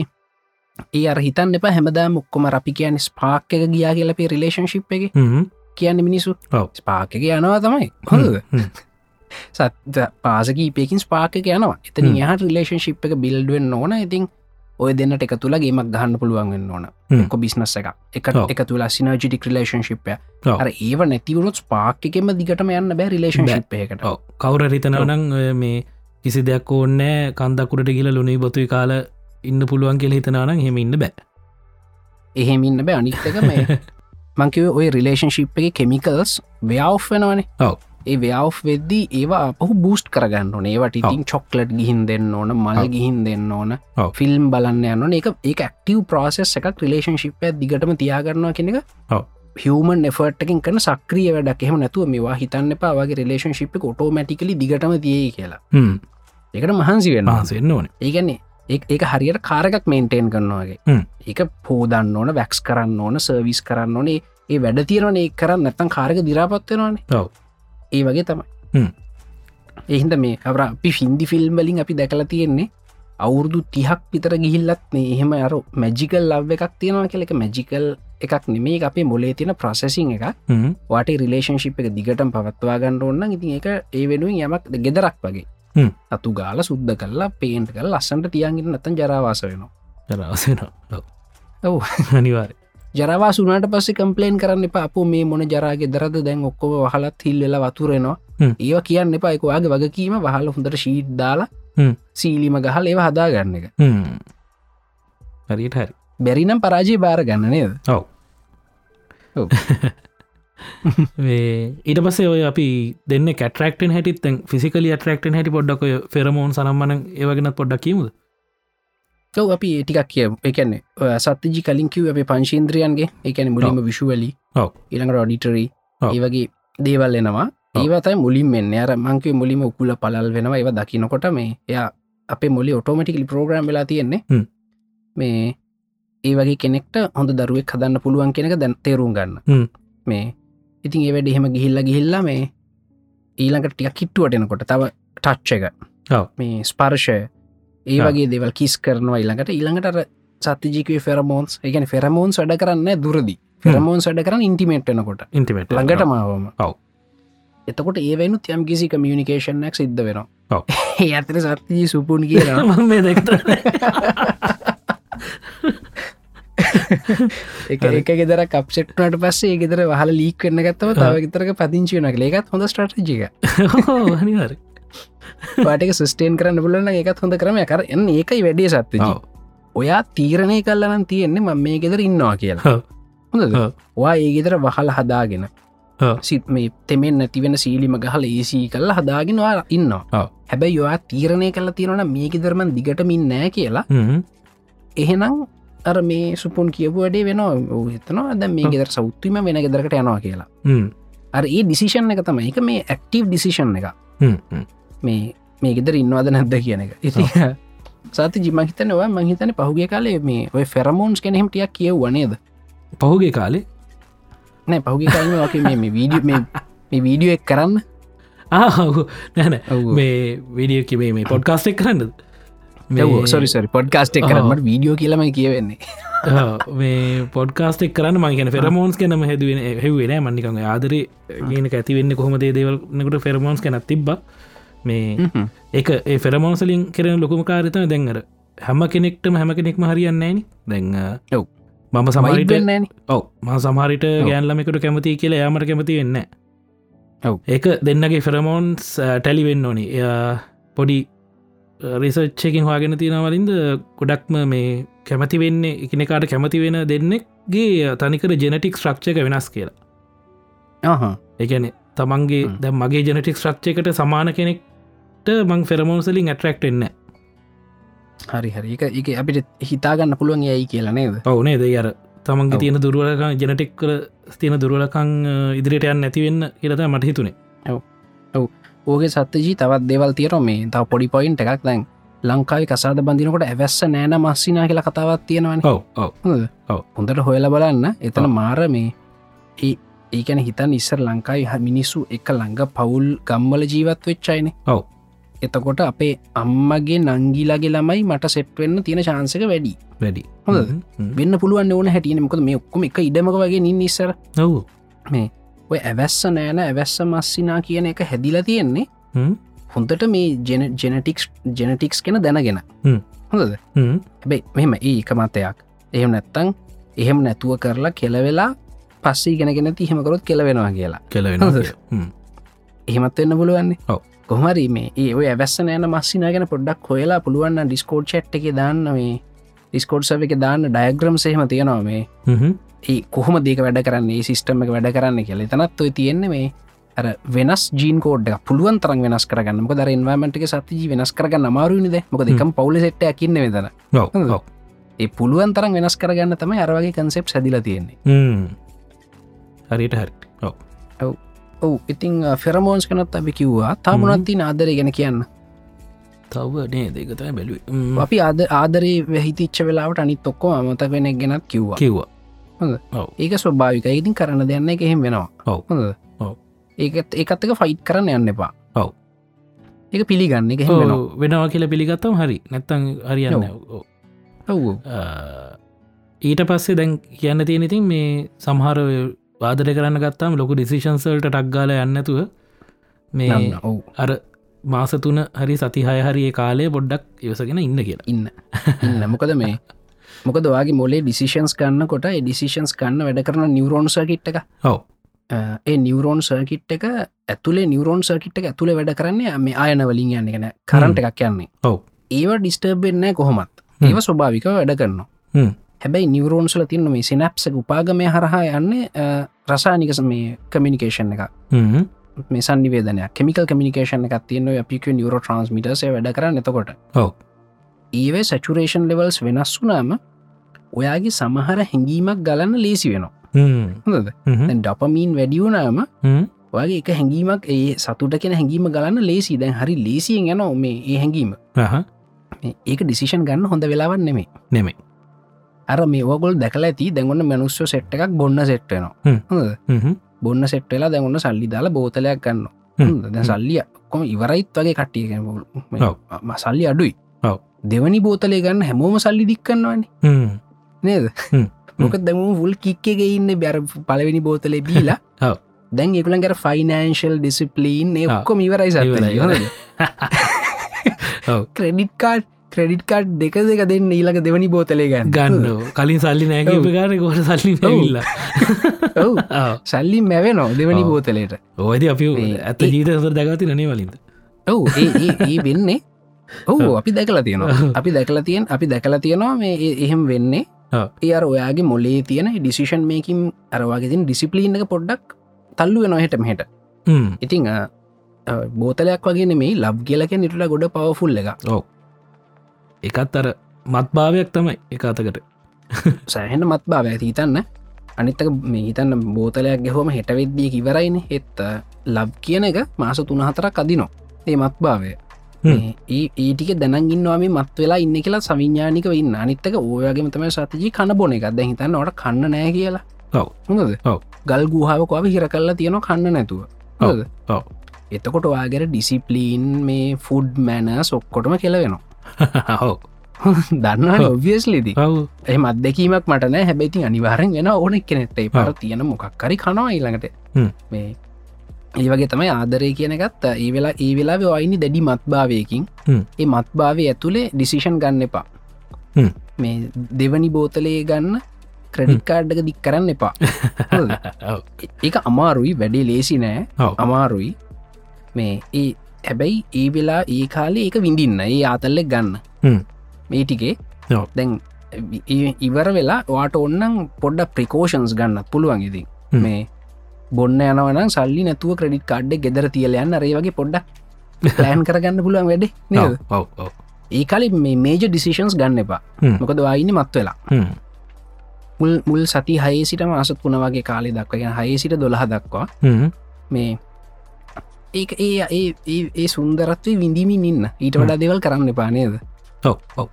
S2: ඒ අර හිතන් එප හැමදා මුක්කොම අපි කියන ස්පාක් එක ගියා කියලපේ රිලේශන්ශිප් එක
S1: හ්ම්.
S2: කියන්න මිනිසු
S1: ඔව්.
S2: ස්පාක එක යනවා තමයි හොඳද
S1: හ්ම්.
S2: සත් පාසකීපයකින් ස්පාක එක යනවා එතන
S1: හ්ම්.
S2: හ රිලේශන්ශිප් එක බිල්ඩුවෙන් ඕන ඉතින් ඔය දෙන්නට එක තුළ ගේමක් ගහන්න පුළුවන් වෙන්න ඕන
S1: හ්ම්.
S2: කො බිස්නස් එක එක
S1: ඔව්.
S2: එක තුළ සිනජිටික් රිලේශන්ශිප්ය
S1: ඔව්.
S2: අර ඒව නැතිවුණුත් ස්පාක් එකෙම දිගටම යන්න බෑ රිලේශන්ශිප් එකට
S1: ඔව්. කවුර හිතනවනං මේ කිසි දෙයක් ඕන්නෑ කන්දක්කුට කියල ලුණේ බොතුයි කාල ඉන්න පුළුවන් කියල හිතනානම් හෙම ඉන්න බෑ
S2: එහෙම ඉන්න බෑ අනිත්තක මේ මංකිව ඔය රිලේශන්ශිප් එක කෙමිකල්ස් ව්‍යව් වෙනවානේ
S1: ඔව්.
S2: ඒ ව්‍යව් වෙද්දී ඒවා අපහු බූස්් කරගන්න ඒවට ඉතින් චොක්ලට් ගිහින් දෙන්න ඕන මල්
S1: ඔව්.
S2: ගිහින් දෙන්න ඕන
S1: ඔව්.
S2: ෆිල්ම් බලන්න යන්න ඒ ඒ ක්ටව ප්‍රසෙස් එකක් රිලේශන්ශිප් ඇ දිගටම තියාගන්නවා කෙනෙක
S1: ඔව්.
S2: හමන් එෆටකින් කන සක්‍රිය වැඩක් එහෙම නැතුව මේවා හිතන්න පාවගේ රිලේශන්ශිප් කොටෝමටිකලි දිගටම තියේ කියලා
S1: හ්ම්.
S2: ඒකට මහන්සි වෙනවා
S1: මහන්සවෙන්න ඕන
S2: ඒගැන්නේ ඒ ඒක හරියට කාරකක් මේන්ටේන් කරනවාගේ
S1: හ්ම්.
S2: ඒක පෝදන්න ඕන වැැක්ස් කරන්න ඕන සර්විස් කරන්න ඕනේ ඒ වැඩ තියෙනවනේ ඒ කරන්න නැත්තන් කාරක දිරාපත්වෙනවානේ
S1: ඔව්.
S2: ඒ වගේ තමයි
S1: හ්ම්.
S2: එහින්ද මේ අවර අපි ෆින්දි ෆිල්ම් වලින් අපි දැකලා තියෙන්නේ අවුරුදු තිහක් විතර ගිහිල්ලත්නේ එහෙම අර මැජිකල් ලව් එකක් තියෙනවා කෙලෙක මැජිකල් එකක් නෙමේ අපේ මොලේ තියෙන ප්‍රසෙසින් එක
S1: හ්ම්.
S2: වාට රිලේශන්ශිප් එක දිගටම පවත්වා ගන්න ඕන්න ඉතින් එක ඒ වෙනුවෙන් යමක් ගෙදරක් වගේ
S1: හ්ම්.
S2: අතු ගාල සුද්ද කල්ලා පේන්ට කල් ලස්සන්ට තියන්ගෙන නතන් ජරවාස වෙනවා
S1: ජරාසන
S2: ඔව්.
S1: අනිවාර
S2: ජරවාසුනට පස්ස කම්පලේන් කරන්න එප අප මේ මොන ජරාගේ දරද දැන් ඔක්කොම වහලත් හිල්වෙලා වතුරෙනවා
S1: හ්ම්.
S2: ඒව කියන්න එප එකවාගේ වගකීම වහල හොඳට ශීට් දාලා
S1: හ්ම්.
S2: සීලිම ගහල් ඒව හදා ගන්න එක
S1: හරියට හරි
S2: බැරිනම් පරාජය බාර ගන්න නේද
S1: ඔව්
S2: ඔව්.
S1: මේ ඉට පසේ ඔය අපි දෙන්න කටරක්ටෙන් හැටිත් ෆිසිකල ටරක්ටෙන් හැටි පොඩ්ඩක් ඔය ෆෙරමෝන් සනම්මන ඒවගෙනත් පොඩ්ඩක් කියමුද
S2: ඔව අපි ඒ ටිකක් කිය එකන්නේ සතතිජි කලින් කිව් අපේ පංශීන්ද්‍රියන්ගේ එකන මුලින්ම විශුවලි
S1: ඔව්.
S2: ඉළඟ රොඩිටරී
S1: ඔව්.
S2: ඒවගේ දේවල් එනවා
S1: ඔව්.
S2: ඒවතයි මුලින් මෙන්න අර මංකේ මුලිම උකුල පලල් වෙනවා ඒව දකිනකොට මේ එය අපේ මුලි ඔටෝමටිකලි ප්‍රෝග්‍රම් වෙලා තියෙන්නේ
S1: හ්ම්.
S2: මේ ඒ වගේ කෙනෙක්ට හොඳ දරුවෙක් හදන්න පුළුවන් කෙනෙක දැන් තේරුම්
S1: හ්ම්.
S2: ගන්න මේ ඉතින් ඒවැඩ එහෙම ගිහිල්ල ගිහිල්ලා මේ ඊළඟට ටික කිට්ටුවටෙනකොට තව ටච්ච එක
S1: ඔව්.
S2: මේ ස්පර්ෂය ඒ
S1: ඔව්.
S2: වගේ දෙවල් කිස් කරනවා ඊළඟට ඊළඟට අර සතතිජිකව ෆෙරමෝන්ස් එකන ෆෙරමෝන්ස් වැඩ කරන්න දුරදි ෆෙරමෝන්ස් වැඩ කරන්න ඉන්ටිමේට් වෙනකොට
S1: ඉන්ටිමට
S2: ළඟට මාවම
S1: ඔව්.
S2: එතකොට ඒවනු තියම් කිසි කමියනිිකේෂනක් සිද්ධ වෙනවා
S1: ඔව්.
S2: ඒ අතර සත්තිජී සුපුන් කියලා එක
S1: හරි.
S2: එක ගෙදර කප්සෙට්නට පස්සේ ඒ ගෙදර වහල ලීක් වෙන්න ගත්තව තව ගෙතරක පදිංචිවනක් ඒකත් හොඳ ස්ට්‍රටජික
S1: හනිවාර
S2: පාටක සස්ටේන් කරන්න පුලන එකත් හොඳ කරම කර එන්න ඒකයි වැඩිය සත්තිජී ඔයා තීරණය කල්ලනම් තියෙන්නේ මම මේ ගෙදර ඉන්නවා කියලා
S1: ඔව්.
S2: හොඳද
S1: ඔව්.
S2: වා ඒ ගෙදර වහල හදාගෙන
S1: ඔව්.
S2: සිත් මේ තෙමෙන් නැතිවෙන සීලිම ගහල ඒසී කල්ල හදාගෙනවා ඉන්නවා
S1: ඔව්.
S2: හැබැයි යොයා තීරණය කල තියෙනවන මේ ගෙදරමන් දිගටමින් නෑ කියලා එහෙනම් අර මේ සුපුන් කියපු වැඩේ වෙන හිතනවා අද මේ
S1: ඔව්.
S2: ගෙදර සෞත්තුම වෙන ගෙදරකට යනවා කියලා අර ඒ ඩිසිෂන් එක තමයි එක මේ ඇක්ටීව් ඩිසිෂන් එක මේ මේ ගෙදර ඉන්නවාද නැද්ද කියන එක ඉති සති ජිමහිතනවා මහිතන පහුගේ කාලේ මේ ඔය ෆෙරමෝන්ස් කෙනෙහිමටියක් කියව වනේද
S1: පහුගේ කාලේ
S2: නෑ පහුගේ කාලම ක මේ වීඩිය මේ වීඩියෝ එක් කරන්න
S1: ආහු නැන
S2: ඔව්.
S1: මේ විඩිය කිවේ මේ පොඩ්කාස්ටෙක් කරන්නද
S2: ඔව්, oh, sorry, sorry, podcast එක කරන්න
S1: ඔව්.
S2: මට වීඩියෝ කියලම කියවෙන්නේ
S1: ඔව්. මේ පොඩ්කාස්ටෙක් කරන්න මංගන ෆෙරමෝන්ස් කනම හැදුවෙන හැවේන මන්නිකම ආදර ගනක ඇතිවෙන්න කොහොමද ඒ දේවල්නකට ෆෙරමෝන්ස් කැනත් තිබ්බ මේ
S2: හ්ම්.
S1: එක ඒ ෆෙරමෝන්සලින් කරන ලොකුම කාරිතම දැන්ගර හැම කෙනෙක්ටම හැම කෙනෙක්ම හරියන්නේන දැන්
S2: ඔව්.
S1: මම
S2: Vibe
S1: සමරිට
S2: වෙන්නේ නෑනේ.
S1: ඔව ම සමහරිට ගෑන්ලමෙකුට කැමති කියලා යාමට කැමති වෙන්න
S2: ඔව්.
S1: ඒක දෙන්නගේ ෆෙරමෝන්ස් ටැලිවෙන්න ඕනි එයා පොඩි රිසච්චයකින් හවාගෙන තියෙනවලින්ද ගොඩක්ම මේ කැමති වෙන්නේ එකනකාට කැමති වෙන දෙන්නෙක්ගේ තනිකර ජෙනටික් ්‍රක්ෂක වෙනස් කියලා
S2: ආහා.
S1: එකන තමන්ගේ
S2: හ්ම්.
S1: දැ මගේ ජෙනටික් ්‍රක්ෂයකට සමාන කෙනෙක්ට මං ෆෙරමෝන්සලින් ඇටරක්ටෙන්න
S2: හරි හරි එක එක අපිට හිතාගන්න පුළුවන් යයි කියලා නේද
S1: ඔවුනේ දෙ අර තමන්ගේ
S2: ඔව්.
S1: තියෙන දුරුවලකං ජනටෙක් තියෙන දුරුවලකං ඉදිරිට යන්න ඇතිවෙන්න කියලත මට හිතුනේ
S2: ඕගේ සත්්‍යජී තවත් දෙවල් තියර මේ තව පොඩි පොයින්ට එකක් දැන් ලංකායි කසාද බඳනකොට ඇවැස්ස නෑන මස්සිනා කියල කතාවත් තියෙනවන
S1: ඔව ඔව ඔව්.
S2: හොඳට හොයල බලන්න එතන මාර මේ ඒ ඒකැන හිතන් ඉස්සර ලංකායි හ මිනිස්සු එක ළඟ පවුල් ගම්මල ජීවත් වෙච්චයින
S1: ඔව්.
S2: එතකොට අපේ අම්මගේ නංගිලගේ ළමයි මට සෙට්වෙන්න තියෙන චාන්සක වැඩි
S1: වැඩි
S2: හොඳද? වෙන්න පුළුවන් ඕන හැටියනමකොද මේ ඔක්කොම එක ඉඩමක වගේ නින් ඉස්සර
S1: ඔව්
S2: ඔය ඇවැස්ස නෑන ඇවැස්ස මස්සිනා කියන එක හැදිලා තියෙන්නේ
S1: හ්ම්.
S2: හොඳට මේ ජෙනටික්ස් ජෙනටික්ස් කෙන දැනගෙන
S1: හ්ම්.
S2: හොඳද
S1: හ්ම්.
S2: හැබයි මෙම ඒක මතයක් එහෙම නැත්තං එහෙම නැතුව කරලා කෙලවෙලා පස්සේ ගෙනගෙන තිහෙමකරොත් කෙලවෙනවා කියලා
S1: කෙලවෙන
S2: හොඳද? එහෙමත් වෙන්න පුළුවන්නේ
S1: ඔව්.
S2: කොහමරි මේ ඒ ඔය ඇවැස්ස නෑන මස්සිනාගෙන පොඩ්ඩක් හොයලා පුළුවන් ඩිස්කෝඩ් චට් එක දාන්න මේ ඩිස්කෝඩ් සව එක දාන්න ඩයග්‍රම් සහෙම තියෙනවා මේ ඒ කොහොම දෙක වැඩ කරන්නේ සිිස්ටම එක වැඩ කරන්න කියලා තනත් ඔයි තියෙන්නේ මේ අර වෙනස් ජීන්කෝඩ් පුළුවන් තරන් වෙනස් කරගන්නම දර එන්වමටක සතතිජී වෙනස් කරගන්න අමාරුනිද මොක දෙකම් පවුල සෙට්ට ඇකින්න වෙදන
S1: ඔව්
S2: හොඳද?
S1: ඔව්
S2: ඒ පුළුවන් තරන් වෙනස් කරගන්න තම අරවගේ කන්සෙප් සැදිල තියෙන්නේ
S1: හ්ම්. හරියට හරි ඔව්
S2: ඔව ඉතිං ෆෙරමෝන්ස් කනත් අපි කිව්වා තාමනත්ති ආදරය ගැන කියන්න
S1: තව නේ දෙකතයි බැලුවේ ම්ම්.
S2: අපි ආද ආදරේ වැහිතිච්ච වෙලාවට අනිත් ඔක්කෝ අමත වෙන ගෙනත් කිව්වා
S1: කිව්වා
S2: ඒක ස්වභාවික ඉතින් කරන්න දෙන්න එක එහෙම වෙනවා
S1: ඔව්.
S2: හොඳ
S1: ඔව්.
S2: ඒකත් එකත්තක ෆයිට් කරන්න යන්න එපා
S1: ඔව්.
S2: ඒක පිළිගන්න එක
S1: ඔව්,
S2: හෙම
S1: වෙනවා කියල පිළිගත්තම හරි නැත්තං හරියන්න ඔව්.
S2: ඔව්ෝ
S1: ආ, ඊට පස්සේ දැන් කියන්න තියෙන ඉතින් මේ සමහර ඔය වාදර කරන්න ගත්තාම ලොකු ඩිසිෂන්සල්ට ටක්ගාල යන්නතුව මේ
S2: යන්න ඔව්
S1: අර මාසතුන හරි සතිහාය හරි ඒ කාලය පොඩ්ඩක් යවසගෙන ඉන්න කියලා
S2: ඉන්න ඉන්න මොකද මේ මොකද වගේ මොලේ ඩිසිෂන්ස් කන්න කොට ඩිසිෂන්ස් කන්න වැඩ කරන නිවරෝන් සර්කිට් එක
S1: ඔව්.
S2: ඒ නිවරෝන් සර්කිට් එක ඇතුළේ නිවරෝන් සර්කිට් එක ඇතුළ වැඩ කරන්නේ මේ ආයනවලින් යන්න ගැන කරන්ට එකක් යන්නේ
S1: ඔව්.
S2: ඒවා ඩිස්ටර්බෙන්නෑ කොහොමත්
S1: හ්ම්.
S2: ඒව ස්වභාවික වැඩ කරන්න
S1: හ්ම්.
S2: හැබැයි නිවරෝන්සල තින්න මේ සිනැප්ස උපාගමය හරහා යන්නේ අ, රසානිකස මේ කමිනිිකේෂන් එක
S1: හ්ම්.
S2: මේ සන්නිවේදනය කෙමිකල් කමිනිකේෂන එකක් තියන අපික නිියරෝ ට්‍රන්ස්මිටස වැඩ කරන්න එතකොට
S1: ඔව්.
S2: ඒවේ සැචුරේෂන් ලෙවල්ස් වෙනස් වුනාම ඔයාගේ සමහර හැඟීමක් ගලන්න ලේසි වෙනවා
S1: හ්ම්.
S2: හොඳද
S1: හ්ම්.
S2: දැන් ඩපමීන් වැඩියුනාම
S1: හ්ම්.
S2: වගේ එක හැඟීමක් ඒ සතුට කෙන හැඟීම ගලන්න ලේසි දැන් හරි ලේසියෙන් යන මේ ඒ හැඟීම
S1: අහ.
S2: මේ ඒක ඩිසිෂන් ගන්න හොඳ වෙලාවන් නෙමේ
S1: නෙමෙයි.
S2: අර මේෝගොල් දැකල ඇති දැගන්න මනුස්්‍ය සෙට් එකක් බොන්න සෙට්ටනවා
S1: හ්ම්.
S2: හොඳ
S1: හ්ම්.
S2: බොන්න සෙට්ටලා දැගන්න සල්ලි දාලා බෝතලයක් ගන්න
S1: හ්ම්.
S2: හොඳ, දැන් සල්ලිය කොම ඉවරයිත් වගේ කට්ටියගෙන
S1: ඔව්.
S2: සල්ලි අඩුයි
S1: ඔව්.
S2: දෙවනි බෝතලය ගන්න හැමෝම සල්ලි දික්කන්නවන
S1: හ්ම්.
S2: නේද
S1: හ්ම්.
S2: මොක දැම ුල් කික්කගේ ඉන්න බැර පලවෙනි බෝතලේ බීලා
S1: ඔව්.
S2: දැන් එකළන් කර ෆයිනන්ශල් ඩිසිපලීන්
S1: ඔව්.
S2: ඔක්කොම ඉවරයි
S1: ඉවරයි,
S2: සල්ලි
S1: ඉවරයි. ඔව්.
S2: ක්‍රඩිට් කාඩ් ක්‍රඩිට් කාඩ් දෙක දෙක දෙන්න ඊලක දෙවනි බෝතලේ ගන්න
S1: ගන්න කලින් සල්ලි නෑක
S2: ඔව්.
S1: උපකාර ගොට සල්ලි
S2: ඔව්.
S1: නැවිල්ල
S2: ඔව්. සල්ලි මැවෙනෝ දෙවනි
S1: ඔව්.
S2: බෝතලයට
S1: ඕයද අපි
S2: මේ
S1: ඇත
S2: ඒ-
S1: ජීතසර දැගති නේ වලින්ද
S2: ඔවු ඒ වෙන්නේ ඔහු අපි දැකලා තියෙනවා
S1: ඔව්.
S2: අපි දැකලා තියෙන් අපි දැකලා තියෙනවා මේ ඒ- එහෙම වෙන්නේ
S1: ඔව්.
S2: ඒ අර ඔයාගේ මොලේ තියෙන ඩිසිෂන් මේකින් අරවාගෙතින් ඩිසිපලීන් එක පොඩ්ඩක් තල්ලුව නොහෙට මෙහට
S1: හ්ම්.
S2: ඉතිං අ, අ, බෝතලයක් වගේ මේ ලබ් කියලක නිටල ගොඩ පවෆුල් එක
S1: එකත් අර මත්භාවයක් තමයි එක අතකට
S2: සෑහෙන මත් භාව ඇති හිතන්න අනිත්තක මේ හිතන්න බෝතලයක් ගෙහෝම හෙට වෙද්දිය කිවරයින එත් අ, ලබ් කියන එක මාස තුනහතරක් අදිනෝ ඒ මත් භාවය
S1: හ්ම්.
S2: මේ ඒ- ඒටික දැනගින්වාම මත් වෙලා ඉන්න කියලා සවිඥානික වන්න අනිත්තක ඕයගේම තම සතතිජී කණ බොන එකක් දැ හිතන්න ට කන්න නෑ කියලා
S1: ඔව්.
S2: හොඳද
S1: ඔව්.
S2: ගල් ගූහාාවකව හිර කල්ලා තියෙන කන්න නැතුව
S1: ඔව්.
S2: හොඳද?
S1: ඔව්.
S2: එතකොට වාගර ඩිසිපලීන් මේ ෆුඩ් මැන සොක්කොටම කෙලවෙනවා
S1: හෝ
S2: දන්න
S1: ඔව්.
S2: ඔවස්ලිදී
S1: ඔව්
S2: එහම අදකීමක් මටන හැබැති අනිවාරෙන් වෙන ඕන කෙනෙට්ටේ පර
S1: ඔව්.
S2: තියෙන මොකක්කරි කනවා ඊළඟට
S1: හ්ම්.
S2: මේ ඒවගේ තමයි ආදරය කියනගත් ඒ වෙලා ඒ වෙලා වයිනි දැඩි මත්භාවයකින්
S1: හ්ම්.
S2: ඒ මත්භාවය ඇතුළේ ඩිසිෂන් ගන්න එපා
S1: හ්ම්.
S2: මේ දෙවනි බෝතලයේ ගන්න ක්‍රඩික් කාඩ්ඩක දික් කරන්න එපා හොඳද?
S1: ඔව්.
S2: ඒක අමාරුයි වැඩේ ලේසි නෑ
S1: ඔව්.
S2: අමාරුයි මේ ඒ හැබැයි ඒ වෙලා ඒ කාලේ ඒක විඳින්න ඒ ආතල්ලෙක්
S1: හ්ම්.
S2: ගන්න මේ ටිකේ
S1: ඔව්.
S2: දැන් ඒ- ඉවර වෙලා වාට ඔන්නම් පොඩ්ඩ ප්‍රිකෝෂන්ස් ගන්න පුළුවන් ඉති
S1: හ්ම්.
S2: මේ බොන්න යනවන සල්ලි නැතුව ක්‍රඩි් කාඩ් ගෙදර තියල යන්න රේ වගේ පොඩ්ඩක් ලෑන් කරගන්න පුළුවන් වැඩේ
S1: ඔව්
S2: නේද?
S1: ඔව් ඔව්
S2: ඒ කාලි මේ මේජ ඩිසිෂන්ස් ගන්න එපා
S1: හ්ම්.
S2: මොකද වායින්න මත් වෙලා
S1: හ්ම්.
S2: මුල් මුල් සති හයේ සිට මාසත් වුණ වගේ කාලේ දක්වගෙන හයේ සිට දොළහ දක්වා
S1: හ්ම්.
S2: මේ ඒ ඒ ඒ- ඒ ඒ සුන්දරත්වය විඳිමින් ඉන්න ඊට වඩා දෙවල් කරන්න පානේද
S1: ඔව් ඔව්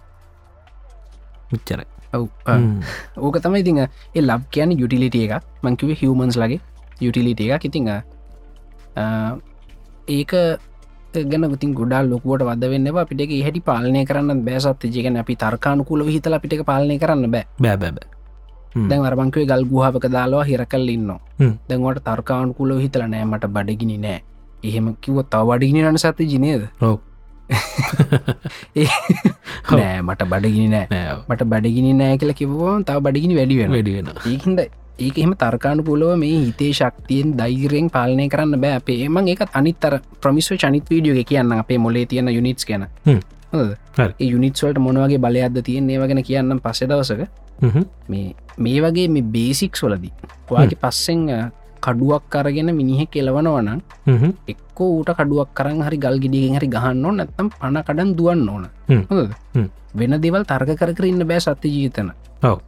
S1: මිච්චර
S2: ඔව් ඕක තමයි ඉතිං ඒ ලබ් කියන යුටිලිට එක මංකිව හිවමන්ස් ලගේ යුටිලිට එක ඉතිං ඒක ගැන ගති ගොඩා ලොකුවට වද වන්න අපිට එක හැටි පාලනය කරන්න බෑසත් ජයගැන අපි තර්කානුකූල හිතල අපිට එක පාලනය කරන්න බෑ
S1: බෑබැබ
S2: දැන් අරංකවේ ගල් ගුහාපක දාලා හිරකල් ඉන්න
S1: හ්ම්.
S2: දැන්වට තර්කානුකුල හිතල නෑමට බඩගිනි නෑ එහෙම කිව තවඩිගිනි රන සත ජිනයද
S1: ඔව්.
S2: ඒ- නෑ මට බඩගිනි නෑ
S1: නෑ
S2: මට බඩගිනි නෑ කියලා කිවවා තව බඩගිනි වැඩි වෙන
S1: වැඩි වෙන
S2: ඒහින්ද ඒක එහම තර්කානුකූලව මේ හිතේ ශක්තියෙන් දෛරයෙන් පාලනය කරන්න බෑ අපේ එම එකත් අනිත්තර ප්‍රමිස්ව චනිත් වීඩියෝ එක කියන්න අපේ මොලේ තියන යුනිට්ස් ගැන
S1: හ්ම්.
S2: හොඳද?
S1: හරි.
S2: ඒ යුනිට්ස්වලට මොනවගේ බලයක්ද තියෙන් ඒව ගැන කියන්න පස්සෙදවසක
S1: හ්ම්.
S2: මේ මේ වගේ මේ බේසික්ස් වලදී ඔයාගේ පස්සෙන් අ, කඩුවක් කරගෙන මිනිහ කෙලවනවනම්
S1: හ්ම්.
S2: එක්කෝ ඌට කඩුවක් කරන් හරි ගල් ගිඩියෙන් හරි ගහන්න ඕන නැත්තම් පණකඩන් දුවන්න ඕන
S1: හ්ම්.
S2: හොඳද?
S1: හ්ම්.
S2: වෙන දෙවල් තර්ග කර කරන්න බෑ සත්‍ය ජීතන
S1: ඔව්.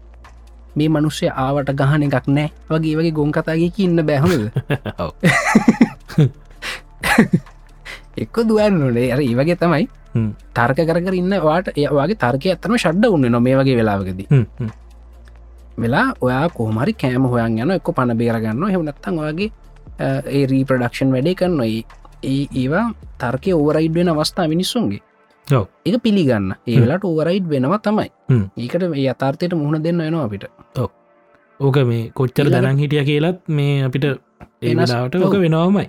S2: මේ මනුස්්‍ය ආවට ගහන එකක් නෑ වගේ වගේ ගොන් කතාගේ කියන්න බැහොද
S1: ඔව්.
S2: එක්ක දුවන්න ඕනේ අර ඒ වගේ තමයි
S1: හ්ම්.
S2: තර්ක කර කර ඉන්න වාට ඒවාගේ තර්කය ඇත්තම ශඩ්ඩ උන්න නො මේ වගේ වෙලාවකද
S1: හ්ම්. හ්ම්.
S2: වෙලා ඔයා කෝමරි කෑම හොයන් යන එක පණ බේරගන්න හෙවනත්තන් වගේ ඒ රීප්‍රඩක්ෂන් වැඩේ කරන්න ඒ ඒ ඒවා තර්කය ඕවරයිඩ් වෙන අවස්ථා මිනිස්සුන්ගේ
S1: ඔව්.
S2: ඒක පිළිගන්න
S1: හ්ම්.
S2: ඒවෙලාට ඕවරයිඩ් වෙනවා තමයි
S1: හ්ම්.
S2: ඒකට මේ අතාර්ථයට මුහුණ දෙන්න වෙනවා අපිට
S1: ඕක මේ කොච්චර
S2: ඊළඟ-
S1: දනන් හිටිය කියලත් මේ අපිට ඒ
S2: වෙනස්-
S1: වෙලාවට ඕක
S2: ඔව්.
S1: වෙනවමයි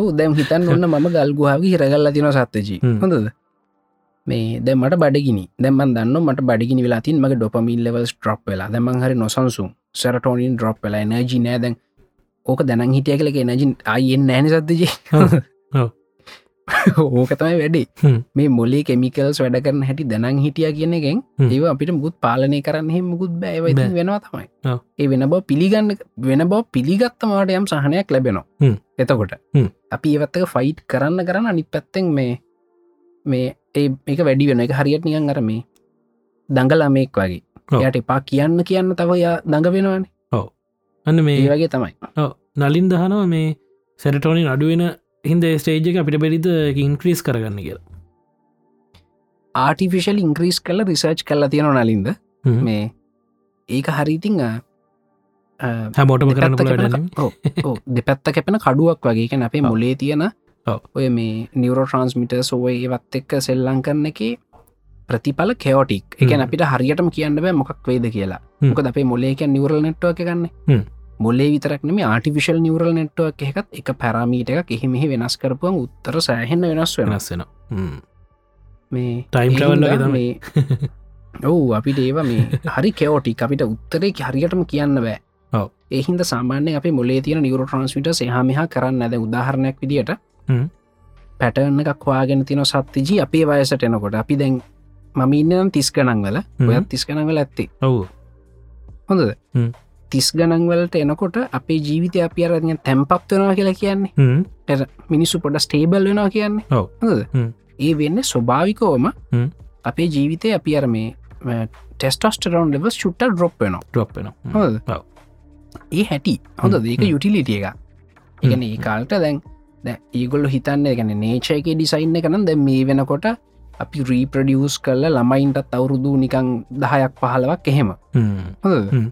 S2: ඔහු දැම් හිතන් ඔන්න ම ගල්ගුහාාව හිරගල්ල තින සත්තජී
S1: හ්ම්.
S2: හොඳද මේ දැමට බඩගිනි දැම දන්න මට බඩගිනි වෙලා තින් මගේ ඩොපමිල් ලෙවල් ට්‍රප් වෙලා දැමන් හරි නොසන්සුම් සැරටෝනින් ඩ්‍රප් වෙලා එනජි නෑදැන් ඕක දැනන් හිටිය කලක එනජින් අයෙන් නෑන සත්තජී
S1: ඔව්. ඔව්.
S2: ඕක තමයි වැඩේ
S1: හ්ම්.
S2: මේ මොලේ කෙමිකල්ස් වැඩ කරන හැටි දැනන් හිටිය කියන එකෙන්
S1: හ්ම්.
S2: ඒව අපිට මුත් පාලනය කරන්න මුකුත් බෑවයි
S1: බෑ.
S2: වෙනවා තමයි
S1: ඔව්.
S2: ඒ වෙන බව පිළිගන්න වෙන බව පිළිගත්තමට යම් සහනයක් ලැබෙනවා
S1: හ්ම්.
S2: එතකොට
S1: හ්ම්.
S2: අපි ඒවත්තක ෆයිට් කරන්න කරන්න අනි පැත්තෙන් මේ මේ ඒ එක වැඩි වෙන එක හරියට නියන් අර මේ දඟලාමෙක් වගේ
S1: ඔව්.
S2: යට එපා කියන්න කියන්න තව යා දඟ වෙනවාන
S1: අන්න මේ
S2: ඒ වගේ තමයි
S1: ඔව්. නලින් දහනවා මේ සැරටෝනින් අඩුවෙන හින්ද ස්ටේජ් එක අපිට බෙරිද ඉන්ක්‍රීස් කරගන්න කියලා
S2: ආටිෆිශල් ඉංග්‍රීස් කල රිසර්ච් කල්ලා තියෙන නලින්ද
S1: හ්ම්.
S2: මේ ඒක හරිඉතිං
S1: හැමෝටම කරන්න
S2: දෙපැත්ත
S1: පුළ වැඩ
S2: කැපෙන ක- ඔව්, ඔව්, දෙපැත්ත කැපෙන කඩුවක් වගේ එක අපේ මොලේ තියෙන
S1: ඔව්.
S2: ඔය මේ නිවරෝ ට්‍රන්ස්මිට සෝය ඒවත් එක්ක සෙල්ලං කරන එක ප්‍රතිඵල කෙෝටික් එක
S1: හ්ම්.
S2: අපිට හරියටම කියන්න බෑ මොකක් වේද කියලා
S1: හ්ම්.
S2: මොක අපේ මොලේක නිවරල් නෙට්ව එක
S1: හ්ම්.
S2: ගන්න මොලේ විතරක්නම ආටිවිශල් නිවරල් නෙට්ව එකත් එක පැරමීට එකක් එහෙමෙහි වෙනස් කරපුුවන් උත්තර සෑහෙන්න වෙනස් වෙන
S1: වෙනස් වෙන
S2: මේ
S1: ටයිම් ්‍රවල්ල
S2: ඒහින්දා
S1: තමයි
S2: මේ ඔව් අපිට ඒව මේ හරි කෙෝටි අපිට උත්තරේ හරියටම කියන්න බෑ
S1: ඔව්.
S2: ඒහින්ද සාමාන්‍ය අප මොලේ තියන නිවර ට්‍රන්ස්මිට සහමහා කරන්න ඇද උදාහරණයක් විදිට
S1: හ්ම්.
S2: පැටර්න එකක්වාගෙන තින සත්තිජී අපේ වයසට එනකොට අපි දැන් මම ඉන්නනම් තිස් ගනන්වල ඔයත් තිස් ගනන්වල ඇත්තේ
S1: ඔව්
S2: හොඳද
S1: හ්ම්.
S2: තිස් ගනන්වලට එනකොට අපේ ජීවිතය අපි අරඥ තැම්පත් වෙනවා කියලා කියන්නේ
S1: හ්ම්.
S2: මිනිස්සු පොඩ ස්ටේබල් වෙනවා කියන්නේ
S1: ඔව්.
S2: හොඳද?
S1: හ්ම්.
S2: ඒ වෙන්න ස්වභාවිකෝම
S1: හ්ම්.
S2: අපේ ජීවිතය අපි අර මේ ටෙස්ටස්ටරන් ලෙව ුට්ට ඩොප් වෙන
S1: ඩ්‍රොප් වෙන
S2: හොද
S1: ඔව්.
S2: ඒ හැටි හොඳ
S1: හ්ම්.
S2: ඒක
S1: හ්ම්.
S2: යුටිලිටිය එක ඉගන ඒ කාල්ට දැන් දැ ඒගොල්ල හිතන්න ගැන නේචයක ඩිසයින්න කනම් දැ මේ වෙනකොට අපි රීප්‍රඩියස් කරල ළමයින්ටත් අවුරුදු නිකං දහයක් පහලවක් එහෙම හොඳද?
S1: හ්ම්.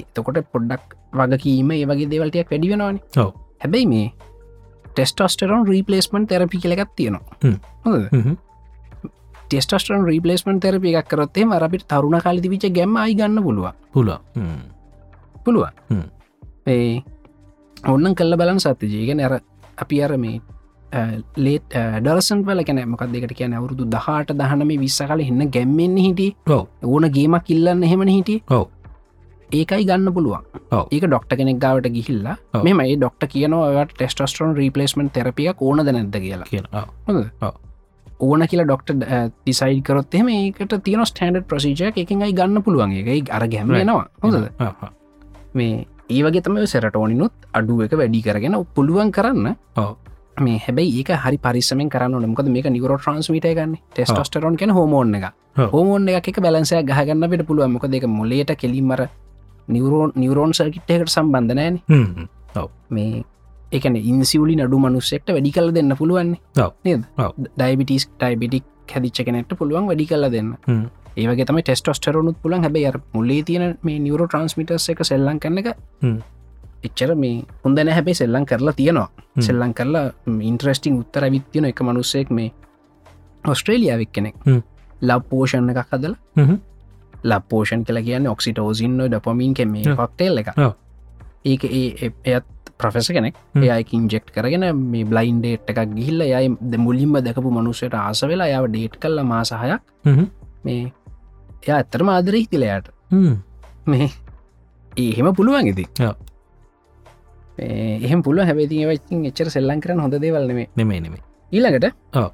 S2: එතකොට පොඩ්ඩක් වගකීම ඒ වගේ දෙවල්ටයක් වැඩි වෙනවාන
S1: ඔව්.
S2: හැබැයි මේ ටෙස්ටස්ටරන් රීපලස්මන් තෙරපි කලගත් තියෙනවා
S1: හ්ම්.
S2: හොඳද? ටෙස්ටස්ටරන් රීපලස්මන් තෙරපි එකක් කරොත්තේ මරපිට තරුණ කාලති විච ගැම අයි ගන්න පුළුව
S1: පුල
S2: පුළුවන්
S1: හ්ම්.
S2: ඒ ඔන්නන් කල්ල බලන් සත්තිජයගෙන ඇර අපි අර මේ ලේට ඩරසන් වල කැන මොකක් දෙකට කියන අවුරුදු දහට දහනම විස්ස කල එන්න ගැම්මෙන්න්න හිටිය
S1: ඔව්.
S2: ඕන ගේමක් ඉල්ලන්න එහෙමන හිටිය
S1: ඔව්.
S2: ඒකයි ගන්න පුළුවන්
S1: ඔව්.
S2: ඒක ඩොක්ට කෙනෙක් ගාවට ගිහිල්ලා
S1: ඔව්.
S2: මෙම ඒ ඩොක්ට කියනවට ටෙස්ටස්ටරන් රීපලස්මන් තෙරපිය ඕනද නැද කියලා
S1: කියන ඔව්.
S2: ඕන කියලා ඩොක්ට ඩිසයිඩ් කරොත් එම ඒකට තියෙන ස්ටන්ඩ් ප්‍රසිජය එකයි ගන්න පුළුවන් ඒකයි අර ගැම්මෙනවා හොඳද
S1: ඔව්. ඔව්.
S2: මේ ඒවගේ තම සැරටෝනිනුත් අඩුව එක වැඩි කරගෙන පුළුවන් කරන්න
S1: ඔව්.
S2: මේ හැබයි ඒක හරි පරිසම කරන්න නමකද මේක නිකර ට්‍රන්ස්මිට ගන්න ටෙස්ටස්ටරන් කෙන හෝමෝන් එක
S1: ඔව්.
S2: හෝමෝන් එක බැලන්සය ගහගන්න පෙට පුළුවන් මොක දෙක මොලට කෙලින්මර නිවරෝන් නිවරෝන් සර්කිට්යකට සම්බන්ධනෑන
S1: හ්ම්.
S2: මේ එකන ඉන්සිවලි නඩු මනුස්සෙක්ට වැඩි කල දෙන්න පුළුවන්
S1: ඔව්.
S2: නේද
S1: ඔව්.
S2: ඩයිබිටිස් ටයිබිටික් හැදිච්ච කෙනෙට පුළුවන් වැඩි කල දෙන්න
S1: හ්ම්.
S2: ඒවගේ තම ටෙස්ටොස්ටරුත් පුලන් හැබ අර මුල්ලේ තියෙන මේ නිවරෝ ට්‍රන්ස්මිටස් එක සෙල්ලං කරන එක
S1: හ්ම්.
S2: එච්චර මේ හොඳන හැබේ සෙල්ලං කරලා
S1: හ්ම්.
S2: තියෙනවා සෙල්ලං කරලා ඉන්ට්‍රස්ටිං උත්තර විත්තියන එක මනුස්සෙක් මේ ඔස්ට්‍රේලියාවක් කෙනෙක්
S1: හ්ම්.
S2: ලබ් පෝෂණ එකක් හදල
S1: හ්ම්.
S2: ලපෝෂන් කල කියන්න ඔක්සිටෝසින් ඩපමින් කෙම
S1: ඔව්.
S2: පක්ටේල් එක
S1: ඔව්.
S2: ඒක ඒ- ඒ- එයත් ප්‍රෆෙස කෙනෙක්
S1: හ්ම්.
S2: ඒයක ඉන්ජෙක්් කරගෙන මේ බ්ලයින්් ඩේට් එකක් ගිහිල්ල යයි ද මුලින්ම දැකපු මනුසයට ආස වෙලා යාව ඩේට් කල්ල මාසාහයක්
S1: හ්ම්.
S2: මේ එය ඇත්තරම ආදර හිතිලයාට
S1: හ්ම්.
S2: මේ ඒහෙම පුළුවන් ඉති
S1: ඔව්.
S2: එහෙම පුළුව හැබති වචින් එච්චර සෙල්ලන් කරන හොඳ දේවල්නේ
S1: නෙමේ නෙමේ
S2: ඊළඟට
S1: ඔව්.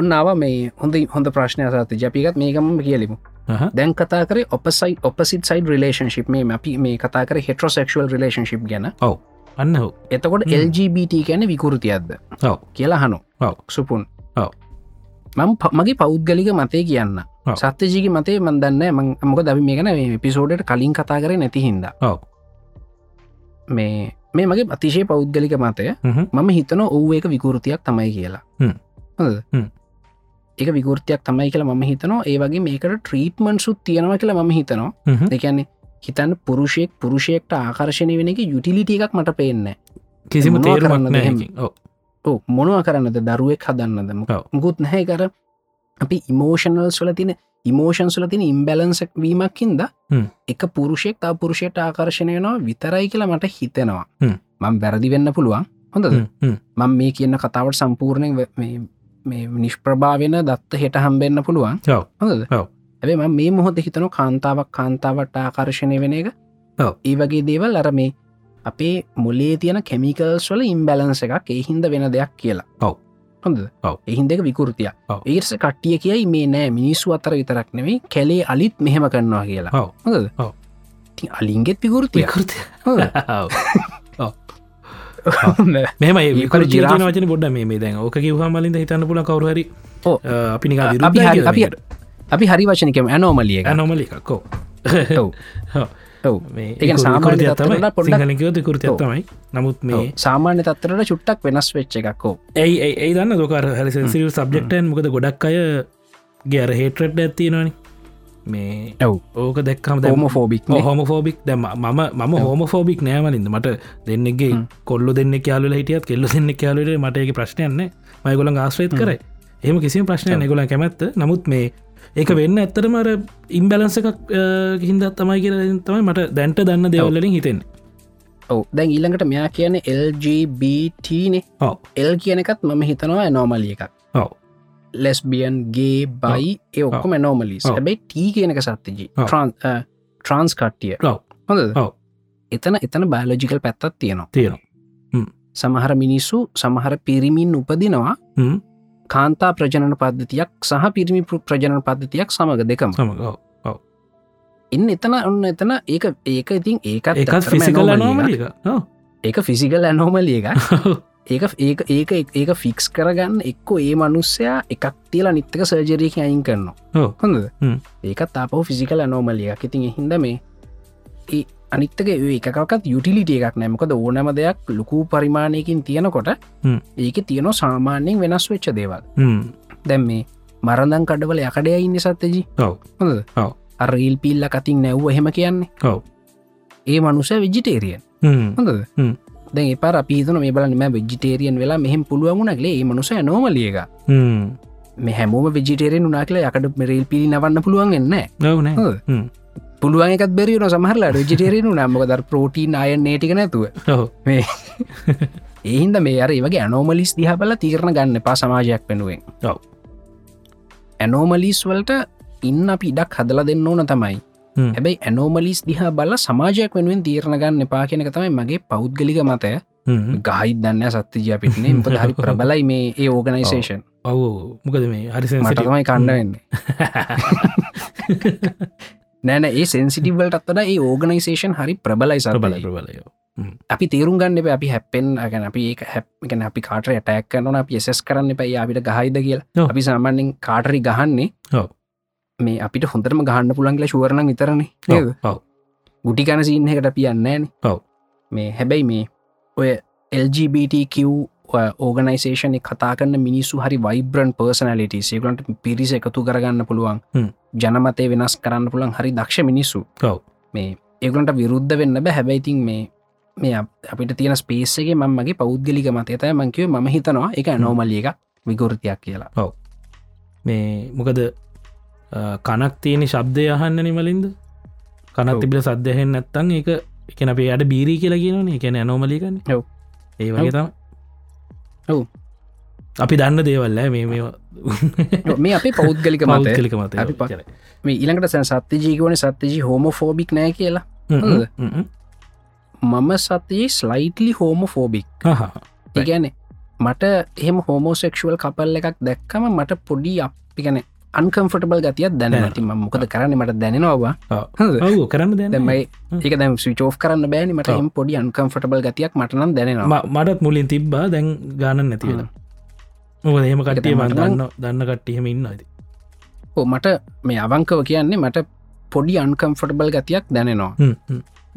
S2: ඔන්නාව මේ හොඳ හොඳ ප්‍රශ්නය සාති ජපිකත් මේකම කියලිමු
S1: අහ.
S2: දැන් කතා කර ඔපසයි ඔපසිට සයිඩ රිලේශන්ශිප් මේ අපි මේ කතා කර හෙටරෝසෙක්ෂල් රිලේශන්ශිප් ගැන
S1: අන්න හෝ
S2: එතකොට
S1: හ්ම්.
S2: LGBT ගැන විකෘතියක්ද
S1: ඔව්.
S2: කියලා හනු
S1: ඔව්.
S2: සුපුන්
S1: ඔව්.
S2: මම ප- මගේ පෞද්ගලික මතය කියන්න
S1: ඔව්.
S2: සත්‍යජීක මතේ මන්දන්න මක දවි මේ ගැන පිසෝඩට කලින් කතා කර නැතිහින්ද
S1: ඔව්.
S2: මේ මේ මගේ අතිශය පෞද්ගලික මතය
S1: හ්ම්.
S2: මම හිතන ඔව් ඒක විකෘතියක් තමයි කියලා
S1: හ්ම්.
S2: හොඳද?
S1: හ්ම්.
S2: ඒක විකෘතියක් තමයි කියලා මම හිතනවා ඒ වගේ මේකට ට්‍රීටමන් සුත් තියෙනවා කියලා මම හිතනවා
S1: හ්ම්.
S2: දෙකන්නේ හිතන්න පුරුෂයෙක් පුරුෂයෙක්ට ආකර්ශණය වෙන එක යුටිලිට එකක් මට පේන්න
S1: කිසිම
S2: මොනවා
S1: තේරුමක්
S2: කරන්නද
S1: නෑ
S2: එහෙම?
S1: එකකින්. ඔව්.
S2: ඕ මොනවා කරන්නද දරුවෙක් හදන්නද
S1: ඔව්.
S2: මුකුත් නැහැ කර අපි ඉමෝෂනල් සොල තින ඉමෝෂන් සොල තින ඉම්බැලන්සක් වීමක්කින්ද
S1: හ්ම්.
S2: එක පුරුෂයෙක් තා පුරුෂයට ආකර්ශණය වෙනවා විතරයි කියලා මට හිතෙනවා
S1: හ්ම්.
S2: මං වැරදි වෙන්න පුළුවන් හොඳද
S1: හ්ම්. හ්ම්.
S2: මං මේ කියන්න කතාවට සම්පූර්ණයෙන් වැ- මේ- මේ නිෂ්ප්‍රභාවෙන දත්ත හෙට හම්බෙන්න පුළුවන්
S1: ඔව්.
S2: හොඳද
S1: ඔව්.
S2: ඇබේ ම මේ මොහොද හිතන කාන්තාවක් කාන්තාවට ආකර්ශණය වෙන එක
S1: ඔව්.
S2: ඒ වගේ දේවල් අර මේ අපේ මුලේ තියෙන කෙමිකල්ස් වල ඉම්බැලන්ස එකක් එහින්ද වෙන දෙයක් කියලා
S1: ඔව්.
S2: හොඳ
S1: ඔව්.
S2: එහින්ද එක විකෘතිය
S1: ඔව්.
S2: ඒර්ස කට්ටිය කියයි මේ නෑ මිනිස්සු අතර විතරක් නෙවෙයි කැලේ අලිත් මෙහෙම කරනවා කියලා
S1: ඔව්.
S2: හොඳද
S1: ඔව්.
S2: ඉතින් අලින්ගෙත් විකෘතිය
S1: විකෘති.
S2: හොඳද?
S1: ඔව්. මෙම
S2: විකෘති
S1: විකර ජිරාන
S2: ජිරාෆ්.
S1: වචන බොඩ මේ දැන් ඕක කිවහමලින්ද හිතන්න පුල කවරුහරි
S2: ඔව්.
S1: අපි නිකා
S2: අපි හරි අපි
S1: විරුද්ධ
S2: අපි හරි වශනකම ඇනෝමලිය එක
S1: නොමලිකක්කෝ
S2: ඔව්. ඔව්. ඒ කියන්නේ සාමාන්‍ය තත්ත්වවල පොඩ්ඩක්-
S1: සිංහලකයෝති කෘතිය
S2: ඔව්.
S1: තමයි නමුත්
S2: ඔව්.
S1: මේ
S2: සාමාන්‍ය තත්තරට චුට්ටක් වෙනස් වෙච්ච එකක්කෝ
S1: ඇයි ඇයි- ඇයි දන්න දොකාර හරි සිල් සබ්ෙක්ටන් මොකද ගොඩක් අය ගේර හේට්‍රට් ඇත්ති නොන මේ
S2: ඇව්.
S1: ඕක දැක්කම දැම
S2: හෝම ෆෝබික්
S1: හොම ෆෝබික් දැම මම මම හෝම ෆෝබික් නෑමලින්ද මට දෙන්නෙගේ
S2: හ්ම්.
S1: කොල්ල දෙන්න කියයාලු හිටියත් කෙල්ල දෙන්න කියයාලට මටඒක ප්‍රශ්නයන්න මයගොල ආශ්‍රයත් කර එහම කිසි ප්‍රශ්නය නිගොල කැමැත්ත නමුත් මේ ඒක වෙන්න ඇත්තරම අර ඉම්බැලන්ස එකක් හින්දත් තමයි කියර තමයි මට දැන්ට දන්න දෙවල්ලින් හිතෙන්
S2: ඔව දැන් ඊළඟට මෙයා කියන LGBTනේ
S1: ඔව
S2: එල් කියන එකත් මම හිතනවා ඇනෝමලිය එකක්
S1: ඔව
S2: ලෙස්බියන් ගේ බයි ඒ ඔක්කොම නෝමලි
S1: ඔව්.
S2: හැබයි ටී කියනක සත්තජී
S1: ඔව්.
S2: ට්‍රන්ස් කට්ටිය
S1: ඔව්.
S2: හොඳ
S1: ඔව්.
S2: එතන එතන බයලෝජිකල් පැත්තත් තියෙනවා
S1: තියෙනවා
S2: සමහර මිනිස්සු සමහර පිරිමින් උපදිනවා
S1: හ්ම්.
S2: කාන්තා ප්‍රජනන පද්ධතියක් සහ පිරිමි පෘ- ප්‍රජනන පද්ධතියක් සමඟ දෙකම
S1: සම ඔව්.
S2: ඉන්න එතන ඔන්න එතන ඒක ඒක ඉතින් ඒකත්
S1: ඒකත්
S2: ඇත්තටම
S1: ෆිසිකල්
S2: anomaly එකක්.
S1: නෝමලික
S2: ඒක ෆිසිකල් ඇනෝමලිය එක ඒක ඒක ඒක ඒක ෆික්ස් කරගන්න එක්කෝ ඒ මනුස්සයා එකක් තියලා නිත්තක සර්ජරයක අයින් කරනවා
S1: ඔව්.
S2: හොඳද
S1: හ්ම්.
S2: ඒකත් අපහු ෆිසිකල් ඇනෝමලියක් ඉතින් එහින්ද මේ ඒ අනිත්තක ඒ එකකත් යුටිලිට එකක් නෑමකද ඕනම දෙයක් ලොකු පරිමාණයකින් තියෙනකොට
S1: හ්ම්.
S2: ඒක තියන සාමාන්‍යයෙන් වෙනස් වෙච්ච දේවල් දැම් මේ මරදන් කඩවල යකඩය ඉන්න සත්තජි
S1: ඔව්.
S2: හොඳ
S1: ඔව්.
S2: අරල් පිල්ල කතින් නැව්ව හෙම කියන්නේ
S1: ඔව්.
S2: ඒ මනුස විජිටේරිය හොඳද
S1: හ්ම්.
S2: දැන් එපා අපිහිතන මේ බලන මෙම වෙජිටේරියන් වෙලා මෙහෙම පුළුවමුණක්ලේ ඒ මනුස නෝමලියක මෙ හැමෝම වෙජිටේරෙන් වනා කියලා යකට මෙරල් පිරි නවන්න පුළුවන්ගන්න
S1: ඔවනෑ
S2: හොඳ. පුළුවන් එකක් බැරිවන සමහරලා ජිටේරෙන් නම්මකදර ප්‍රෝටීන් අය නේටික නැතුව
S1: ඔව
S2: එහින්ද මේ අර ඒ වගේ ඇනෝමලිස් දිහබල තීරණ ගන්න පා සමාජයක් වෙනුවෙන්
S1: ඔව්.
S2: ඇනෝමලිස් වලට ඉන්න අපි ඉඩක් හදල දෙන්න ඕන තමයි
S1: හ්ම්.
S2: හැබැයි ඇනෝමලිස් දිහා බල සමාජයක් වෙනුවෙන් තීරණ ගන්න එපා කියෙනක තමයි මගේ පෞද්ගලික මතය ගහයි දන්න සත්තිජය පිටනේ මත හරි ප්‍රබලයි මේ ඒ ඕගනයිසේෂන්
S1: ඔව මොකද මේ හරිසන්සිට
S2: මටමයි කණ්ඩවෙන්නේ නෑන ඒ සෙන්සිටිවල්ටත් වඩ ඒ ඕගනයිසේෂන් හරි ප්‍රබලයි
S1: බල
S2: සබලයි
S1: බලය
S2: අපි තේරුම් ගන්න එප අපි හැපෙන් ගැන අපි ඒ හැප්ගැන අපි කාටර ඇටැක් කරනවන අපි එසෙස් කරන්න එපයි අපිට ගහයිද කියලා
S1: ඔව්.
S2: අපි සාමාන්‍යෙන් කාටරි ගහන්නේ
S1: ඔව්.
S2: මේ අපිට හොඳරම ගහන්න පුළන්ගල ශුවරණ විතරන්නේ නේද
S1: ඔව
S2: ගුටි කන සින්න එකට අපි යන්නන
S1: ඔව්.
S2: මේ හැබැයි මේ ඔය LGBTQ ඕගනයිසේෂන කතා කරන්න මිනිස්සු හරි වයිබ්‍රන් පර්සනලිට සේකලන්ට පිරිස එකතු කරගන්න පුළුවන්
S1: හ්ම්.
S2: ජනමතය වෙනස් කරන්න පුළන් හරි දක්ෂ මිනිස්සු
S1: කව්
S2: මේ ඒගලන්ට විරුද්ධ වෙන්න බෑ හැබැයිතින් මේ මේ අප- අපිට තියෙන ස්පේසගේ මංමගේ පෞද්ගලික මතය තය මංකිව ම හිතනවා එක නෝමල්ලිය එක විගෘතියක් කියලා
S1: මේ මොකද අ, කනක් තියෙන ශබ්දය අහන්න නිමලින්ද කනත්
S2: ඔව්.
S1: තිබිල සද්‍යහෙන් නැත්තං එක එකන අපේ අඩ බීරී කියලා කියනන එකන ඇනෝමලිකන්න
S2: ඔව්.
S1: ඒ වගේ තම
S2: ඔව්.
S1: අපි දන්න දේවල්ල මේ මේ
S2: මේ අපි පෞද්ගලික මතය
S1: කලික මත
S2: අපි ප- මේ ඊළඟට සැ සත්‍ය ජීකවන සත්‍යජී හෝමෆෝබික් නෑ කියලා හොඳද? මම සතතියේ ස්ලයිටලි හෝමෆෝබික්
S1: Right.
S2: ඒගැන මට එහෙම හෝමෝසෙක්ෂුවල් කපල් එකක් දැක්කම මට පොඩි අපිගැන අන්කම්ෆටබල් ගතියක් දැන
S1: දැනෙනවා.
S2: ඇති ම මොකද කරන්න මට දැනෙනවා හද
S1: ඔවු කරන්න දැන
S2: දැමයි ඒක දැම් විචෝ් කරන්න බෑන මට
S1: ඔව්.
S2: එහම පොඩි අන්කම්ෆටබල් ගතියක් මටනම් දැනෙනවා
S1: මටත් මුලින් තිබ්බා දැන් ගාන නැතිවෙන
S2: හ්ම්.
S1: මොක හෙම කටිය මන්
S2: දැන් මට නම්-
S1: දන්න දන්න කට්ටියහෙම ඉන්න ඇති
S2: ඔව්, මට මේ අවංකව කියන්නේ මට පොඩි අන්කම්ෆටබල් ගතියක් දැනෙනවා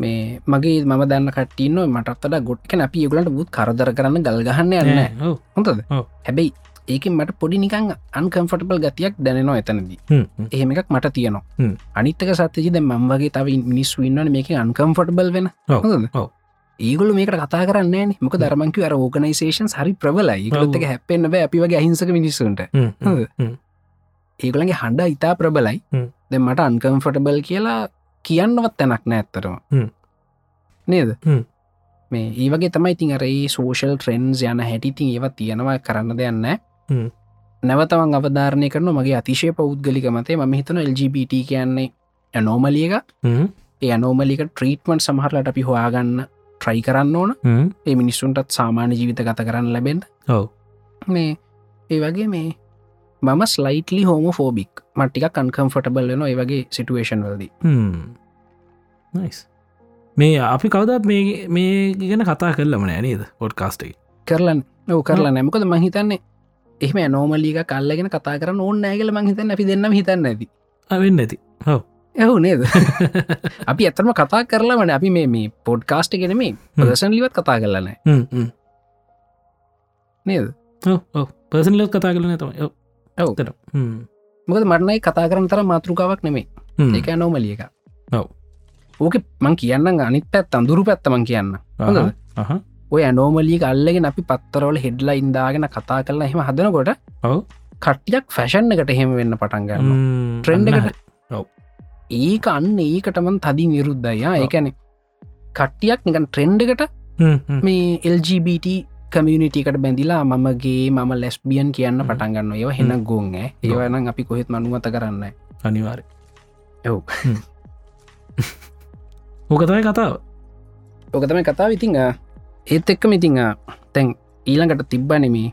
S2: මේ මගේ මම දන්න කටන්න මටත්තට ගොට්ක නැපි ගලට බුත් කරදර කරන්න ගල්ගහන්න යන්න
S1: ඔව්
S2: හොඳද
S1: ඔව්.
S2: හැබැයි ඒක මට පොඩි නිකං අන්කම්ෆටබල් ගතියක් දැනෙනවා ඇතනදි
S1: හ්ම්, හ්ම්.
S2: එහෙම එකක් මට තියනවා
S1: හ්ම්.
S2: අනිත්තක සතතිද මම්වගේ තව මිනිස් වන්න මේක අන්කම්ෆටබල් වෙන
S1: ඔව්,
S2: හොඳද?
S1: ඔව්.
S2: ඒගොල මේකට කතා කරන්න මොක
S1: හ්ම්.
S2: ධර්මංකිව අර ෝගනිසේෂන් හරි ප්‍රබලයි
S1: ඔව්.
S2: ගොත්තක හැපෙන්න්න බෑ අපි වගේ අහිංසක මිනිස්සුන්ට
S1: හ්ම්, හ්ම්,
S2: හොඳද?
S1: හ්ම්.
S2: ඒගොලගේ හඬ ඉතා ප්‍රබලයි
S1: හ්ම්.
S2: දෙ මට අන්කම්ෆටබල් කියලා කියන්නවත් තැනක් නෑත්තරම
S1: හ්ම්.
S2: නේද
S1: හ්ම්.
S2: මේ ඒවගේ තමයි ඉතින් අරේ සෝෂල් ට්‍රෙන්න්ස් යන හැටිතින් ඒව තියෙනවා කරන්න දෙයන්න
S1: හ්ම්.
S2: නැවතවන් අවධාරණය කරන මගේ අතිශය පෞද්ගලික මතේ ම හිතන LGBT කියන්නේ ඇනෝමලියක
S1: හ්ම්,
S2: ඒ අනෝමලික ට්‍රීටමන්් සමහරලට අපි හොයාගන්න ට්‍රයි කරන්න ඕන
S1: හ්ම්.
S2: ඒ මිනිස්සුන්ටත් සාමාන්‍ය ජීවිත ගත කරන්න ලැබෙන්
S1: ඔව්
S2: මේ ඒ වගේ මේ මම ස්ලයිටලි හෝම ෆෝබික් මට්ටික කන්කම්ෆටබල් වෙන ඒ වගේ සිටුවේශන් වලදී
S1: නයිස් Hmm. මේ අපි කවදත් මේ මේ ගැන කතා කරලම නෑනේද පොඩ් කාස්ටේ
S2: කරලන්න ඔව කරලා නැමකද මහිතන්නේ එහම නෝමල්ලික කල්ලගෙන කතා කරන්න ඕන්න ඇගල මහිතන්න අපි දෙන්නම හිතන්න ඇති
S1: අවෙන්න ඇති
S2: ඇහු නේද අපි ඇතරම කතා කරලාමන අපි මේ මේ පොඩ් කාස්ට ගෙනම ප්‍රසන් ලිවත් කතා කරලන hmm. නේද
S1: පර්සනලෝ කතා කරන තම
S2: ඔව්.
S1: ඇවතට
S2: මොකද මටනයි කතා කරන තර මාතෘකාවක් නෙමේ
S1: hmm.
S2: ඒක නෝමලිය එක
S1: ඔව්.
S2: ඕක මං කියන්න අනිත් පැත් අඳුරු පැත්තමන් කියන්න හොඳද? ඔය නෝමලී අල්ලගෙන අපි පත්තරවල හෙඩ්ලා ඉන්දාගෙන කතා කරලා හෙම හදනකොට
S1: ඔව්.
S2: කට්ටියක් ෆැෂන් එකට හෙම වෙන්න පටන්ගන්න
S1: hmm.
S2: ට්‍රෙන්ඩ් එකට
S1: ඔව්.
S2: ඒක අන්න ඒකටමන් තදින් විරුද්ධයා ඒකැනෙ කට්ටියක් නිකන් ට්‍රෙන්ඩ් එකට
S1: Hmm,
S2: මේ LGBT කමියනිටකට බැඳලා මමගේ මම ලෙස්බියන් කියන්න
S1: හ්ම්.
S2: පටන්ගන්න ඒව හෙන ගොන් ඒවනම් අපි කොහෙත් මනුවත කරන්න
S1: අනිවාර
S2: ඔව්.
S1: ඕකතයි Hmm. කතාව
S2: ඔකතම කතාව ඉතිං ඒත් එක්කම ඉතිං තැන් ඊළඟට තිබ්බනෙමේ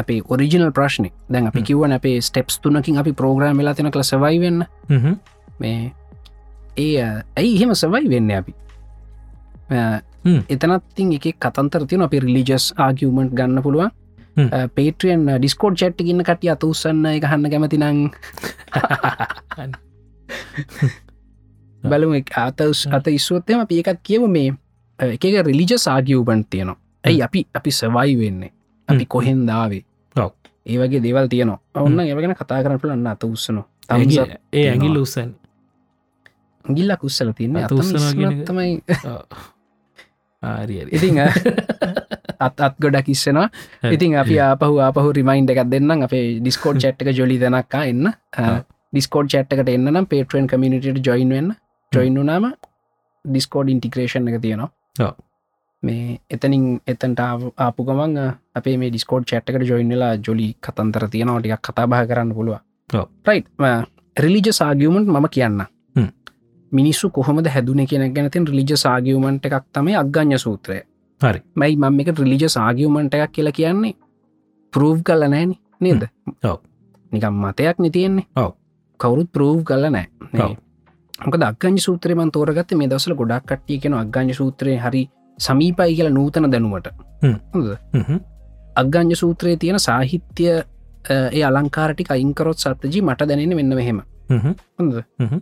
S2: අපේ ඔරිජිනල් ප්‍රශ්නය දැන් අපි
S1: හ්ම්.
S2: කිවන අපේ ස්ටෙප්ස් තුනකින් අපි පෝග්‍රම් වෙලා තින කළ සවයි වෙන්න
S1: හ්ම්,
S2: hmm. මේ ඒ අ, ඇයි එහෙම සවයි වෙන්න අපි අ,
S1: හ්ම්.
S2: එතනත්තින් එක කතන්තර තියන අපි රිලිජස් ආගමට් ගන්න පුළුවන්
S1: හ්ම්.
S2: පේට්‍රියන් ඩිස්කෝඩ් චට් ගන්න කටිය අත උසන්න එක හන්න කැමති නං බලු අතස් අත ඉස්වත්තම අපි එකත් කියව මේ අ, එක රිලිජ සාගියවබන්් තියනවා ඇයි අපි අපි සවයි වෙන්නේ අපි
S1: හ්ම්.
S2: කොහෙන් දාවේ
S1: ඔව්.
S2: ඒවගේ දෙවල් තියනවා ඔන්න ඒවගෙන කතා කරන පුලන්න අත උස්සනවා
S1: ඇඟිල්ල- ඒ ඇගිල් උස්සන්
S2: ගිල්ලක් උස්සල තියන්නේ
S1: අත
S2: අතම
S1: උස්සනවා කියන එක.
S2: ඉස්සරහටමයි
S1: ආරි ඇරි.
S2: ඉතිං අත් අත් ගොඩක් ඉස්සෙනවා
S1: හරි.
S2: ඉතින් අපි අපහු අපහු රිමයින්් එකක් දෙන්නම් අපේ ඩිස්කෝඩ් චට් එක ජොලි දෙනක්කා එන්න
S1: ඔව්.
S2: ඩිස්කෝඩ් චට් එකට එන්නම් පේටුවෙන් කමිනිට ජොයින් වෙන්න ජොයින් වනාම ඩිස්කෝඩ් ඉන්ටික්‍රේෂන් එක තියෙනවා
S1: ඔව්.
S2: මේ එතනින් එතන්ට ආව- ආපු ගමන් අ, අපේ මේ ඩිස්කෝඩ් චට් එකට ජොයින්ලා ජොලි කතන්තර තියෙනවා ටික් කතාබහ කරන්න පුළුව
S1: ඔව්.
S2: රයි් රිලිජ සාගියමන්ට් මම කියන්න
S1: හ්ම්.
S2: මිනිස්සු කොහොමද හැදුන කියෙන ගැනතින් රිලිජ සාගියමන්ට් එකක් තමයි අග්ගඥ සූත්‍රය
S1: හරි.
S2: මයි මම එක රිලිජ සාගියමන්ට එකක් කියලා කියන්නේ පරූව් කල නෑන නේද
S1: ඔව්.
S2: නිකම් මතයක් නිතියෙන්නේ
S1: ඔව්.
S2: කවුරුත් පරූව් කල නෑ
S1: ඔව්.
S2: මොක දක්ගංජ සූත්‍රයමන් තෝරගත්ත මේ දසල ගොඩක් කට්ටිය කෙන අගංජ සූත්‍රය හරි සමීපයි කියලා නූතන දැනුවට
S1: හ්ම්.
S2: හොඳද?
S1: හ්ම්,
S2: අගංජ සූත්‍රයේ තියෙන සාහිත්‍ය අ, ඒ අලංකාරටි අයිංකරොත් සත්තජී මට දැනෙන මෙන්න මෙහෙම
S1: හ්ම්,
S2: හොඳ
S1: හ්ම්.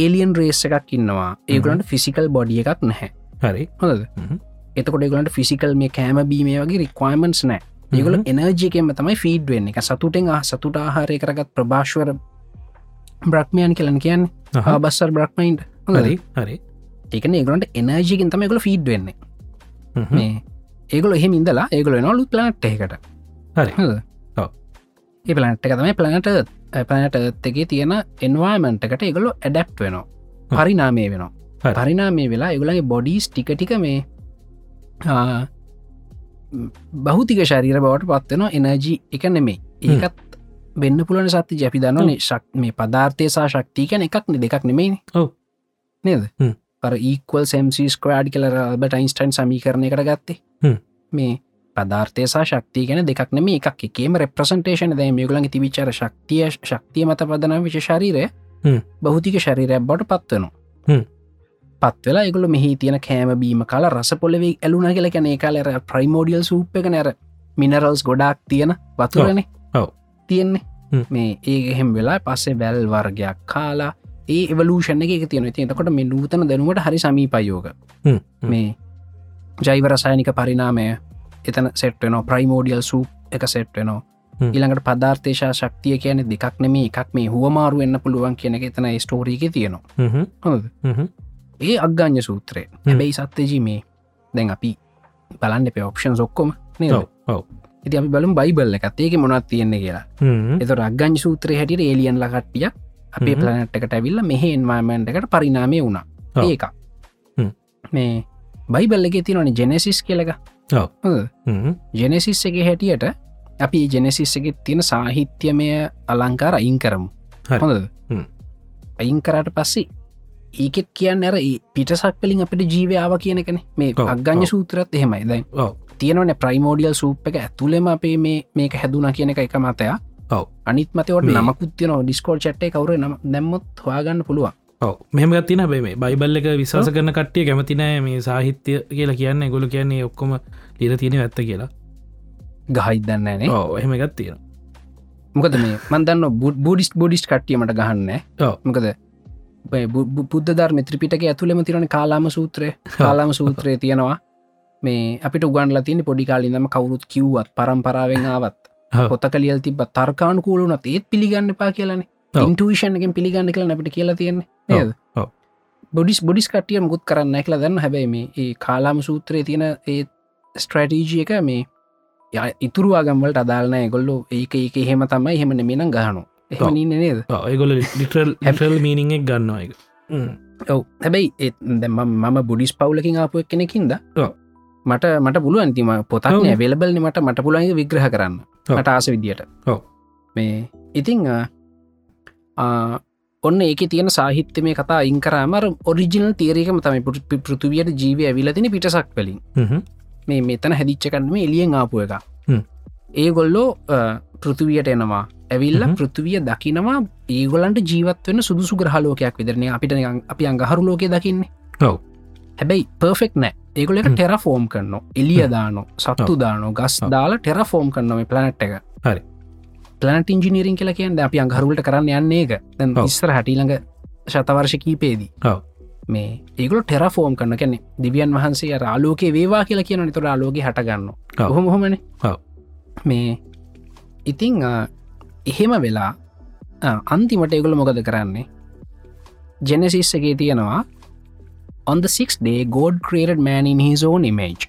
S2: ඒලියන් රේස් එකක් ඉන්නවා ඒගලන්ට ෆිසිකල් බොඩිය එකක් නැහැ
S1: හරි
S2: හොඳද
S1: හ්ම්.
S2: එතකොට ගලට ෆිසිකල් මේ කෑම බීමේ වගේ රික්වයිමන්ස් නෑ ඒගොල
S1: Hmm,
S2: එනර්ජිකෙන්ම තමයි ෆීඩ් වෙන්න එක සතුටෙන් ආ සතුට ආහාරය කරගත් ප්‍රභාශ්වර බ්‍රක්්මයන් කලන් කියන්න
S1: අහා.
S2: ආබස්සර් බ්‍රක්්මයින්් හොඳද
S1: hmm. හරි හරි
S2: එකන ඒගොට එනර්ජිකින් තමයිගොල ෆීඩ් වෙන්න
S1: හ්ම් හ්ම්.
S2: මේ ඒගොල එහෙම ඉඳලා ඒගොල නොලු පලනට් එකට
S1: හරි. ඔව්.
S2: ඒ පලනට් එක තමයි පලනට පලනට එකේ තියෙන එන්වාමන්ටකට ඒගොලො ඇඩක්් වෙනවා
S1: හ්ම්.
S2: පරිනාමය වෙනවා
S1: හරි.
S2: පරිනාමය වෙලා ඒගොලගේ බොඩිස් ටිකටික මේ ආ, ම්, භෞතික ශරීර බවට පත්වෙනවා එනර්ජී එක නෙමේ
S1: හ්ම්.
S2: ඒකත් වෙන්න පුලන සත්ති ජැපි දන්නන ශක් මේ පධාර්ථය සහ ශක්තිකන එකක් නෙ දෙකක් නෙමේ
S1: ඔව්.
S2: නේද
S1: හ්ම්.
S2: අර ඒක්වල් සම්සිස්කඩ් කලර බට යින්ස්ටයින් සමීකරණය කර ගත්තේ
S1: හ්ම්.
S2: මේ පධර්තය සහ ශක්තිය ගැන දෙකක් නම එකක් එකේම රෙප්‍රසන්ටේෂන දැ මේගුලන් තිවිචර ශක්තිය ශක්තිය මත පදන විශෂරීරය
S1: හ්ම්.
S2: භෞතික ශරීරයක් බොට පත්වනු
S1: හ්ම්.
S2: පත්වෙලා එකගුල මෙහි තියෙන කෑම බීම කාල රස පොලවෙේ ඇලුන කියල කැන කාලර ප්‍රයිමෝඩියල් සූප් එක නැර මිනරල්ස් ගොඩක් තියෙන වතුරනේ
S1: ඔව්. හ්ම්.
S2: තියෙන්නේ මේ ඒ එහෙම වෙලා පස්සේ වැැල් වර්ගයක් කාලා ඒ එවලූෂණ එක තියෙන තියකොට මේ නූතන දැනුවට හරි සමීපයෝග
S1: හ්ම් හ්ම්.
S2: මේ ජයිවරසායනික පරිනාමය එතන සෙට්වෙන ප්‍රයිමෝඩියල් සූ එක සෙට්වෙනෝ
S1: හ්ම්.
S2: ඊළඟට පධර්තේශා ශක්තිය කියන දෙකක් නෙම එකක් මේ හුවමාරු වෙන්න පුළුවන් කියන එක එතන ස්ටෝරීක තියෙනවා
S1: හ්ම් හ්ම්.
S2: හොඳ
S1: හ්ම් හ්ම්.
S2: ඒ අග්ගාඥ සූත්‍රය හැබැයි සත්්‍යජී මේ දැන් අපි බලන්න පේ ඔප්ෂන් ඔක්කොම නේද
S1: ඔව් ඔව්. Hmm,
S2: ඉති අපි බලම් බයිබල්ල එකත්තේක මොනත් තියෙන්නේ කියලා
S1: හ්ම්.
S2: එත රග්ගං සූත්‍රය හැටියට ඒලියන් ලකට්ටිය අපේ
S1: හ්ම්.
S2: පලනට්කට ඇවිල්ල මෙහ එන්වාමන්ට එකට පරිනාමය වුණා
S1: ඔව්.
S2: ඒක
S1: හ්ම්.
S2: මේ බයිබල්ල එක තිනනි ජෙනෙසිස් කියලක
S1: ඔව්. හ්ම්.
S2: ජෙනෙසිස් එක හැටියට අපි ජෙනෙසිස් එක තියෙන සාහිත්‍යමය අලංකාර අයින් කරමු
S1: හරි.
S2: හොඳ
S1: හ්ම්.
S2: අයින් කරට පස්සේ ඒකෙත් කියන්න ඇර ඒ පිටසක් පලින් අපට ජීවාව කියනකන මේ
S1: ඔව්,
S2: අග්ගඥ
S1: ඔව්.
S2: සූත්‍රත් එහෙමයි දැන්
S1: ඔව්.
S2: තියෙනවන ප්‍රයිමෝඩියල් සූප් එක ඇතුළෙම අපේ මේ මේක හැදුන කියන එක එක මතය
S1: ඔව්.
S2: අනිත් මතවට
S1: මේ-
S2: නමකුත්තියන ඩිස්කෝල් චට්ටේ කවර නම දැම්මොත් හවාගන්න පුළුවන්
S1: ඔව මෙම ගත්තින බේ මේ බයිබල්ල එක විශවාස කරන කට්ටිය කැමතිනෑ මේ සාහිත්‍ය කියලා කියන්න ගොල කියන්නේ ඔක්කොම ලිර තියෙන ඇත්ත කියලා
S2: ගහයි දන්නන්නේ
S1: ඕ එහෙම ගත්තියෙන
S2: මොකද මේ මන්දන්න බඩිස් බොඩිස් කට්ටියීමට ගහන්න
S1: ඔව්.
S2: මොකද මේ බු- බු- බුද්ධ ධර්ම ත්‍රිපිටක ඇතුළෙම තිරන කාලාම සූත්‍රය කාලාම සූත්‍රය තියෙනවා මේ අපිට උගන්ල තින පොඩිකාලින්දම කවුරුත් කිව්වත් පරම්පරාවෙන් ආවත්
S1: ඔව්.
S2: පොත කලියල් තිබ තර්කාණකූලුනත් ඒත් පිළිගන්න පා කියලන
S1: ඔව්.
S2: ඉන්ටවිෂන්ගෙන් පිළිගන්න කලන අපට කියලා තියෙන්නේ
S1: ඔව්.
S2: නේද
S1: ඔව්.
S2: බොඩිස් බොඩිස් කටියම ගුත් කරන්න එකල දන්න හැබැයි මේ ඒ කාලාම සූත්‍රය තියෙන ඒ ස්ට්‍රටීජිය එක මේ ය ඉතුරවාගම්වලට අදාලනෑ ගොල්ලු ඒක ඒක එහෙම තමයි හෙමන මෙනම් ගහනු
S1: ඔව්.
S2: එහම නින්න නේද
S1: ඒගොල ලිටල් ඇටල් මීනිං එක් ගන්නවා එක හ්ම්.
S2: ඔව හැබැයි ඒත් දැන් මම මම බොඩිස් පවුලකින් ආපුුවක් කෙනෙකින්ද
S1: ඔව්.
S2: මට මට පුළුව අන්තිම
S1: ඔව්.
S2: පොතක්නය වෙලබල්න මට මට පුළන්ගේ විග්‍රහ කරන්න
S1: ඔව්.
S2: මට ආස විදියට
S1: ඔව්.
S2: මේ ඉතිං ඔන්න ඒක තියෙන සාහිත්‍ය මේ කතා ඉංකරමර ඔරිජිනල් තේරකම තමයි පුට පෘතුවයට ජීවය ඇවිලතින පිටසක් වලින්
S1: හ්ම්.
S2: මේ මෙතන හැදිච්චකන්නම එලියෙන් ආපු එක
S1: හ්ම්.
S2: ඒගොල්ලෝ අ, පෘථිවියට එනවා ඇවිල්ල
S1: හ්ම්.
S2: පෘථිවිය දකිනවා ඒගොලන්ට ජීවත් වෙන සුදුසු ග්‍රහලෝකයක් විදරන අපිට නිකන් අපි අඟහරු ලෝකය දකින්නේ
S1: ඔව්.
S2: හැබැයි පර්ෆෙක් නෑ ඒගොල එක
S1: හ්ම්.
S2: ටෙර ෆෝම් කරන එලිය දානො සත්තු දානො ගස්
S1: ඔව්.
S2: දාලා ටෙර ෆෝම් කරනම පලනට් එක
S1: හරි.
S2: පලනට ඉංජිනීරින් කියලා කියන්න අපි අඟහරුලට කරන්න යන්නේ එක දැන්
S1: ඔව්.
S2: ඉස්සර හටිළඟ ශතවර්ශ කීපේදී
S1: ඔව්.
S2: මේ ඒගොල ටෙර ෆෝම් කරන කැනෙ දිවියන් වහන්සේ අර ආලෝකය වේවා කියලා කියන නිතුර ආලෝක හටගන්න
S1: ඔව්.
S2: හොම හොමන
S1: ඔව්.
S2: මේ ඉතිං අ, එහෙම වෙලා අ, අන්තිමට ඒගොල මොකද කරන්නේ ජෙනසිස්සගේ තියෙනවා on the sixth day God created man in his own image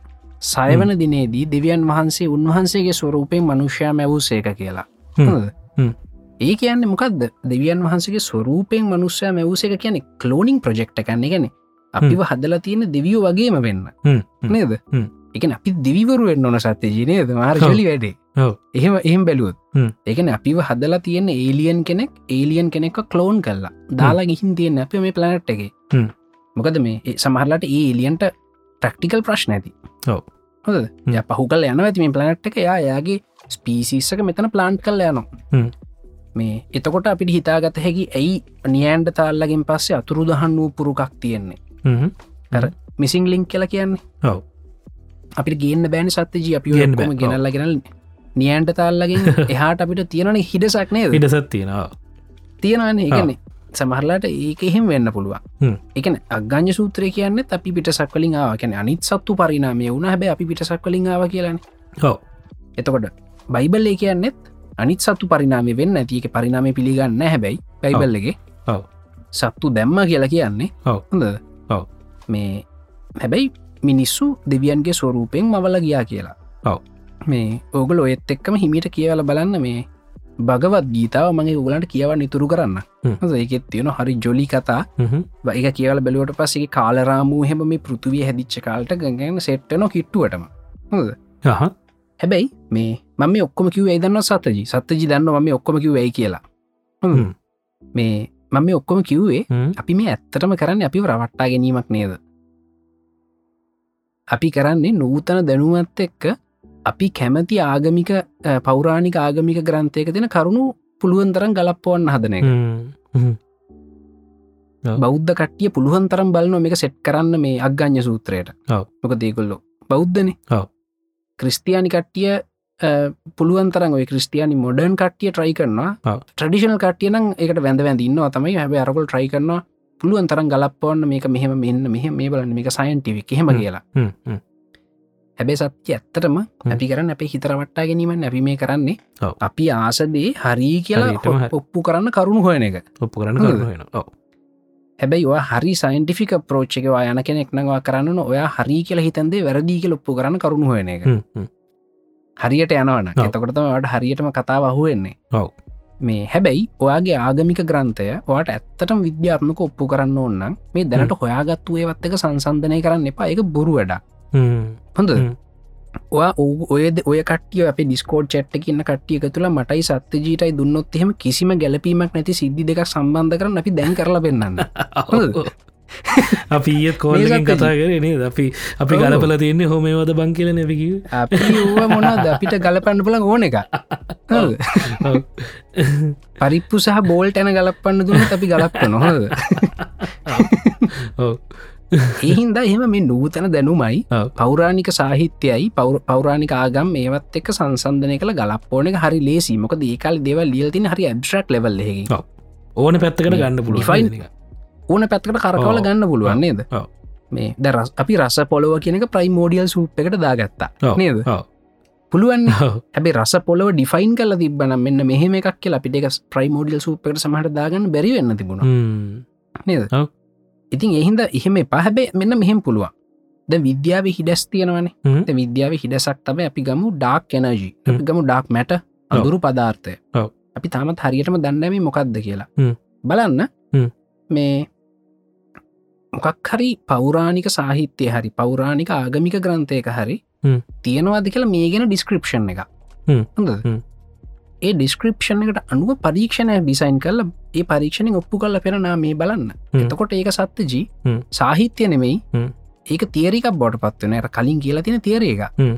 S2: සයවන දිනේදී දෙවියන් වහන්සේ උන්වහන්සේගේ ස්වරූපයෙන් මනුෂ්‍යයා මැවූ සේක කියලා
S1: හ්ම්.
S2: හොඳද?
S1: හ්ම්.
S2: ඒ කියන්නේ මොකක්ද දෙවියන් වහන්සේගේ ස්වරූපයෙන් මනුෂ්‍යයා මැවූස එක කියන්නේ කලෝනිින් ප්‍රජෙක්් එකන්න ගැන අපිව හදල තියෙන දෙවියෝ වගේම වෙන්න
S1: හ්ම්. හ්ම්.
S2: නේද
S1: හ්ම්.
S2: එක අපි දිවිවරුවෙන් ඕන සත්‍යජීනයද මාර්ශලි වැඩේ
S1: ඔව්.
S2: එහෙම එහම බැලුවත්
S1: හ්ම්.
S2: ඒකන අපිව හදලා තියෙන ඒලියන් කෙනෙක් ඒලියන් කෙනෙක් කලෝන් කල්ලා දාලා ගිහින් තියෙන අප මේ පලනට් එක
S1: හ්ම්.
S2: මොකද මේ ඒ සමහරලාට ඒ ඒලියන්ට ප්‍රක්ටිකල් ප්‍රශ්න ඇති
S1: ඔව්.
S2: හොද
S1: හ්ම්.
S2: ය පහු කල් යන ඇති මේ පලනට් එක යා යාගේ ස්පීසිස්සක මෙතන ප්ලාන්් කල් යනවා
S1: හ්ම්.
S2: මේ එතකොට අපිට හිතාගත හැකි ඇයි නියන්ඩ තාල්ලගින් පස්සේ අතුරු දහන් වූ පුරුකක් තියෙන්නේ
S1: හ්ම්.
S2: මිසිං ලිංක් කියලා කියන්නේ
S1: ඔව්.
S2: අපිට ගන්න බෑන සත්තජී අපි
S1: ගේන්න
S2: ඔක්කොම
S1: බෑ, ඔව්.
S2: ගෙනල්ල ගෙනල් නියන්ට තාල්ලගින් එහාට අපිට තියෙනන හිඩසක් නේද
S1: ඉඩසත් තියෙනවා
S2: තියෙනවන්නේ
S1: ආ.
S2: එකන්නේ සමහරලාට ඒක එහෙම වෙන්න පුළුවන්
S1: හ්ම්.
S2: එකන අග්ඥ සූත්‍රය කියන්න අපි පිටසක් කලින් ආව කැන අනිත් සත්තු පරිනාමය වුණ හැබ අපි පිටසක් කලින් ආව කියලන
S1: හෝ
S2: එතකොට බයිබල්ලේ කියන්නෙත් අනිත් සත්තු පරිනාමය වෙන්න ඇතික පරිනාමය පිළිගන්න හැබැයි බයිබල්ලගේ
S1: ඔව්.
S2: සත්තු දැම්ම කියලා කියන්නේ
S1: ඔව්.
S2: හොඳ
S1: ඔව්.
S2: මේ හැබැයි මිනිස්සු දෙවියන්ගේ ස්වරූපෙන් මවල ගියා කියලා
S1: ඔව්.
S2: මේ ඕගල ඔයත් එක්කම හිමිට කියවල බලන්න මේ භගවත් ගීතාව මගේ උගලන්ට කියවන්න ඉතුරු කරන්න
S1: හ්ම්.
S2: හොඳ ඒකෙත් තියෙන හරි ජොලි කතා
S1: හ්ම්.
S2: එක කියවල බැලුවට පස්සේ කාලරාමූ හෙම මේ පෘතිවිය හැදිච්ච කාලට ගඟන්න සෙට්ටන කිට්ටුවටම හොඳ
S1: අහ.
S2: හැබැයි මේ මම ඔක්කොම කිව දන්න සතජි සත්තජි දන්න මම ඔක්කොම කිව ඇයි කියලා හ්ම්.
S1: හ්ම්.
S2: මේ මම මේ ඔක්කොම කිව්වේ
S1: හ්ම්.
S2: අපි මේ ඇත්තටම කරන්න අපි රවට්ටා ගැනීමක් නේද අපි කරන්නේ නූතන දැනුවත් එක්ක අපි කැමති ආගමික අ, පෞරාණික ආගමික ග්‍රන්ථයක දෙන කරුණු පුළුවන්තරම් ගලප්පවන්න හදන එක
S1: හ්ම්. හ්ම්.
S2: බෞද්ධ කට්ටිය පුළුවන් තරම් බලන මේක සෙට් කරන්න මේ අග්ඥ සූත්‍රයට
S1: ඔව්.
S2: මොක දේකොල්ලො බෞද්ධන
S1: ඔව්.
S2: ක්‍රස්තියානි කට්ටිය පුළුවන්තරන් ඔය ක්‍රස්ටයානි මොඩන් කට්ටිය ට්‍රයි කරනවා
S1: ඔව්.
S2: ට්‍රඩිෂනල් කට්ටියන එකට වැඳ වැඳන්න තමයි හැබ අරකොල් ට්‍රයි කරනවා පුළුවන් තරම් ගලපවන්න මේක මෙහෙම මෙන්න මෙහ මේ බලන්න මේක සයින්ටිවි හෙම කියලා
S1: හ්ම්. හ්ම්.
S2: හැබේ සත්‍ය ඇත්තටම අපි කරන්න අපේ හිතරවට්ටා ගැනීම නැබි මේ කරන්නේ
S1: ඔව්.
S2: අපි ආසදේ හරි කියලා
S1: හරියටම හරි.
S2: හො- ඔප්පු කරන්න කරුණු හොයන එක
S1: ඔප්පු කරන්න
S2: හොඳද?
S1: කරුණු වෙන ඔව්.
S2: හැබැයි ඔයා හරි සයින්ටිෆික ප්‍රෝච්චකවා යන කෙනෙක් නවා කරන්න ඔයා හරි කියල හිතන්දේ වැරදිී කියල ඔප්පු කරන්න කරුණු හයන එක
S1: හ්ම්. හ්ම්.
S2: හරියට යනවන
S1: ඔව්.
S2: එතකොටම ට හරියටම කතාව අහුවෙන්නේ
S1: ඔව්.
S2: මේ හැබැයි ඔයාගේ ආගමික ග්‍රන්ථය ඔට ඇත්තටම විද්‍යාත්මක ඔප්පු කරන්න ඕන්නම් මේ දැනට හොයාගත්තු ඒවත් එක සංසන්ධනය කරන්න එපා එක බොරු වැඩ
S1: හ්ම්.
S2: හොඳ
S1: හ්ම්.
S2: ඔයා ඔව්- ඔයද ඔය කටිය අප ඩිස්කෝඩ් චට් කියන්න කටියක තුළ මටයි සත්‍ය ජීටයි දුන්නොත් එහෙම කිසිම ගැලපීමක් නැති සිද්ධි දෙක සම්බන්ධ කරන්න අපි දැන් කරලා පෙන්න්න හොඳද?
S1: ඔව්. අපි ඒත් කෝල්ලකින්
S2: මේ
S1: කතා කරන නේද අපි අපි
S2: ඔව්.
S1: ගලපල තියන්නේ හොමේවද බං කියල නැකිව
S2: අපි ඌව මොනද අපිට ගලපන්න පුල ඕන එක හරිද? පරිප්පු සහ බෝල්ට ඇන ගලපන්න දුන්න අපි ගලප්ප නොහද
S1: ඔව
S2: එහින්ද එහෙම මේ නූතන දැනුමයි
S1: ඔව්.
S2: පෞරාණික සාහිත්‍යයයි පෞර- පෞරාණික ආගම් ඒවත් එක් සංසන්ධනය කළ ගලප්පෝන එක හරි ලේසිීමක දේකල් දෙව ලියල්තින හරි ඇඩ්‍රක් ලෙවල් හෙකි
S1: ඕන පැත්තකට ගන්න පුළුවන්
S2: Define. ඕන පැත්කට කරකවල
S1: ඔව්.
S2: ගන්න පුළුවන්න්නේද
S1: ඔව්.
S2: මේ දරස් අපි රස පොලොව කියනක ප්‍රයිමෝඩියල් සූප් එකට දාගත්තා
S1: ඔව්.
S2: නේද
S1: ඔව්.
S2: පුළුවන්
S1: ඔව්.
S2: හැබේ රස පොලව ඩිෆයින් කල තිබන මෙන්න මෙහෙම එකක් කියල අපිට එක ප්‍රයිමෝඩියල් සූප්පට සමහට දාගන්න බැරිවෙන්න තිබුණ
S1: හ්ම්.
S2: නේද
S1: ඔව්.
S2: ඉතින් එහින්ද එහෙම පහැබේ මෙන්න මෙහෙම පුළුවන් ද විද්‍යාව හිඩස්
S1: හ්ම්.
S2: තියෙනවනේ විද්‍යාව හිඩසක් තම අපි ගමු ඩාක් එනජී
S1: හ්ම්.
S2: අපි ගමු ඩාක් මැට අඳුරු පදාර්ථය
S1: ඔව්.
S2: අපි තාමත් හරියටම දන්නම මොකක්ද කියලා
S1: හ්ම්.
S2: බලන්න
S1: හ්ම්.
S2: මේ මොකක් හරි පෞරාණික සාහිත්‍යය හරි පෞරාණික ආගමික ග්‍රන්ථයක හරි
S1: හ්ම්.
S2: තියෙනවාද කියලා මේ ගෙන ඩිස්ක්‍රපෂන් එක
S1: හ්ම්.
S2: හොඳද?
S1: හ්ම්.
S2: ඒ ඩිස්ක්‍රපෂන් එකට අනුව පරීක්ෂණය ඩිසයින් කල්ල ඒ පරීක්ෂණෙන් ඔප්පු කල්ල පෙනනා මේ බලන්න
S1: හ්ම්.
S2: එතකොට ඒක සත්‍යජී
S1: හ්ම්.
S2: සාහිත්‍ය නෙමෙයි
S1: හ්ම්.
S2: ඒක තේරික බොට පත්වන ඇ කලින් කියලා තින තේරේක
S1: හ්ම්.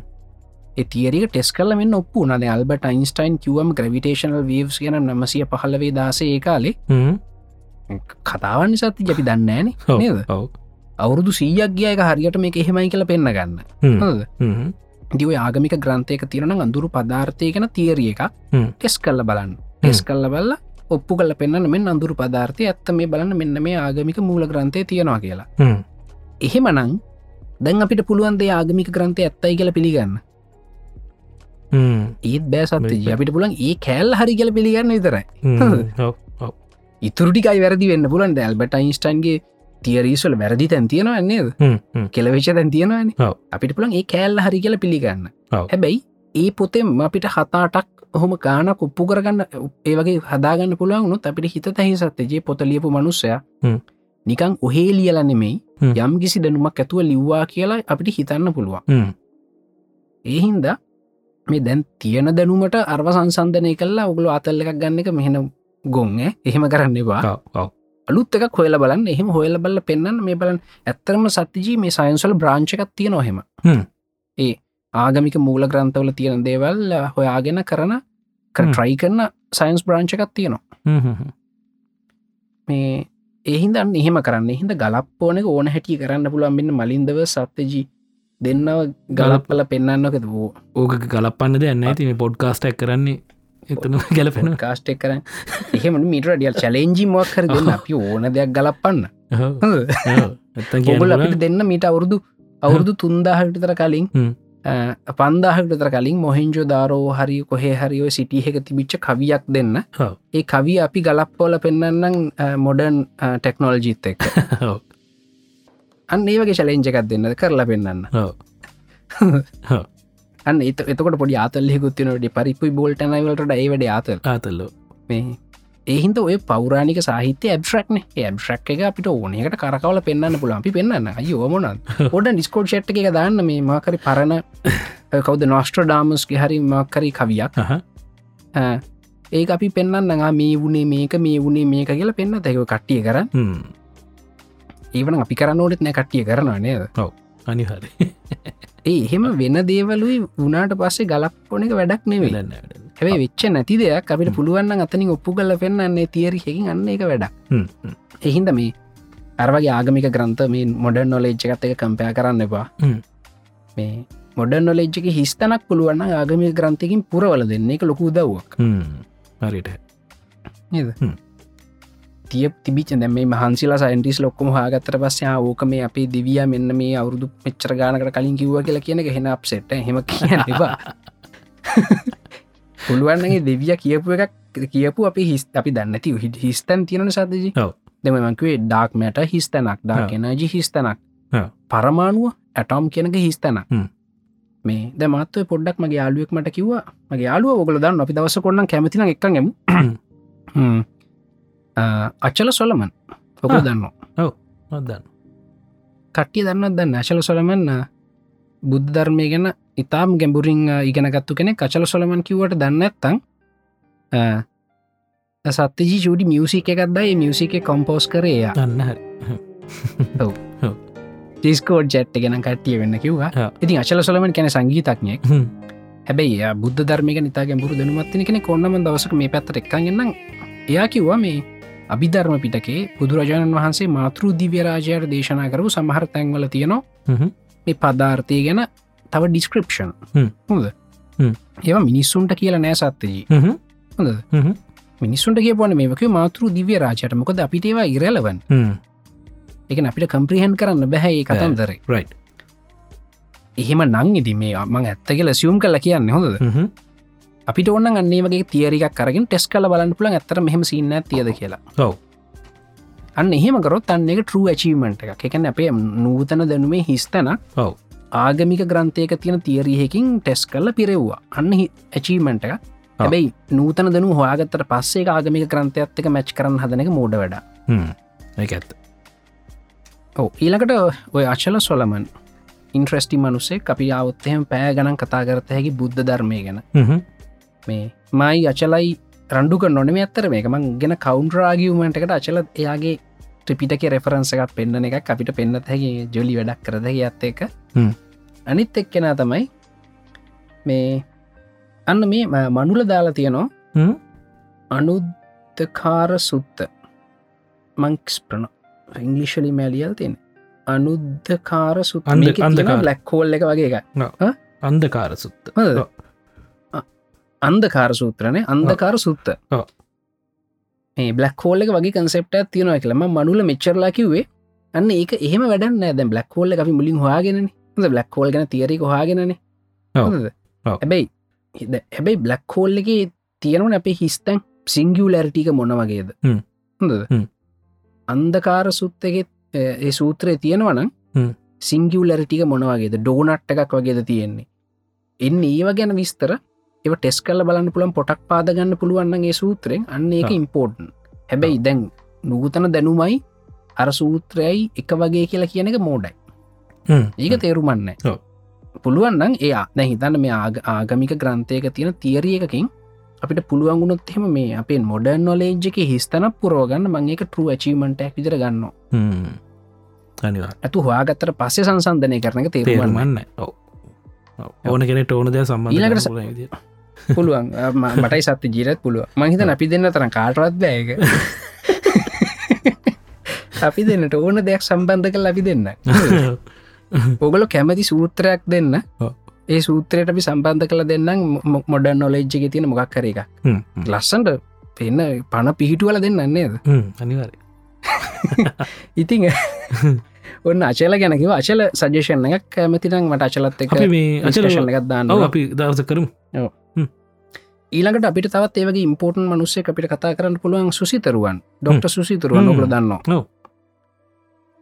S2: ඒ තේරක ටෙස් කල මෙන්න ඔප්පු නද අල්බට යින්ස්ටයින් කිවම් ග්‍රවිටේශනල් වවස් කියන නමසය පහලවේ දාසේ ඒ කාලේ
S1: හ්ම්.
S2: කතාවන්න සත්ති ජපි දන්නෑන
S1: ඔව්.
S2: නේද?
S1: ඔව්.
S2: අවුරුදු සීයක්ගේයක හරියට මේ එහෙමයි කියල පෙන්න්න ගන්න
S1: හ්ම්.
S2: හොඳද?
S1: හ්ම්.
S2: දිව ආගමික ග්‍රන්ථයක තිරන අඳුරු පධාර්ථය ගැන තිේරිය එකක්
S1: හ්ම්.
S2: ටෙස් කල්ල බලන්න ටෙස් කල්ල බල්ල ඔප්පු කල පෙන්න්න මෙන් අඳුරු පධාර්ථය ඇත්ත මේ බලන්න මෙන්න මේ ආගමික මූල ග්‍රන්ථය තියෙනවා කියලා
S1: හ්ම්.
S2: එහෙමනං දැන් අපිට පුළුවන්දේ ආගමික ග්‍රන්ථය ඇත්තයි කියල පිළිගන්න
S1: හ්ම්.
S2: ඒත් බෑ සත්තිජ
S1: මේක.
S2: අපිට පුලන් ඒ කෑල් හරි කියල පිළිගන්න විතරයි
S1: හ්ම්. ඔව්.
S2: ඉතුරටිකයි වැරදි වෙන්න පුලන් ඇල්බට යින්ස්ටන්ගේ තියරීස්වල වැරදි තැන් තියෙනවා නේද
S1: හ්ම්. හ්ම්.
S2: කෙලවෙච දැන් තියෙනවාන
S1: ඔව්.
S2: අපිට පුළන් ඒ කෑල්ල හරි කියල පිළිගන්න
S1: ඔව්.
S2: හැබැයි ඒ පොතෙම අපිට හතාටක් හොම ගාන කොප්පු කරගන්න ඒ වගේ හදාගන්න පුළන්ුත් අපිට හිත තහි සත්තජේ පොතලියපු මනුස්සය
S1: හ්ම්.
S2: නිකං ඔහේ ලියලනෙමෙයි
S1: හ්ම්.
S2: යම් කිසි දැනුමක් ඇතුව ලිව්වා කියලා අපිට හිතන්න පුළුවන්
S1: හ්ම්.
S2: ඒහින්ද මේ දැන් තියෙන දැනුමට අර්ව සංසන්ධනය කල්ලා ඔගුලු අතල්ල එකක් ගන්න එක මෙහෙන ගොන්න එහෙම කරන්න එවා
S1: ඔව්. ඔව්.
S2: අලුත් එක කොල බලන්න එහෙම හොල බල්ල පෙන්න්න මේ බලන් ඇත්තරම සතතිජී මේ සයින්සල් බ්‍රාංචකක් තිය නොහෙම
S1: හ්ම්.
S2: ඒ ආගමික මූල ග්‍රන්ථවල තියෙන දේවල් හොයාගෙන කරන
S1: හ්ම්.
S2: කරට්‍රයි කරන සයින්ස් බ්‍රාංචකක් තියනවා
S1: හ්ම්. හ්ම්.
S2: මේ එහින්දන්න එහෙම කරන්න හිද ගලප්පෝන ඕන හැටි කරන්න පුළුවන් මෙන්න මලින්දව සත්‍යජී දෙන්නව ගලප්පල පෙන්න්නකද වූ
S1: ඕක ගලපන්න දෙන්න ඇති පොඩ්කාස්ටක් කරන්නේ එතන ගැලපෙන
S2: කාස්ටෙක් කරන එහෙමට මිට ඩියල් චලෙන්ජි මක්කර ගන්න අපි ඕන දෙයක් ගලපන්න ගොබල අපිට දෙන්න මීට අවුරුදු අවුරුදු තුන්දාහට තර කලින් පන්දාහට තර කලින් මොහෙන්ජෝ දාරෝ හරි කොහේ හරිෝ සිටියහක තිබිච්ච කවියක් දෙන්න
S1: ඔව්.
S2: ඒ කවි අපි ගලප්පෝල පෙන්න්නම් මොඩර්න් ටෙක්නෝල්ජීත් එක්
S1: ඔව්.
S2: අන්න ඒ වගේ චලෙන්ජ එකක් දෙන්න කරලා පෙන්න්න අන්න එත එතකට පොඩි අතල්ෙකුත්තිනට පරිපු බොල්ටනවලට ඒවට ආතල්
S1: ආතල්ලෝ
S2: මේ ඒහින්ද ඔය පෞරාණික සාහිත්‍ය ඇබ්්‍රක්න ඇබ්්‍රක් එක අපිට ඕනකට කරකවල පෙන්න්න පුළ අපි පෙන්න්න යෝමන ොඩ ඩිස්කෝඩ් ෂට් එක දන්න මේ මාකරි පරණ අ, කවුද නොස්ට්‍ර ඩාමස්ගේ හරි මාකරි කවියක්
S1: අහ.
S2: අ, ඒක අපි පෙන්න්න නඟ මේ වුණේ මේක මේ වුණේ මේක කියලා පෙන්න්න තැක කට්ටිය කරන්න
S1: හ්ම්.
S2: ඒවන අපි කරන්න ඕනෙත් නෑ කට්ටිය කරනවා නේද
S1: අනිහරි
S2: ඒ එහෙම වෙන දේවලුයි වුණට පස්සේ ගලප්පොන එක වැඩක් නෙවෙල
S1: වෙලන්න වැඩන්න.
S2: හැබයි වෙච්ච නැති දෙයක් අපිට පුළුවන් නම් අතනින් ඔප්පු කල පෙන්න්නන්නේ තිේරි හෙකින් අන්න එක වැඩක්
S1: හ්ම්, හ්ම්.
S2: එහින්ද මේ අරවගේ ආගමික ග්‍රන්ථ මේ මොඩන් නොලේජ් එකත් එක කම්පය කරන්න එපා
S1: හ්ම්.
S2: මේ මොඩන් නොලේජ් එක හිස්තනක් පුළුවන් නම් ආගමික ග්‍රන්ථයකින් පුරවල දෙන්න එක ලොකු දවක්
S1: හ්ම්. හරිට
S2: නද
S1: හ්ම්.
S2: තිය තිබිච දැ මේ මහන්සිලා සයින්ටිස් ලොක්කොම හාගත්තර පස්සේ ආ ඕක මේ අපේ දිවිය මෙන්න මේ අවුරුදු මෙච්චර ගානකට කලින් කිව්ව කියලා කියන එක හෙන අප්සෙට් හෙම කියවා පුළුවන්ගේ දෙවිය කියපු එකක් කියපු අපි හිස් අපි දන්න ති හිස්තැන් තියෙන සදජි
S1: ඔව්.
S2: දෙමමන්කවේ ඩාක් මැට හිස්තැනක්
S1: ඔව්.
S2: ඩාක් එනජි හිස්තැනක්
S1: ඔව්.
S2: පරමාණුව ඇටම් කියනක හිස්තැනක්
S1: හ්ම්.
S2: මේ දමත්ව පොඩ්ඩක් මගේ යාලුවෙක් මට කිව්වා මගේ යාලුව ඔගල දන්න අපි දවස කොන්න කැමතින එකක් ගෙමු හ්ම්. අ, අචල සොලමන් ඔක
S1: ආ.
S2: දන්න
S1: නොදන්න
S2: කට්ටිය දන්න දන්න අශල සොලමන්න බුද්ධ ධර්මය ගැන ඉතාම් ගැඹුරින් අ, ඉගෙනගත්තු කෙනෙ කචල සොලමන් කිවට දන්න ඇත්තං සතතිජි ජඩි මියසික එකක්දයි මියසික කොම්පෝස් කරේයා
S1: දන්න හරි
S2: ටිස්කෝඩ් ජැට් ගෙන කට්ටිය වෙන්න කිව්වා
S1: ආ.
S2: ඉතින් අශල සොලමන් කැන සංගීතක්ඥය
S1: හ්ම්.
S2: හැබැයි එයා බුද්ධ ධර්මය නිතා ගැඹුරු දෙනුමත්තින කෙන කොන්නම දවසක මේ පැත්තට එක්කගන්න එයා කිව්වා මේ අභිධර්ම පිටකේ බුදුරජාණන් වහන්සේ මාතෘ දිව්‍යරාජයට දේශනා කරපු සමහර තැන්වල තියෙනවා
S1: හ්ම්.
S2: මේ පදාර්ථය ගැන තව ඩිස්ක්‍රප්ෂන්
S1: හ්ම්.
S2: හොද
S1: හ්ම්.
S2: ඒවා මිනිස්සුන්ට කියලා නෑ සත්තජී
S1: හ්ම්.
S2: හොඳද
S1: හ්ම්.
S2: මිනිස්සුන්ට කියපන මේක මාතෘ දිව්‍යරාජයට මොකද අපිට ඒවා ඉරලවන්
S1: හ්ම්.
S2: එක අපිට කම්ප්‍රිහන් කරන්න බැහැඒ කතන්දර
S1: right.
S2: එහෙම නං ඉදි මේ අමං ඇත්ත කියලා සියුම් කල කියන්න හොඳද
S1: හ්ම්.
S2: අපිට ඔන්න අන්නේ වගේ තිේරිකක් කරගෙන ටෙස් කල බලන්න පුළන් ඇතර මෙහම සින්න තියද කියලා
S1: ඔව්.
S2: අන්න එහෙමකරොත් අන්න එක ටරු ඇචීමට එක එකන අපේ නූතන දැනුමේ හිස්තන
S1: ඔව්.
S2: ආගමික ග්‍රන්ථයක තියෙන තියරිහෙකින් ටෙස් කල්ල පිරෙව්වා අන්න ඇචීමට එක හැබයි නූතන දනු හොයාගත්තට පස්සේ ආගමික ග්‍රන්ථයක්ත්තක මැච් කරන්න හදනක මෝඩ වැඩ
S1: හ්ම්. ඒක ඇත්ත
S2: ඔ ඊලකට ඔය අචල සොලමන් ඉන්ට්‍රස්ටි මනුසේ අපි අවත්තයම පෑ ගණන් කතාගරත හැකි බුද්ධ ධර්මය ගැන
S1: හ්ම්.
S2: මේ මයි අචලයි රණ්ඩුක නොනම ඇත්තර මේක මං ගෙන කවුන්ටරාගියමටකට අචල එයාගේ ත්‍රිපිටක රෙෆරන්සකක් පෙන්න්න එකක් අපිට පෙන්න්න හැගේ ජොලි වැඩක් කරද ඇත්ත එක
S1: හ්ම්.
S2: අනිත් එක්කෙන තමයි මේ අන්න මේ ම- මනුල දාලා තියනවා
S1: හ්ම්.
S2: අනුද්ධකාර සුත්ත මංක්ස් ප්‍රන ඉංගලිශලි මැලියල් තියෙන අනුද්ධකාර සුත්
S1: අන්ධ- අන්ධකාර.
S2: ලැක්කෝල් එක වගේ එක
S1: අන්දකාර සුත්ත
S2: හොඳද?
S1: ඔව්.
S2: අ- අන්ධකාර සූත්‍රණය අන්දකාර සුත්ත
S1: ඔව්.
S2: මේ බ්ලක් හෝල්ල එක වගේ කන්සෙප්ට තියෙනවා කියලම මනුල මෙච්චරලා කිවේ අන්න ඒක එහම වැඩන්න ඇද බ්ලක් හෝල්ල අපි මුලින් හවාගෙන ද බ්ලක් හෝල් ගෙන තිේරක හාගෙනන
S1: ඔව්. ඔව්.
S2: හැබැයි හිද- හැබැයි බ්ලක් හෝල්ල එක තියෙනවන අපේ හිස්තැන් සිංගියලැරටික මොන වගේද
S1: හ්ම්.
S2: හොඳද
S1: හ්ම්.
S2: අන්දකාර සුත්තගෙත් ඒ සූත්‍රය තියෙනවනම්
S1: හ්ම්.
S2: සිංගියලැරටික මොනවගේද ඩෝනට් එකක් වගේද තියෙන්නේ එන්න ඒව ගැන විස්තර ඒව ටෙස් කල බලන්න පුළන් පොටක් පාදගන්න පුළුවන්න්ගේ සූත්‍රයෙන් අන්න ඒක
S1: ඔව්.
S2: ඉම්පෝර්ටන් හැබැයි දැන් නූතන දැනුමයි අර සූත්‍රයයි එක වගේ කියලා කියන එක මෝඩයි
S1: හ්ම්.
S2: ඒක තේරුමන්න
S1: ඔව්.
S2: පුළුවන්න්න එයා දැ හිතන්න මේ ආග- ආගමික ග්‍රන්ථයක තියෙන තිේරිය එකකින් අපිට පුළුවන්ගුණොත් හෙම මේ අපේ මොඩන් නොලේජ් එක හිස්තන පුරෝගන්න මංඒක ටරු චීමටක් විදර ගන්න
S1: හ්ම්. අනිවා
S2: ඇතු හවාගත්තර පස්සේ සංසන්ධනය කරන එක තේරුමන්න
S1: තේරුමන්න ඔව්. ඔව්. ඕන කෙනෙ ඕන දෙය සම්බන්ධ
S2: ඊළඟට ස-
S1: කරන්න පුළුවන් විදියට.
S2: පුළුවන් අ, ම- මටයි සත්‍ය ජීරත් පුළුව මහිත අපි දෙන්න තරන කාටවත් බෑක අපි දෙන්නට ඕන දෙයක් සම්බන්ධ කල් ලබි දෙන්න ඔගොලො කැමති සූත්‍රයක් දෙන්න
S1: ඔව්.
S2: ඒ සූත්‍රයට අපි සම්බන්ධ කළ දෙන්නම් මොක් මොඩ නොලෙජ්ජගේ තියෙන මොකක් කර එකක් ලස්සන්ට පෙන්න පණ පිහිටුවල දෙන්න නේද
S1: අනිවර
S2: ඉතිං ඔන්න අචල ගැනකිව අචල සජේෂණ එකක් කැමතිනම් මට අචලත් එක
S1: අපි මේ අචල
S2: ෂණ එකක් දාන්න
S1: ඔව අපි දවස කරමු
S2: ඊළඟට අපිට තවත් ඒවගේ ඉම්පෝර්ටන් මනුස්සේ අපිට කතා කරන්න පුළුවන් සුසිතරුවන් ඩොක්ට සුසිතරුවන්
S1: හ්ම්.
S2: ඔබල දන්නවා
S1: ඔව්.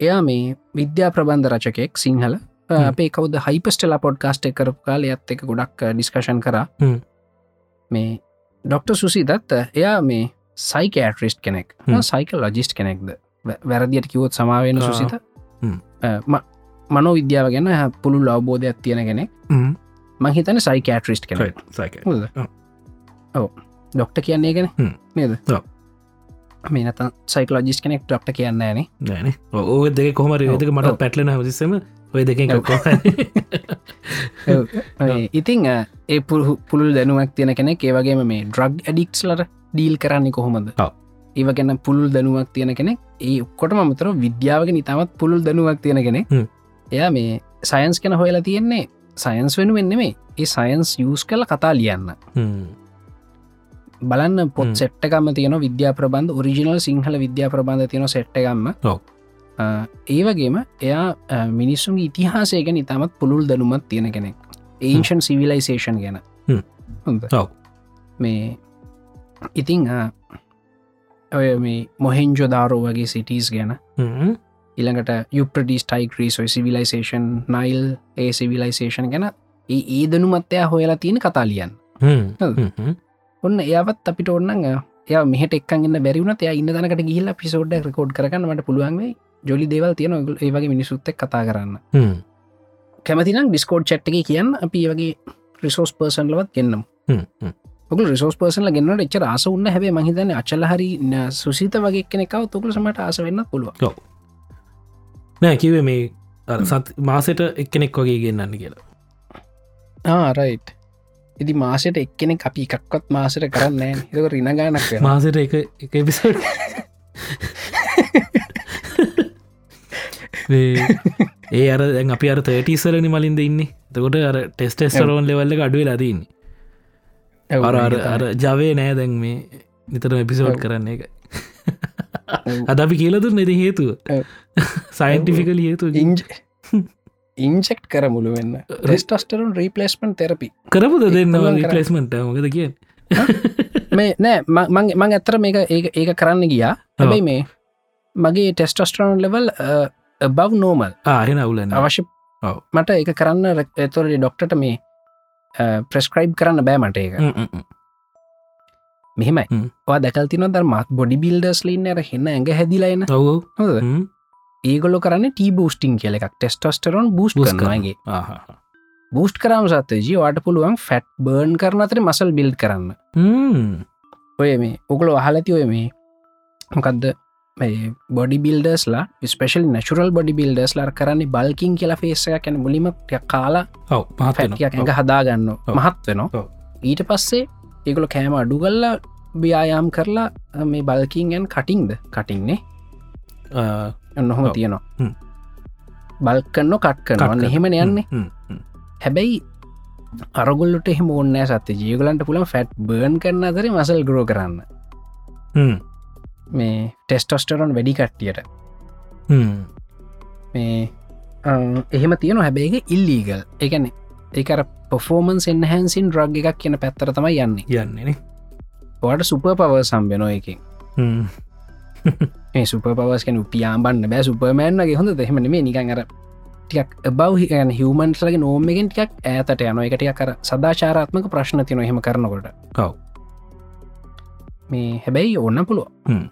S2: එයා මේ විද්‍යා ප්‍රබන්ධ රචකෙක් සිංහල
S1: හ්ම්.
S2: අපේ කවද හයිපස්ටල පොඩ්කාස්ට එක කරපු කාල ඇත් එක ගොඩක් ඩිස්කශන් කර
S1: හ්ම්.
S2: මේ ඩොක්ට සුසිදත් එයා මේ සයිකෑටරිස්් කෙනෙක්
S1: හ්ම්.
S2: සයිකල් ලජිස්් කෙනෙක්ද වැ- වැරදියට කිවොත් සමාවෙන
S1: ආ.
S2: සුසිත
S1: හ්ම්.
S2: මනෝ විද්‍යාව ගැන පුළුල් අවබෝධයක් තියෙන කෙනෙක් මහිතන සයිකෑටරිස්් කෙනෙක්
S1: සයික
S2: හොද
S1: ඔව්.
S2: ඔව ඩොක්ට කියන්නේ ගැන
S1: හ්ම්.
S2: නේද
S1: ඔව්.
S2: මේ නත සයිකලෝජිස් කෙනෙක් ඩක්ට කියන්න න
S1: නෑන ඕ දෙක කොහමර
S2: ඔව්,
S1: දෙක
S2: ඔව්.
S1: මට පැටලෙන හදිස්සම ඔය දෙක
S2: ඔව්. ඉතිං අ, ඒ පුරු පුළුල් දැනුවක් තියෙන කෙනෙක් ඒවගේ මේ ඩ්‍රග් ඇඩික්ස් ලට ඩීල් කරන්නේ කොහොමද
S1: ඔව්.
S2: ඒවගැන පුළුල් දැනුවක් තියෙන කෙනෙක් ඒ ඔක්කොට මතර විද්‍යාවගෙන ඉතාමත් පුළුල් දැනුවක් තියෙන කෙනෙ
S1: හ්ම්.
S2: එයා මේ සයන්ස් කෙන හොයලා තියෙන්නේ සයන්ස් වෙන වෙන්න මේ ඒ සයන්ස් යස් කල කතා ලියන්න බලන්න පොත්
S1: හ්ම්.
S2: සෙට්ටකම තියන විද්‍යා ප්‍රබන්ධ ඔරිජිනල් සිංහල විද්‍යා ප්‍රබන්ධ තියෙන සෙට්ටකම්ම
S1: ඔව්.
S2: ඒවගේම එයා අ, මිනිස්සුන්ගේ ඉතිහාසය ගැන ඉතාමත් පුළුල් දැනුමත් තියෙන කෙනෙක් ඒන්ෂන් සිවිලයිසේෂන් ගැන
S1: හ්ම්.
S2: හොඳ.
S1: ඔව්.
S2: මේ ඉතිං අ, ඔය මේ මොහෙන්ජෝ දාරෝ වගේ සිටස් ගැන ඉළඟට යුප්‍රඩිස් ටයික්‍රීස් ඔයි සිවිලයිසේෂන් නයිල් ඒ සිවිලයිසේෂන් ගැන ඒ ඒ දනුමත්තයා හොයලා තියෙන කතාලියන් ඔන්න එයාවත් අපිට ඔන්න එය මෙහට එක්න්න බැරිවුණ එය ඉන්න දනකට ගිල්ල පිසෝඩ් රකෝඩ් කරන්නට පුළුවන්ේ ජොලි දේවල් තියන ඔගුල ඒවගේ මිනිසුත්තක් කතා කරන්න කැමතිනම් ඩිස්කෝඩ් චට්ක කියන්න අපි ඒ වගේ රිසෝස් පර්සන්ලවත් ගෙන්න්නම් ඔකු රිසෝස් පර්සල ගන්නට එච්චර ආස උන්න හැබේ මහිතන අචල හරි න- සුසිත වගේ කෙනෙකව තුකල සමට ආස වෙන්න පුළුව
S1: නෑ කිවේ මේ අර සත් මාසට එක්කෙනෙක් වගේ ගන්නන්න කියලා
S2: ආරයි් ඉදි මාසයට එක්කෙනෙ අපි එකක්වත් මාසට කරන්න ඒක රිනගානක් වෙන
S1: මාසට එක එක පිසට ඒ අර දැන් අපි අර තටීසරනි මලින්ද ඉන්න තකොට අර ටෙස්ටෙස්ටරෝන් ලෙවල්ල අඩුවේ ලදන්න අර අර අර ජවේ නෑ දැන් මේ නිතර එපිසෝඩ්
S2: ඔව්.
S1: කරන්න එක
S2: ඔව්.
S1: අද අපි කියලදුන්න එති හේතුව
S2: ඔව්.
S1: සයින්ටිෆිකල හේතු
S2: ඉන්ජ ඉන්ජෙක්් කර මුළුවන්න රෙස්ටස්ටරුන් රීපලස්මන් තෙරපි
S1: කරපුද දෙන්න
S2: පුළුවන් කරන්න.
S1: රිපලස්මට මොකද කිය
S2: මේ නෑ ම- මං මං ඇතර මේක ඒ ඒක කරන්න ගියා හැබයි මේ මගේ ටෙස්ටස්ටරන් ලෙවල් බව් නෝමල්
S1: ආහෙන අවුලන්න
S2: අවශ්‍ය
S1: ඔව්.
S2: මට ඒක කරන්න එතොරේ ඩොක්ට මේ ප්‍රස්ක්‍රයිබ් කරන්න බෑමට ඒක මෙහෙමයි
S1: හ්ම්.
S2: වා දැකල්තින දර්මත් බොඩි බිල්ඩස් ලින්න අර හෙන්න ඇඟ හැදිලයින
S1: ඔව
S2: හොද ඒගොල කරන්න ටී බෝස්ටිං කියල එකක් ටෙස්ටස්ටරන් බූස්්
S1: Boost කරනවා.
S2: කරනගේ බූස්් කරම සත්තජී වාට පුළුවන් ෆැට් බර්න් කරන අතර මසල් බිල්් කරන්න ඔය මේ ඔකුල වහලති ඔය මේ මොකක්ද බොඩි බිල්ඩස්ලා ස්පේෂල් නැචුරල් බොඩි බිල්ඩස් ලර් කරන්නේ බල්කින් කියලා ෆේසයක් ැන මුලිම කාලා
S1: ඔව
S2: පැටියක් ඇඟ හදාගන්න මහත් වෙනවා
S1: ඔව්.
S2: ඊට පස්සේ ඒකුල කෑම අඩුගල්ලා බ්‍යායාම් කරලා අ, මේ බල්කින්ගන් කටින්ද කටින්නේ නොහොම
S1: ඔව්.
S2: තියනවා
S1: හ්ම්.
S2: බල්කන්න කට් කරන්න එහෙම යන්නේ හැබැයි අරගොල්ලට එහෙම ඕන්න සත ජීගලන්ට පුළන් ෆැට් බර්න් කරන්න අදර මසල් ගරෝ කරන්න මේ ටෙස්ටොස්ටරොන් වැඩි කට්ටියට මේ අම්, එහෙම තියෙන හැබැයි ඉල්ලීගල් එකන එකර පොෆෝමන්ස් එන්හන්සින් ඩ්‍රග් එකක් කියන පැත්තර තමයි යන්නේ
S1: යන්නේන
S2: ඔට සුප පව සම්බෙනෝ එකින් මේ සුප පවස් කෙන උපියාම්බන්න බෑ සුපමෑන්ගේ හොඳ දෙහෙමන මේ නිකන් අර ටියක් බව හිගන හිවමන්ස්ලගේ නෝමගෙන් ටියක් ඇතට යන එකටිය කර සදාචාරාත්මක ප්‍රශ්න තියන හෙම කරනකොට
S1: ඔව්.
S2: මේ හැබැයි ඔන්න පුළුව
S1: හ්ම්.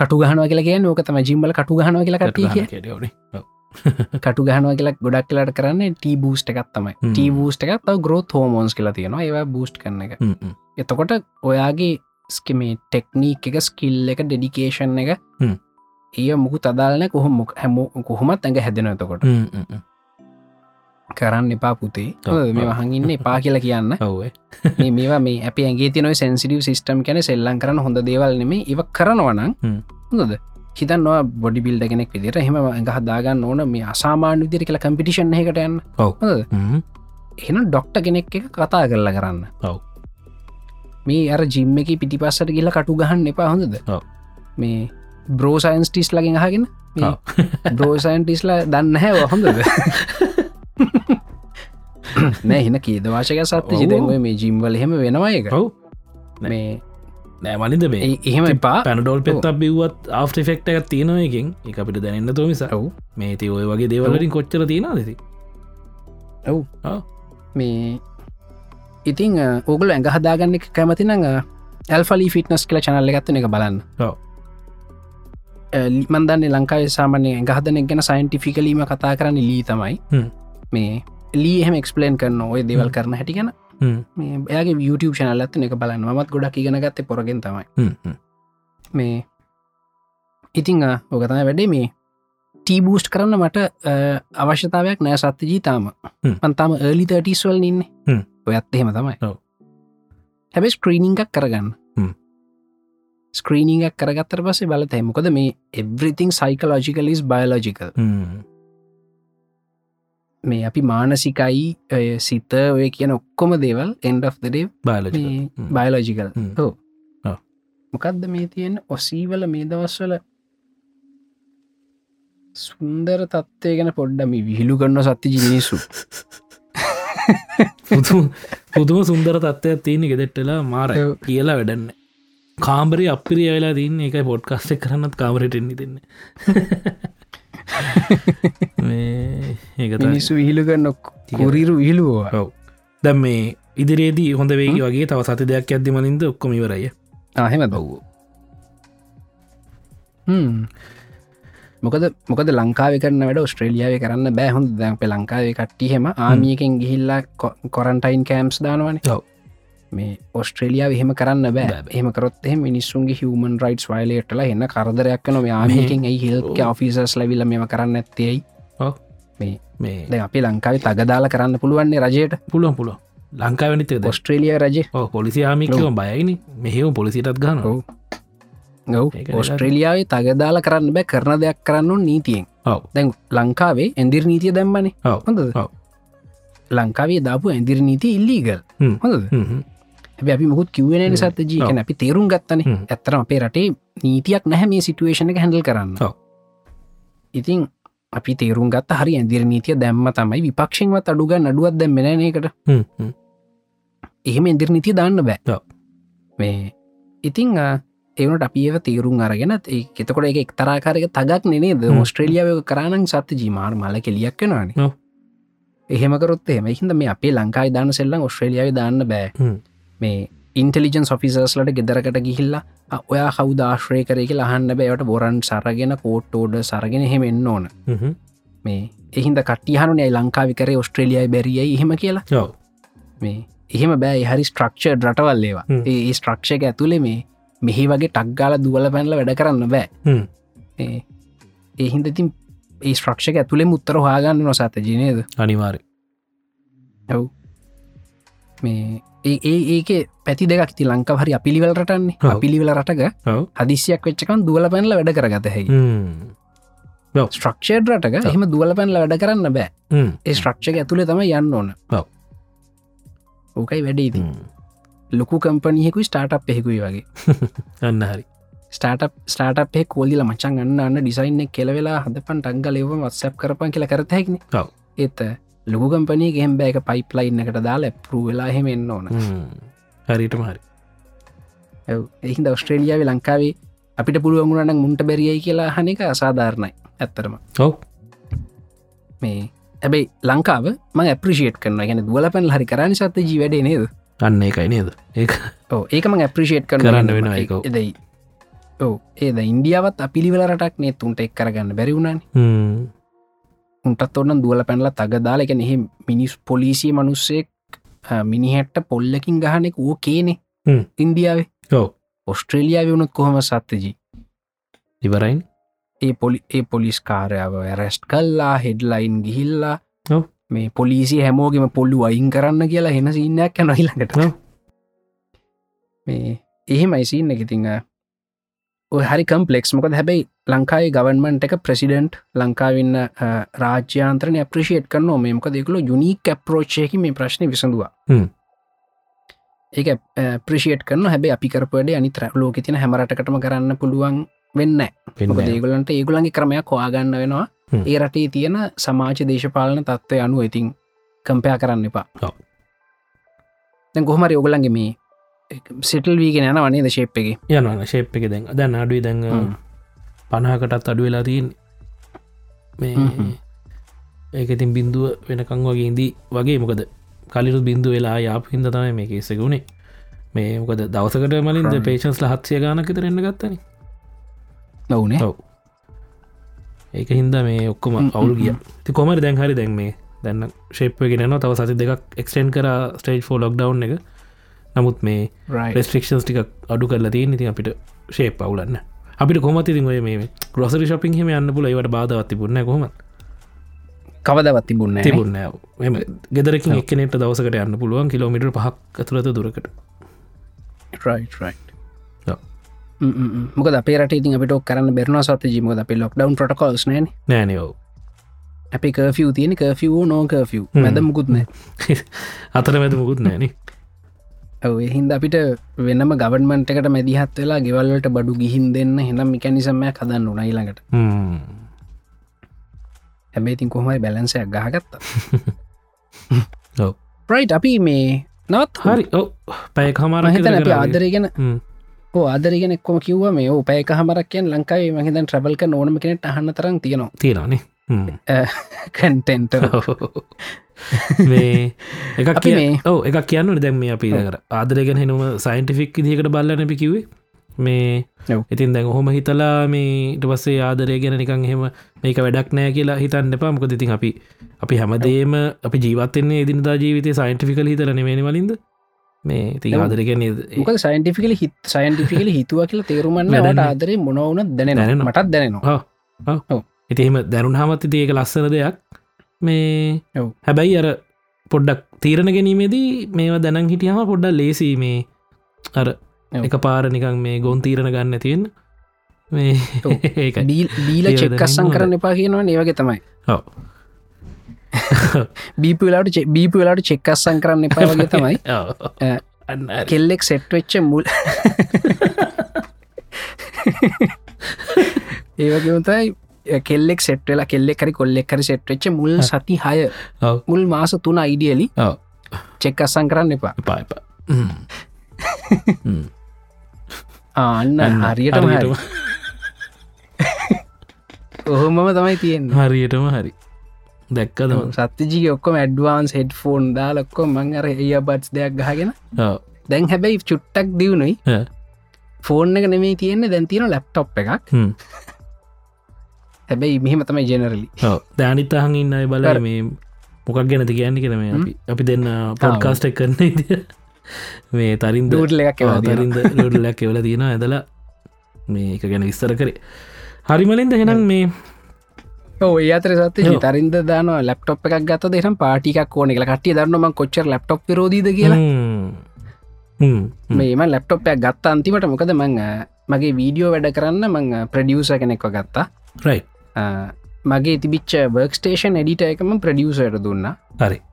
S2: කටු ගහනවා කියලා කිය ඕක තම ජිම්බල කටු ගහනවා කියලා කටී කිය කටු ගහනවා කියලා ගොඩක් කියලාට කරන්න ටී බූස්ට එකත් තමයි
S1: හ්ම්.
S2: ටී බූස්ට එකත් තව ග්‍රෝත් හෝමෝන්ස් කියලා තියෙනවා ඒවා බූස්් කරන එක එතකොට ඔයාගේ ස්කමේ ටෙක්නීක් එක ස්කිල් එක ඩෙඩිකේෂන් එක
S1: හ්ම්.
S2: ඒ මුකු තදාලන කොහොම හැම කොහොමත් ඇඟ හැදෙන එතකොට කරන්න එපා පුතේ
S1: ඔව්.
S2: හොඳද? මේ
S1: ඔව්.
S2: වහඟන්න එපා කියලා කියන්න
S1: ඔවේ
S2: මේ මේවා මේ අප ඇගේ තිනොයි සැන්සිටව සිිටම් කැන සෙල්ලන් කරන හොඳ දේවල් නෙම ඒව කරනවනං
S1: හ්ම්.
S2: හොඳද හිතන්වා බොඩි බිල්ඩ කෙනෙක් විදිට හෙම ඇඟ හදාගන්න ඕන මේ අසාමාන්‍ය විදිර කියලා කම්පිටිෂන් එකටයන්න එන ඩොක්ට කෙනෙක් එක කතා කරලා කරන්න
S1: ඔව්.
S2: මේ අර ජිම්ම එක පිටිපස්සට කියලා කටු ගහන්න එපා හොඳද
S1: ඔව්.
S2: මේ බ්‍රෝසයින්ස් ටිස් ලගින් හගෙන
S1: ඔව්.
S2: බ්‍රෝසයින්ටිස්ලා දන්න හැ හොඳද නෑ හෙන කීදවාශක සත්‍ය
S1: ඔව්.
S2: ජිතව මේ ජිම්වල හෙම වෙනවා එක
S1: ඔව් නෑ.
S2: මේ
S1: නෑමලින්ද මේ
S2: ඒ- එහෙම එපා
S1: පැනඩෝල් පෙත් බිවත් ආෆ් ෆෙක්ට එකක් තියෙනවයකින් එක අපිට දැනන්න තුමිස
S2: ඔව්.
S1: මේ ති ඔය වගේ දේවලින් කොච්චර තියෙන දෙති
S2: මේ ඉතිං ඔගල ඇඟ හදාගන්න එක කැමති නඟ ඇල්ෆලි ෆිට්නස් කළ චනල්ල ගත්තන එක බලන්න
S1: ඔව්.
S2: අ, ලි- මන් දන්නේ ලංකායි සාමනය ගහදන ගැන සයින්ටිෆිකලීම කතා කරන්න ලී තමයි
S1: හ්ම්.
S2: මේ ලීහම එක්ස්පලේන් කරන්න ඔය දෙවල් කරන හැටිගෙන
S1: හ්ම්.
S2: මේ එයාගේ YouTube චනල්ලත්න එක බලන්න මත් ගොඩක් ඉගෙන ගත්තේ පොරගෙන් තමයි මේ ඉතිං ඕකතන වැඩේ මේ ටීබූස්් කරන්න මට අ, අවශ්‍යතාවයක් නෑ සත්‍ය ජීතාම
S1: හ්ම්.
S2: පන්තාම ඒලි තටස්වල් ඉන්නේ
S1: හ්ම්.
S2: ඔයත් එහෙම තමයි
S1: ඔව්.
S2: හැබැ ස්ක්‍රීනිංක් කරගන්න
S1: හ්ම්.
S2: ස්ක්‍රීනිංක් කරගත්තර පසේ බලත හෙමකොද මේ එවරිතිං සයිකලෝජිකලිස් බයලෝජිකල් මේ අපි මානසිකයි ඔය සිත ඔය කියන ඔක්කොම දේවල් එන්ඩ් of the day
S1: බාලජ
S2: මේ
S1: හ්ම්.
S2: බයලෝජිකල්
S1: හ්ම්.
S2: හෝ
S1: ඔව්.
S2: මොකක්ද මේ තියෙන් ඔසීවල මේ දවස්වල සුන්දර තත්වය ගැන පොඩ්ඩ මේ විහිළු කරන්න සත්ති ජිනිසු
S1: පුදුම සුන්දර තත්වයක් තියෙන ගෙදෙට්ටලා මාරය
S2: ඔව්.
S1: කියලා වැඩන්න කාම්බරි අපිරිය වෙලා තින්න එක පොඩ්කාස්ට කරන්නත් කාමරටෙන්නේ දෙන්න ඒකත
S2: මිනිස්සු විහිළු කරනොක් කුරීරු විහිලුවවා
S1: ඔව් දැම් මේ ඉදිරියේදී හොඳ වේග වගේ තව සති දෙයක් ඇද්දි මලින්ද ඔක්කොම ඉවරය
S2: ආහෙම බව්ෝ මොකද මොකද ලංකාව කරන වැඩ ස්ට්‍රේලියාව කරන්න බෑහොඳ දැන් පෙ ලංකාවේ කට්ටිහෙම ආමියකෙන් ගිහිල්ලා කොරන්ටයින් කෑම්ස් දානවන
S1: ඔව්.
S2: මේ ඔස්ට්‍රේලියාව එහෙම කරන්න බෑ
S1: බෑ බෑ.
S2: එහමකරොත් එහ මිනිස්සුන්ගේ හමන් රයිටස් වයිලේටල එන්න කරදරයක් නොම ආමියකෙන් ඇයි හෙල්ක ෆිසස් ලැවිල මෙම කරන්න ඇත්තෙයි
S1: මේ
S2: දැන් අපි ලංකාවේ තගදාලා කරන්න පුළුවන්න්නේ රජයට
S1: පුළුවන් පුළුව ලංකාවනිතේ ද
S2: ඔස්ට්‍රේලිය රජ
S1: පොලිසි ආමිකව බයයිනි මෙහෙම පොලිසිටත් ගන්න
S2: ඔව්. ගව්
S1: ඒක නිකන්-
S2: ඔස්ට්‍රේලියාවේ තගදාලා කරන්න බෑ කරන දෙයක් කරන්න නීතියෙන්
S1: ඔව
S2: දැන් ලංකාවේ ඇදිරි නීතිය දැම්මනේ
S1: ඔව
S2: හොඳද
S1: ඔව්.
S2: ලංකාවේ දාපු ඇදිරි නීති ඉල්ලීගල්
S1: හ්ම්.
S2: හොඳද හැබැ අපි මුකුත් කිවෙන සත ජීකන අපි තේරුම් ගත්තන
S1: හ්ම්.
S2: ඇත්තර අපේ රටේ නීතියක් නැහැ මේ සිටුවේෂණ එක හැඳල් කරන්න
S1: ඔව්.
S2: ඉතින් අපි තේරුම් ගත් හරි ඇදිරි නීතිය දැම්ම තමයි විපක්ෂෙන්වත් අඩුග නඩුවත් දැම්මෙනනකට එහෙම ඉදිරි නීති දාන්න බෑ
S1: ඔව්.
S2: මේ ඉතිං එවනට අපිව තේරුම් අරගෙන ඒ- එතකොට එක එක්තරාකාරක තගක් නේ ද
S1: හ්ම්.
S2: ඔස්ට්‍රේලියාව කරනන් සත්‍ය ජීමාර් මල කෙලියක් වෙනවානේ
S1: ඔව්.
S2: එහෙමකරොත් එම හිද මේ අපේ ලංකායි දාන සෙල්ලන් ඔස්ට්‍රේලියාව දාන්න බෑ
S1: හ්ම්.
S2: මේ ඉන්ටලිජන් ෆිසර්ස්ලට ගෙදරකට ගිහිල්ලා "අ, ඔයා කවු දාශ්‍රය කරයක ලහන්න බෑවට බොරන් සරගෙන කෝට්ටෝඩ සරගෙන හෙමෙන්න්න ඕන මේ එහින්ද කටයහනුනයි ලංකාවිකරේ ඔස්ට්‍රේලියයි බැරිියයි එහෙම කියලා
S1: ඔව
S2: මේ එහෙම බෑ හරි ස්ට්‍රක්ෂර් රටවල්ලේවා
S1: හ්ම්.
S2: ඒ ස්ට්‍රක්ෂක ඇතුළේ මේ මෙහි වගේ ටක්ගාල දුවල පැනල වැඩ කරන්න බෑ
S1: හ්ම්.
S2: ඒ- ඒහින්ද තින් ඒ ස්ට්‍රක්ෂක ඇතුළේ මුත්තර හාගන්න නොසත ජනේද
S1: අනිවාරය
S2: මේ ඒ ඒ ඒක පැති දෙකක් ති ලංකා හරි අපිළිවල් රටන්නේ
S1: ඔව්.
S2: අපිළිවල රටක
S1: ඔව
S2: හදිසියක් වෙච්චකන් දුවල පැනල වැඩ කරගත හැකි ස්ට්‍රක්ෂේඩ් රටක එහෙම දුවල පැනල වැඩ කරන්න බෑ ඒ ස්ට්‍රක්ෂක ඇතුළේ තම යන්න ඕන
S1: ඔව්.
S2: ඕකයි වැඩේති ලොකු කම්පනයෙකු ස්ටාට් එහෙකුයි වගේ
S1: අන්න හරි
S2: ස්ටාටප් ස්ටාටපේ කෝලිල මචන් අන්න අන්න ඩිසයින්න කෙලවෙලා හද පන් ටංග ලව වත්සැප් කරපන් කියල කරත හැකින
S1: ඔව්.
S2: ඒත ලොගම්පනය ගෙම් බෑක පයිප්ලයින්නකට දාලා පරු වෙලා හෙමෙන්න්න ඕන
S1: හ්ම්. හරිටම හරි
S2: එහින්ද ඔස්ට්‍රේලියාව ලංකාවේ අපිට පුළුවමුණනක් මුන්ට බැරියයි කියලා හනක අසාධාරණයි ඇත්තරම
S1: ඔව්
S2: මේ ඇබයි ලංකාව ම ප්‍රිෂේට් කරන ගැන දුවල පැන් හරි කරන්න සත්ත ජීවැඩේ නේද
S1: අන්න එකයි නේද ඒ
S2: ඕ ඒකම ප්‍රිෂේට් කරන
S1: කරන්න වෙනවා ඒක.
S2: එදයි ඕ ඒද ඉන්දියාවත් අපිළිවල රටක් නේ තුන්ට එක් කරගන්න බැරිවුණන උන්ටත් ඔන්න දුවල පැනල තගදාල එක එහෙ මිනිස් පොලිසිය මනුස්සෙක් අ, මිනිහැට්ට පොල්ලකින් ගහනෙක් වූ කියනෙ
S1: හ්ම්.
S2: ඉන්දියාවේ
S1: ඔව්.
S2: ඔස්ට්‍රේලියාව වුණුත් කොහොම සත්තජී
S1: ඉවරයින්
S2: ඒ පොලි ඒ පොලිස් කාරයාව රැස්ට් කල්ලා හෙඩ්ලයින් ගිහිල්ලා
S1: ඔව්.
S2: මේ පොලිසි හැමෝගෙම පොල්ලු අයින් කරන්න කියලා හෙන සින්නයක් යැන හිළඟට
S1: ඔව්.
S2: මේ එහෙම යිසින්න එකතිං ඔය හරි කම්පලෙක්ස් මොකද හැබැයි ලංකායි ගවන්මන්ට එක ප්‍රසිඩන්ට් ලංකාවන්න රාජ්‍යන්ත්‍රන ප්‍රිෂේට් කන මේමක දෙකල යුනිීක් ඇප්‍රෝච්චයකි මේ ප්‍රශ්න විසඳවා
S1: හ්ම්.
S2: ඒ ප්‍රිෂේට් කන හැබ අපි කරපඩ අනිතර ලෝක තින හැමරටකටම කරන්න පුළුවන් වෙන්න
S1: පෙන්වෑ.
S2: ඒගලන්ට ඒගුලන්ගේ ක්‍රමයක් හොයාගන්න වෙනවා
S1: හ්ම්.
S2: ඒ රටේ තියෙන සමාජ දේශපාලන තත්ත්වය අනුව ඉතින් කම්පයා කරන්න එපා
S1: ඔව්.
S2: දැන් කොහමර යෝගලන්ගේ මේ සිටල් වීගෙන යන වනේ දශේප් එක
S1: යනන ශේප් එක දැන් දැන් අඩුයි දැන්
S2: හ්ම්.
S1: පනාකටත් අඩු වෙලා තියෙන් මේ
S2: හ්ම්හ්ම්.
S1: ඒක ඉතින් බිින්දුව වෙනකං වගේ ඉදී වගේ මොකද කලිරු බින්දු වෙලා යාපහින්ද තමයි මේ කෙසකුණේ මේ මොකද දවසකට මලින්ද
S2: Right.
S1: පේෂන්ස් ලහත්සය ගානක තරන්න ගත්තන
S2: නොවනේ
S1: ඔව් ඒක හින්ද මේ ඔක්කොම
S2: හ්ම්,
S1: අවුල්
S2: හ්ම්,
S1: ගිය ති කොමර දැන් හරි දැන් මේ දැන්න ශේප්පගෙන නවා තව සති දෙකක් එක්ටෙන්න් කර ස්ටේජ් ෝ ලොක් ඩව් එක නමුත් මේ
S2: රයි
S1: ප්‍රස්ට්‍රික්ෂන්ස් ටික් අඩු කරලා තියෙන ඉතින් අපිට ශේප් අවුලන්න අපිට කොමත් ඉතින් ඔය මේ ගොසරි ශපින් හම යන්න පුල ඒවට බාධවත් තිබුණ කොම
S2: කවදවත් තිබුන්න
S1: තිබුණ එම ගෙදරකින් එක්නෙට දවසකට යන්න පුළුවන් කිලෝමිට පහක් ඇතුළත දුරකට ඔව්.
S2: මොක පේරට ඉතින් අපිට ඔක් කරන්න බෙරන සත ජීමක අපේ ලොක් ඩවන් පොටකොස් නන
S1: නෑනයෝ
S2: අපි කර්ෆිය තියෙන කර්ෆියෝ නෝකර්ෆිය
S1: හ්ම්.
S2: මැද මුකුත්න
S1: අතර මැද මුකුත් නෑන
S2: ඔව එහින්ද අපිට වෙනම ගවන්මට එකට මැදිහත් වෙලා ගෙවල්ලට බඩු ගිහින් දෙන්න හෙනම් මිකැනිසම්මය කදන්න උනයිළඟට හැබේ ඉතින් කොහමයි බැලන්සයක් ගහගත්ත
S1: ඔව්.
S2: ප්‍රයි් අපි මේ නවත්
S1: හරි ඔ පැය කමාර
S2: මහිතන අපි ආදරය ගැන
S1: හ්ම්.
S2: ඕ ආදරගෙන එක්කොම කිව්ව මේ ඕ පැය හමරක්කයන් ලංකාවේ මහිතන් ට්‍රබල් ක ඕනම කෙනෙට අහන්න තරම් තියෙනවා
S1: තියෙනනේ හ්ම්.
S2: කැන්ටෙන්ට
S1: මේ එක
S2: අපි
S1: කිය
S2: මේ-
S1: ඔව එක කියන්න දැම් මේ අපි දකර ආදරගෙන හෙනුම සයින්ටිෆික් දිකට බල්ලන පි කිවේ මේ
S2: ඔව්.
S1: ඉතින් දැන් හොම හිතලා මේට පස්සේ ආදරය ගෙන නිකං හෙම මේක වැඩක් නෑ කියලා හිතන්න එපා මොකද ඉතින් අපි අපි හැමදේම අපි ජීවත්තන්නේ එදිනදා ජීවිතය සයින්ටිෆිකල් හිතර නෙමනි වලින්ද මේ ඉතින්
S2: ඔව්.
S1: ආදරගෙන
S2: මොක සයින්ටිකල හිත් සයින්ටිකල හිතුව කියලා තේරුමන්න
S1: වැඩක්
S2: ට
S1: නෑ.
S2: ආදරේ මොනවුන දැන
S1: දැනෙනවා.
S2: මටත් දැනවා
S1: ඉතිහෙම දැනුන් හමත් ඒක ලස්සන දෙයක් මේ
S2: ඔව්.
S1: හැබැයි අර පොඩ්ඩක් තීරණ ගැනීමේදී මේවා දැනන් හිටියම පොඩ්ඩක් ලේසි මේ අර
S2: ඔව්.
S1: එක පාර නිකන් මේ ගොන් තීරණ ගන්න තියෙන් මේ
S2: ඔව්.
S1: ඒකයි
S2: බීල
S1: ඒව දැනෙන්න
S2: චෙක්කස්සං
S1: හොඳයි.
S2: කරන්න එපා කියනවා ඒවගේ තමයි
S1: ඔව්.
S2: බීපලාට බීපලාට චෙක්කස්සං කරන්න එපා වගේ තමයි
S1: ඔව්.
S2: අ,
S1: අන්න හරි.
S2: කෙල්ලෙක් සෙට්වෙච්ච මුල් ඒවගේතයි කෙල්ෙක් සෙට්වෙලා කෙල්ලෙකරි කොල්ලෙක්කරි සෙට්වෙච්ච මුල් සති හය
S1: ඔව්.
S2: මුල් මාස තුන අයිඩියලි
S1: ඔව්.
S2: චෙක්කස්සං කරන්න එපා
S1: එපා එපා හ්ම්. හ්ම්.
S2: ආන්න
S1: අන්න
S2: හරියටම හරි.
S1: හරියටම-
S2: ඔහොමම තමයි තියෙන
S1: හරියටම හරි දැක්කද
S2: සතතිජික ඔක්කොම ඇඩ්වාන්ස් හෙඩ් ෆෝන් දාලක්කො මං අර එය බට්ස් දෙයක් ගහගෙන
S1: ඔව්.
S2: දැන් හැබැයි චුට්ටක් දියුණුයි
S1: ඈ.
S2: ෆෝර්න් එක නෙමේ තියෙන්නේ දැන් තියෙන ලැප්ටොප් එකක්
S1: හ්ම්.
S2: හැබැයි මෙහම තමයි ජෙනරලි
S1: ඔව්. දැනිත් අහන් ඉන්න අය බල
S2: හරි.
S1: මේ මොකක් ගැනති කියන්න කෙන මේ අපි අපි දෙන්න පොඩ්කාස්ට කරන ඉති මේ තරින්ද
S2: දූටල එකක් එවලා තියෙනවා.
S1: තරින්ද ලොඩලක් එවල තියෙන ඇදලා මේ එක ගැන විස්තර කරේ හරිමලින්ද හෙනම් මේ
S2: ඕ ඒ අතර සත්ති
S1: ඔව්.
S2: තරින්ද දාන ලප්ටොප් එකක් ගත දෙහම් පාටිකක් ඕන එක කටිය දන්නම කොච්චර ලප්ටොප් රෝධීද කියලා
S1: හ්ම්. හ්ම්. හ්ම්.
S2: මේම ලප්ටොප් එකක් ගත්ත අන්තිමට මොකද මං අ, මගේ වීඩියෝ වැඩ කරන්න මං ප්‍රඩියස කෙනෙක්ව ගත්තා
S1: රයි්
S2: අ, මගේ තිබිච්ච වර්ක්ස්ටේෂන් එඩිට එකම ප්‍රඩියසයට දුන්න
S1: හරි
S2: මම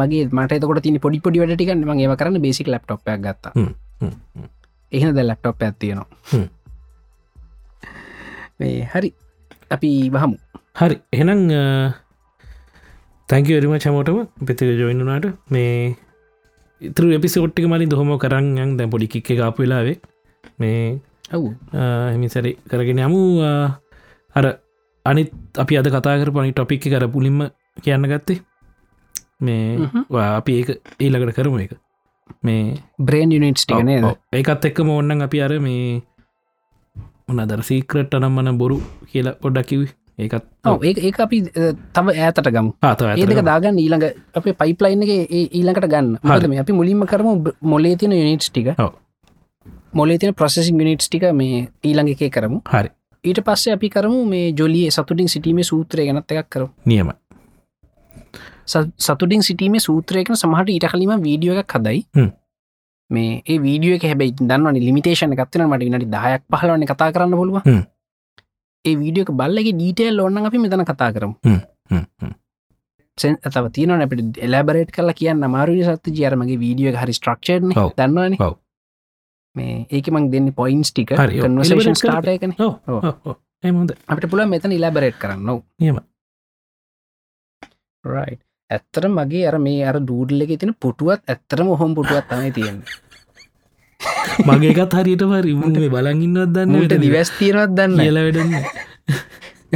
S2: මගේ මට තකොට තින පොඩි පොඩි වැඩටිකන්න මං ඒ කරන්න බේසික් ලප්ටොප් එකක් ගත්තා
S1: හ්ම්. හ්ම්. හ්ම්.
S2: එහෙන ද ලැප්ටොප් ඇත්තියනවා
S1: හ්ම්.
S2: මේ හරි අපි වහමු
S1: හරි එහෙනම් තැංකවරම චමෝටම පෙතික ජොයින්නුනාට මේ ඉතුර එපිසෝට්ටික මලින් දොහොම කරන්න දැ පොඩි කික්ක කාපු වෙලාවේ මේ
S2: ඔවු
S1: හෙමිසරි කරගෙන යමු ආ, අර අනිත් අපි අද කතාකර පනි ටොපික් කර පුලින්ම කියන්න ගත්තේ මේ
S2: මහ්ම්.
S1: වා අපි ඒ ඒලකට කරම එක මේ
S2: බ්‍රේන් යුනිට්ස් ටිකන
S1: ඔව්, ඔව්. ඒකත් එක්කම ඔන්න අපි අර මේ උන දර සීක්‍රට් අනම්මන බොරු කියලා පොඩ්ඩකිව් ඒකත්
S2: ඒ ඒ අපි අ, තව ඈතට ගමු
S1: පාත
S2: ඒදක දාගන්න ඊළඟ අප පයිපලයින් එක ඒ ඊළඟට ගන්න හදම අපි මුලින්ම කරම මොලේ තින යුනිට්ස් ටික
S1: ඔව්.
S2: මොලේ තින ප්‍රසෙසින් යුනිට්ස් ටික මේ ඊළඟ එකේ කරමු
S1: හරි
S2: ඊට පස්සේ අපි කරමු මේ ජොලිය සතුටින් සිටීමේ සූත්‍රය ගැනත් එකක් කරමු
S1: නියම
S2: ස- සතුටින් සිටීමේ සූත්‍රයකන සමහට ඊට කලීම වීඩියෝ එකක් හදයි
S1: හ්ම්.
S2: මේ ඒ වීඩියෝ එක හැබයි දන්නවන ලිමිටේෂන එකත්වන මට නට දායක් පහලවන කතා කරන්න පුළුව
S1: හ්ම්.
S2: ඒ වීඩියෝක බල්ලගේ ඩීටේල් ඔන්න අපි මෙතන කතා කරමු සෙන් තව තියන අපට එලබරේට් කලා කියන්න මාරු සත්ති ජයරමගේ වීඩියෝ හරි ස්ට්‍රක්ෂන
S1: ඔව්.
S2: දන්නවන
S1: ඔව්.
S2: මේ ඒක මං දෙන්න පොයින්ස් ටික
S1: හරි, ඔව්.
S2: කන්වසේෂන්
S1: Elaborate කරලා
S2: ස්ටාටයකන ඔව්.
S1: එමද
S2: අපට පුළ මෙතන ඉලබරේට් කරන්න
S1: නියමයි.
S2: රයි ඇත්තර මගේ අර මේ අර දූඩල්ලෙ තින පුටුවත් ඇත්තරම හොම පුටුවත් තමයි තියෙන
S1: මගේකත් හරියට පරි මුේ බලගින්නවත් දන්න
S2: මට දිවස් තීරවත් දන්න
S1: කියල වැඩන්න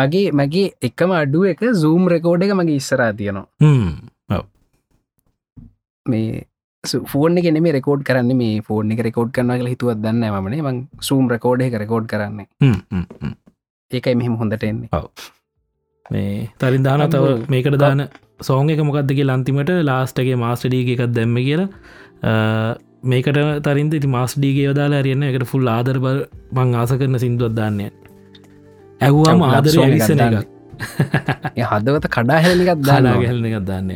S2: මගේ මගේ එකම අඩුව එක සූම් රෙකෝඩ් එක මගේ ඉස්සරා තියනවා මේ ෆෝර්න ගෙන මේ රෙකෝඩ් කරන්න මේ ෆෝර්න එක රෙකෝඩ් කරන්න කියලා හිතුවත් දන්න මනේ මං සූම් රෙකෝඩ් එක රෙකෝඩ් කරන්නේ ඒකයි මෙහෙම හොඳට එන්නේ
S1: මේ තරින් දාන තව
S2: අම්මෝ.
S1: මේකට දාන සෝන් එක මොකක්ද කිය ලන්තිමට ලාස්ටගේ මාස්ටඩීග එකක් දැම්ම කියලා අ, මේකට තරින්ද ඉති මාස්ඩීගේ යොදාලා ඇරන්න එකට ෆුල් ආදර බ මං ආස කරන සිින්දුවත් දාන්නය ඇව්වාම
S2: ඔව්, love
S1: ආදර
S2: song එකක්
S1: විසන
S2: දාන්න.
S1: එකක්
S2: ඒ හදවත කඩා හැලිකත් දාලා
S1: දාලාගැහලන එකක් දාන්නය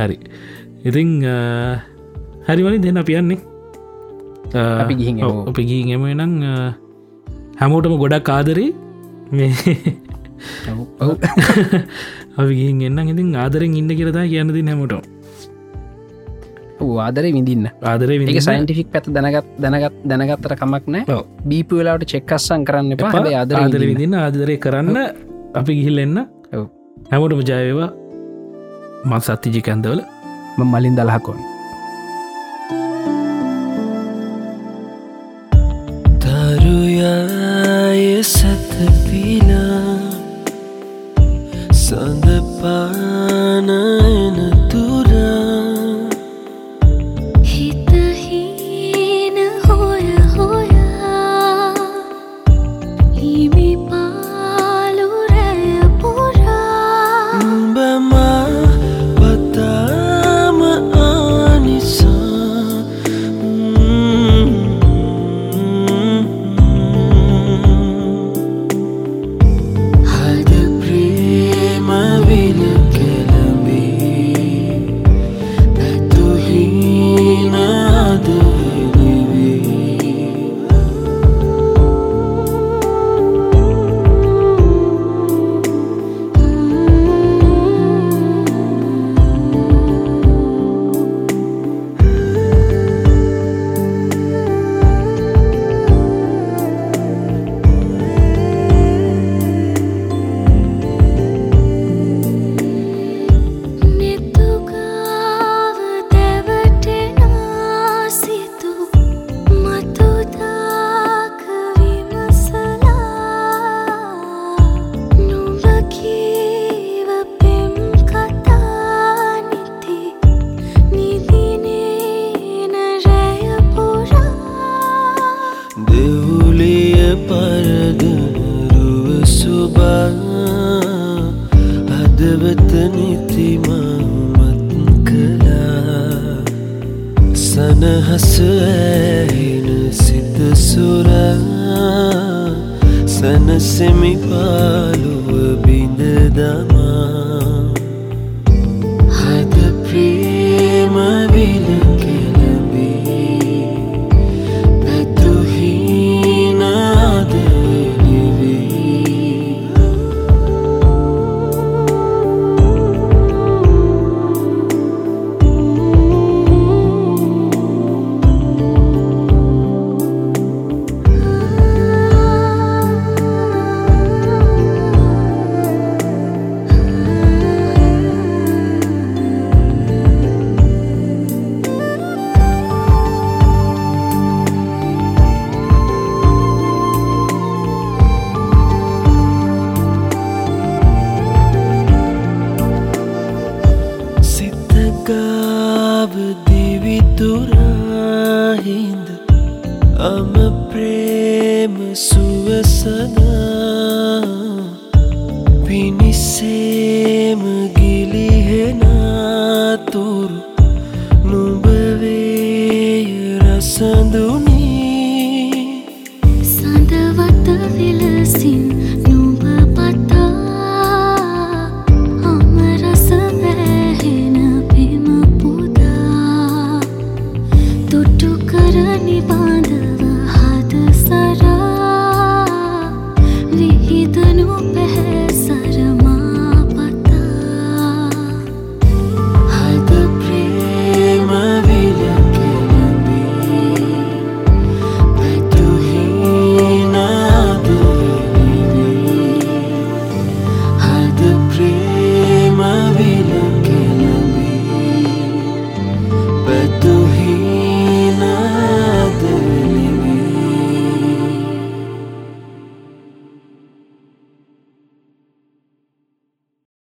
S1: හරි ඉතිං අ, හරිවලි දෙන්න පියන්නේ
S2: අපි ගිහින් එමු.
S1: අපි ගී එම එනම් හැමෝටම ගොඩක් ආදරේ මේ අපි ගිහින් එන්නම් ඉතින් ආදරෙන් ඉන්න කියරතා කියන්නති හැමෝට
S2: ආදර විඳන්න
S1: ආදරේ
S2: ඒක
S1: වි
S2: සයින්ටිෆික් පැත දැනගත් දැනගත් දැනගත්තර කමක් නෑ
S1: ඔව්.
S2: බීපු වෙලාට චෙක්කස්සන් කරන්න එපා හැබැයි ආදර
S1: ආදර විදින්න ආදරය කරන්න අපි ගිහිල් එන්න
S2: ඔව්. හැමෝටම
S1: හැමෝටම ජයවා මත් සත්තිජි කැන්දවල
S2: මලින් දලහකොන්
S3: තරුයාය සතපිනා සඳපානන තුරා
S4: හිතහින හොය හොයා හිමි පාලුරැය පුරා
S3: උඹමා පතාම ආනිසා හද ප්‍රේම විල කෙළඹේ පැතුහිනාද ලිවේ
S4: නිතුකාව දැවටෙන සිතු මතුදාකවිමසලා නොවකීව පෙම් කතානිති නිදිනේන රැයපුරා
S3: දෙවුලිය පරදරුව සුබා හදවත නිතිමමත් කළා සනහස ඇහෙන සිත සුරා සනසෙමි පාලුව බිඳ දමා හද ප්‍රේම විල කෙළඹේ පැතුහිනාද ලිවේ සිතගාව දිවිතුරාහින්ද අම ප්‍රේම සුවසද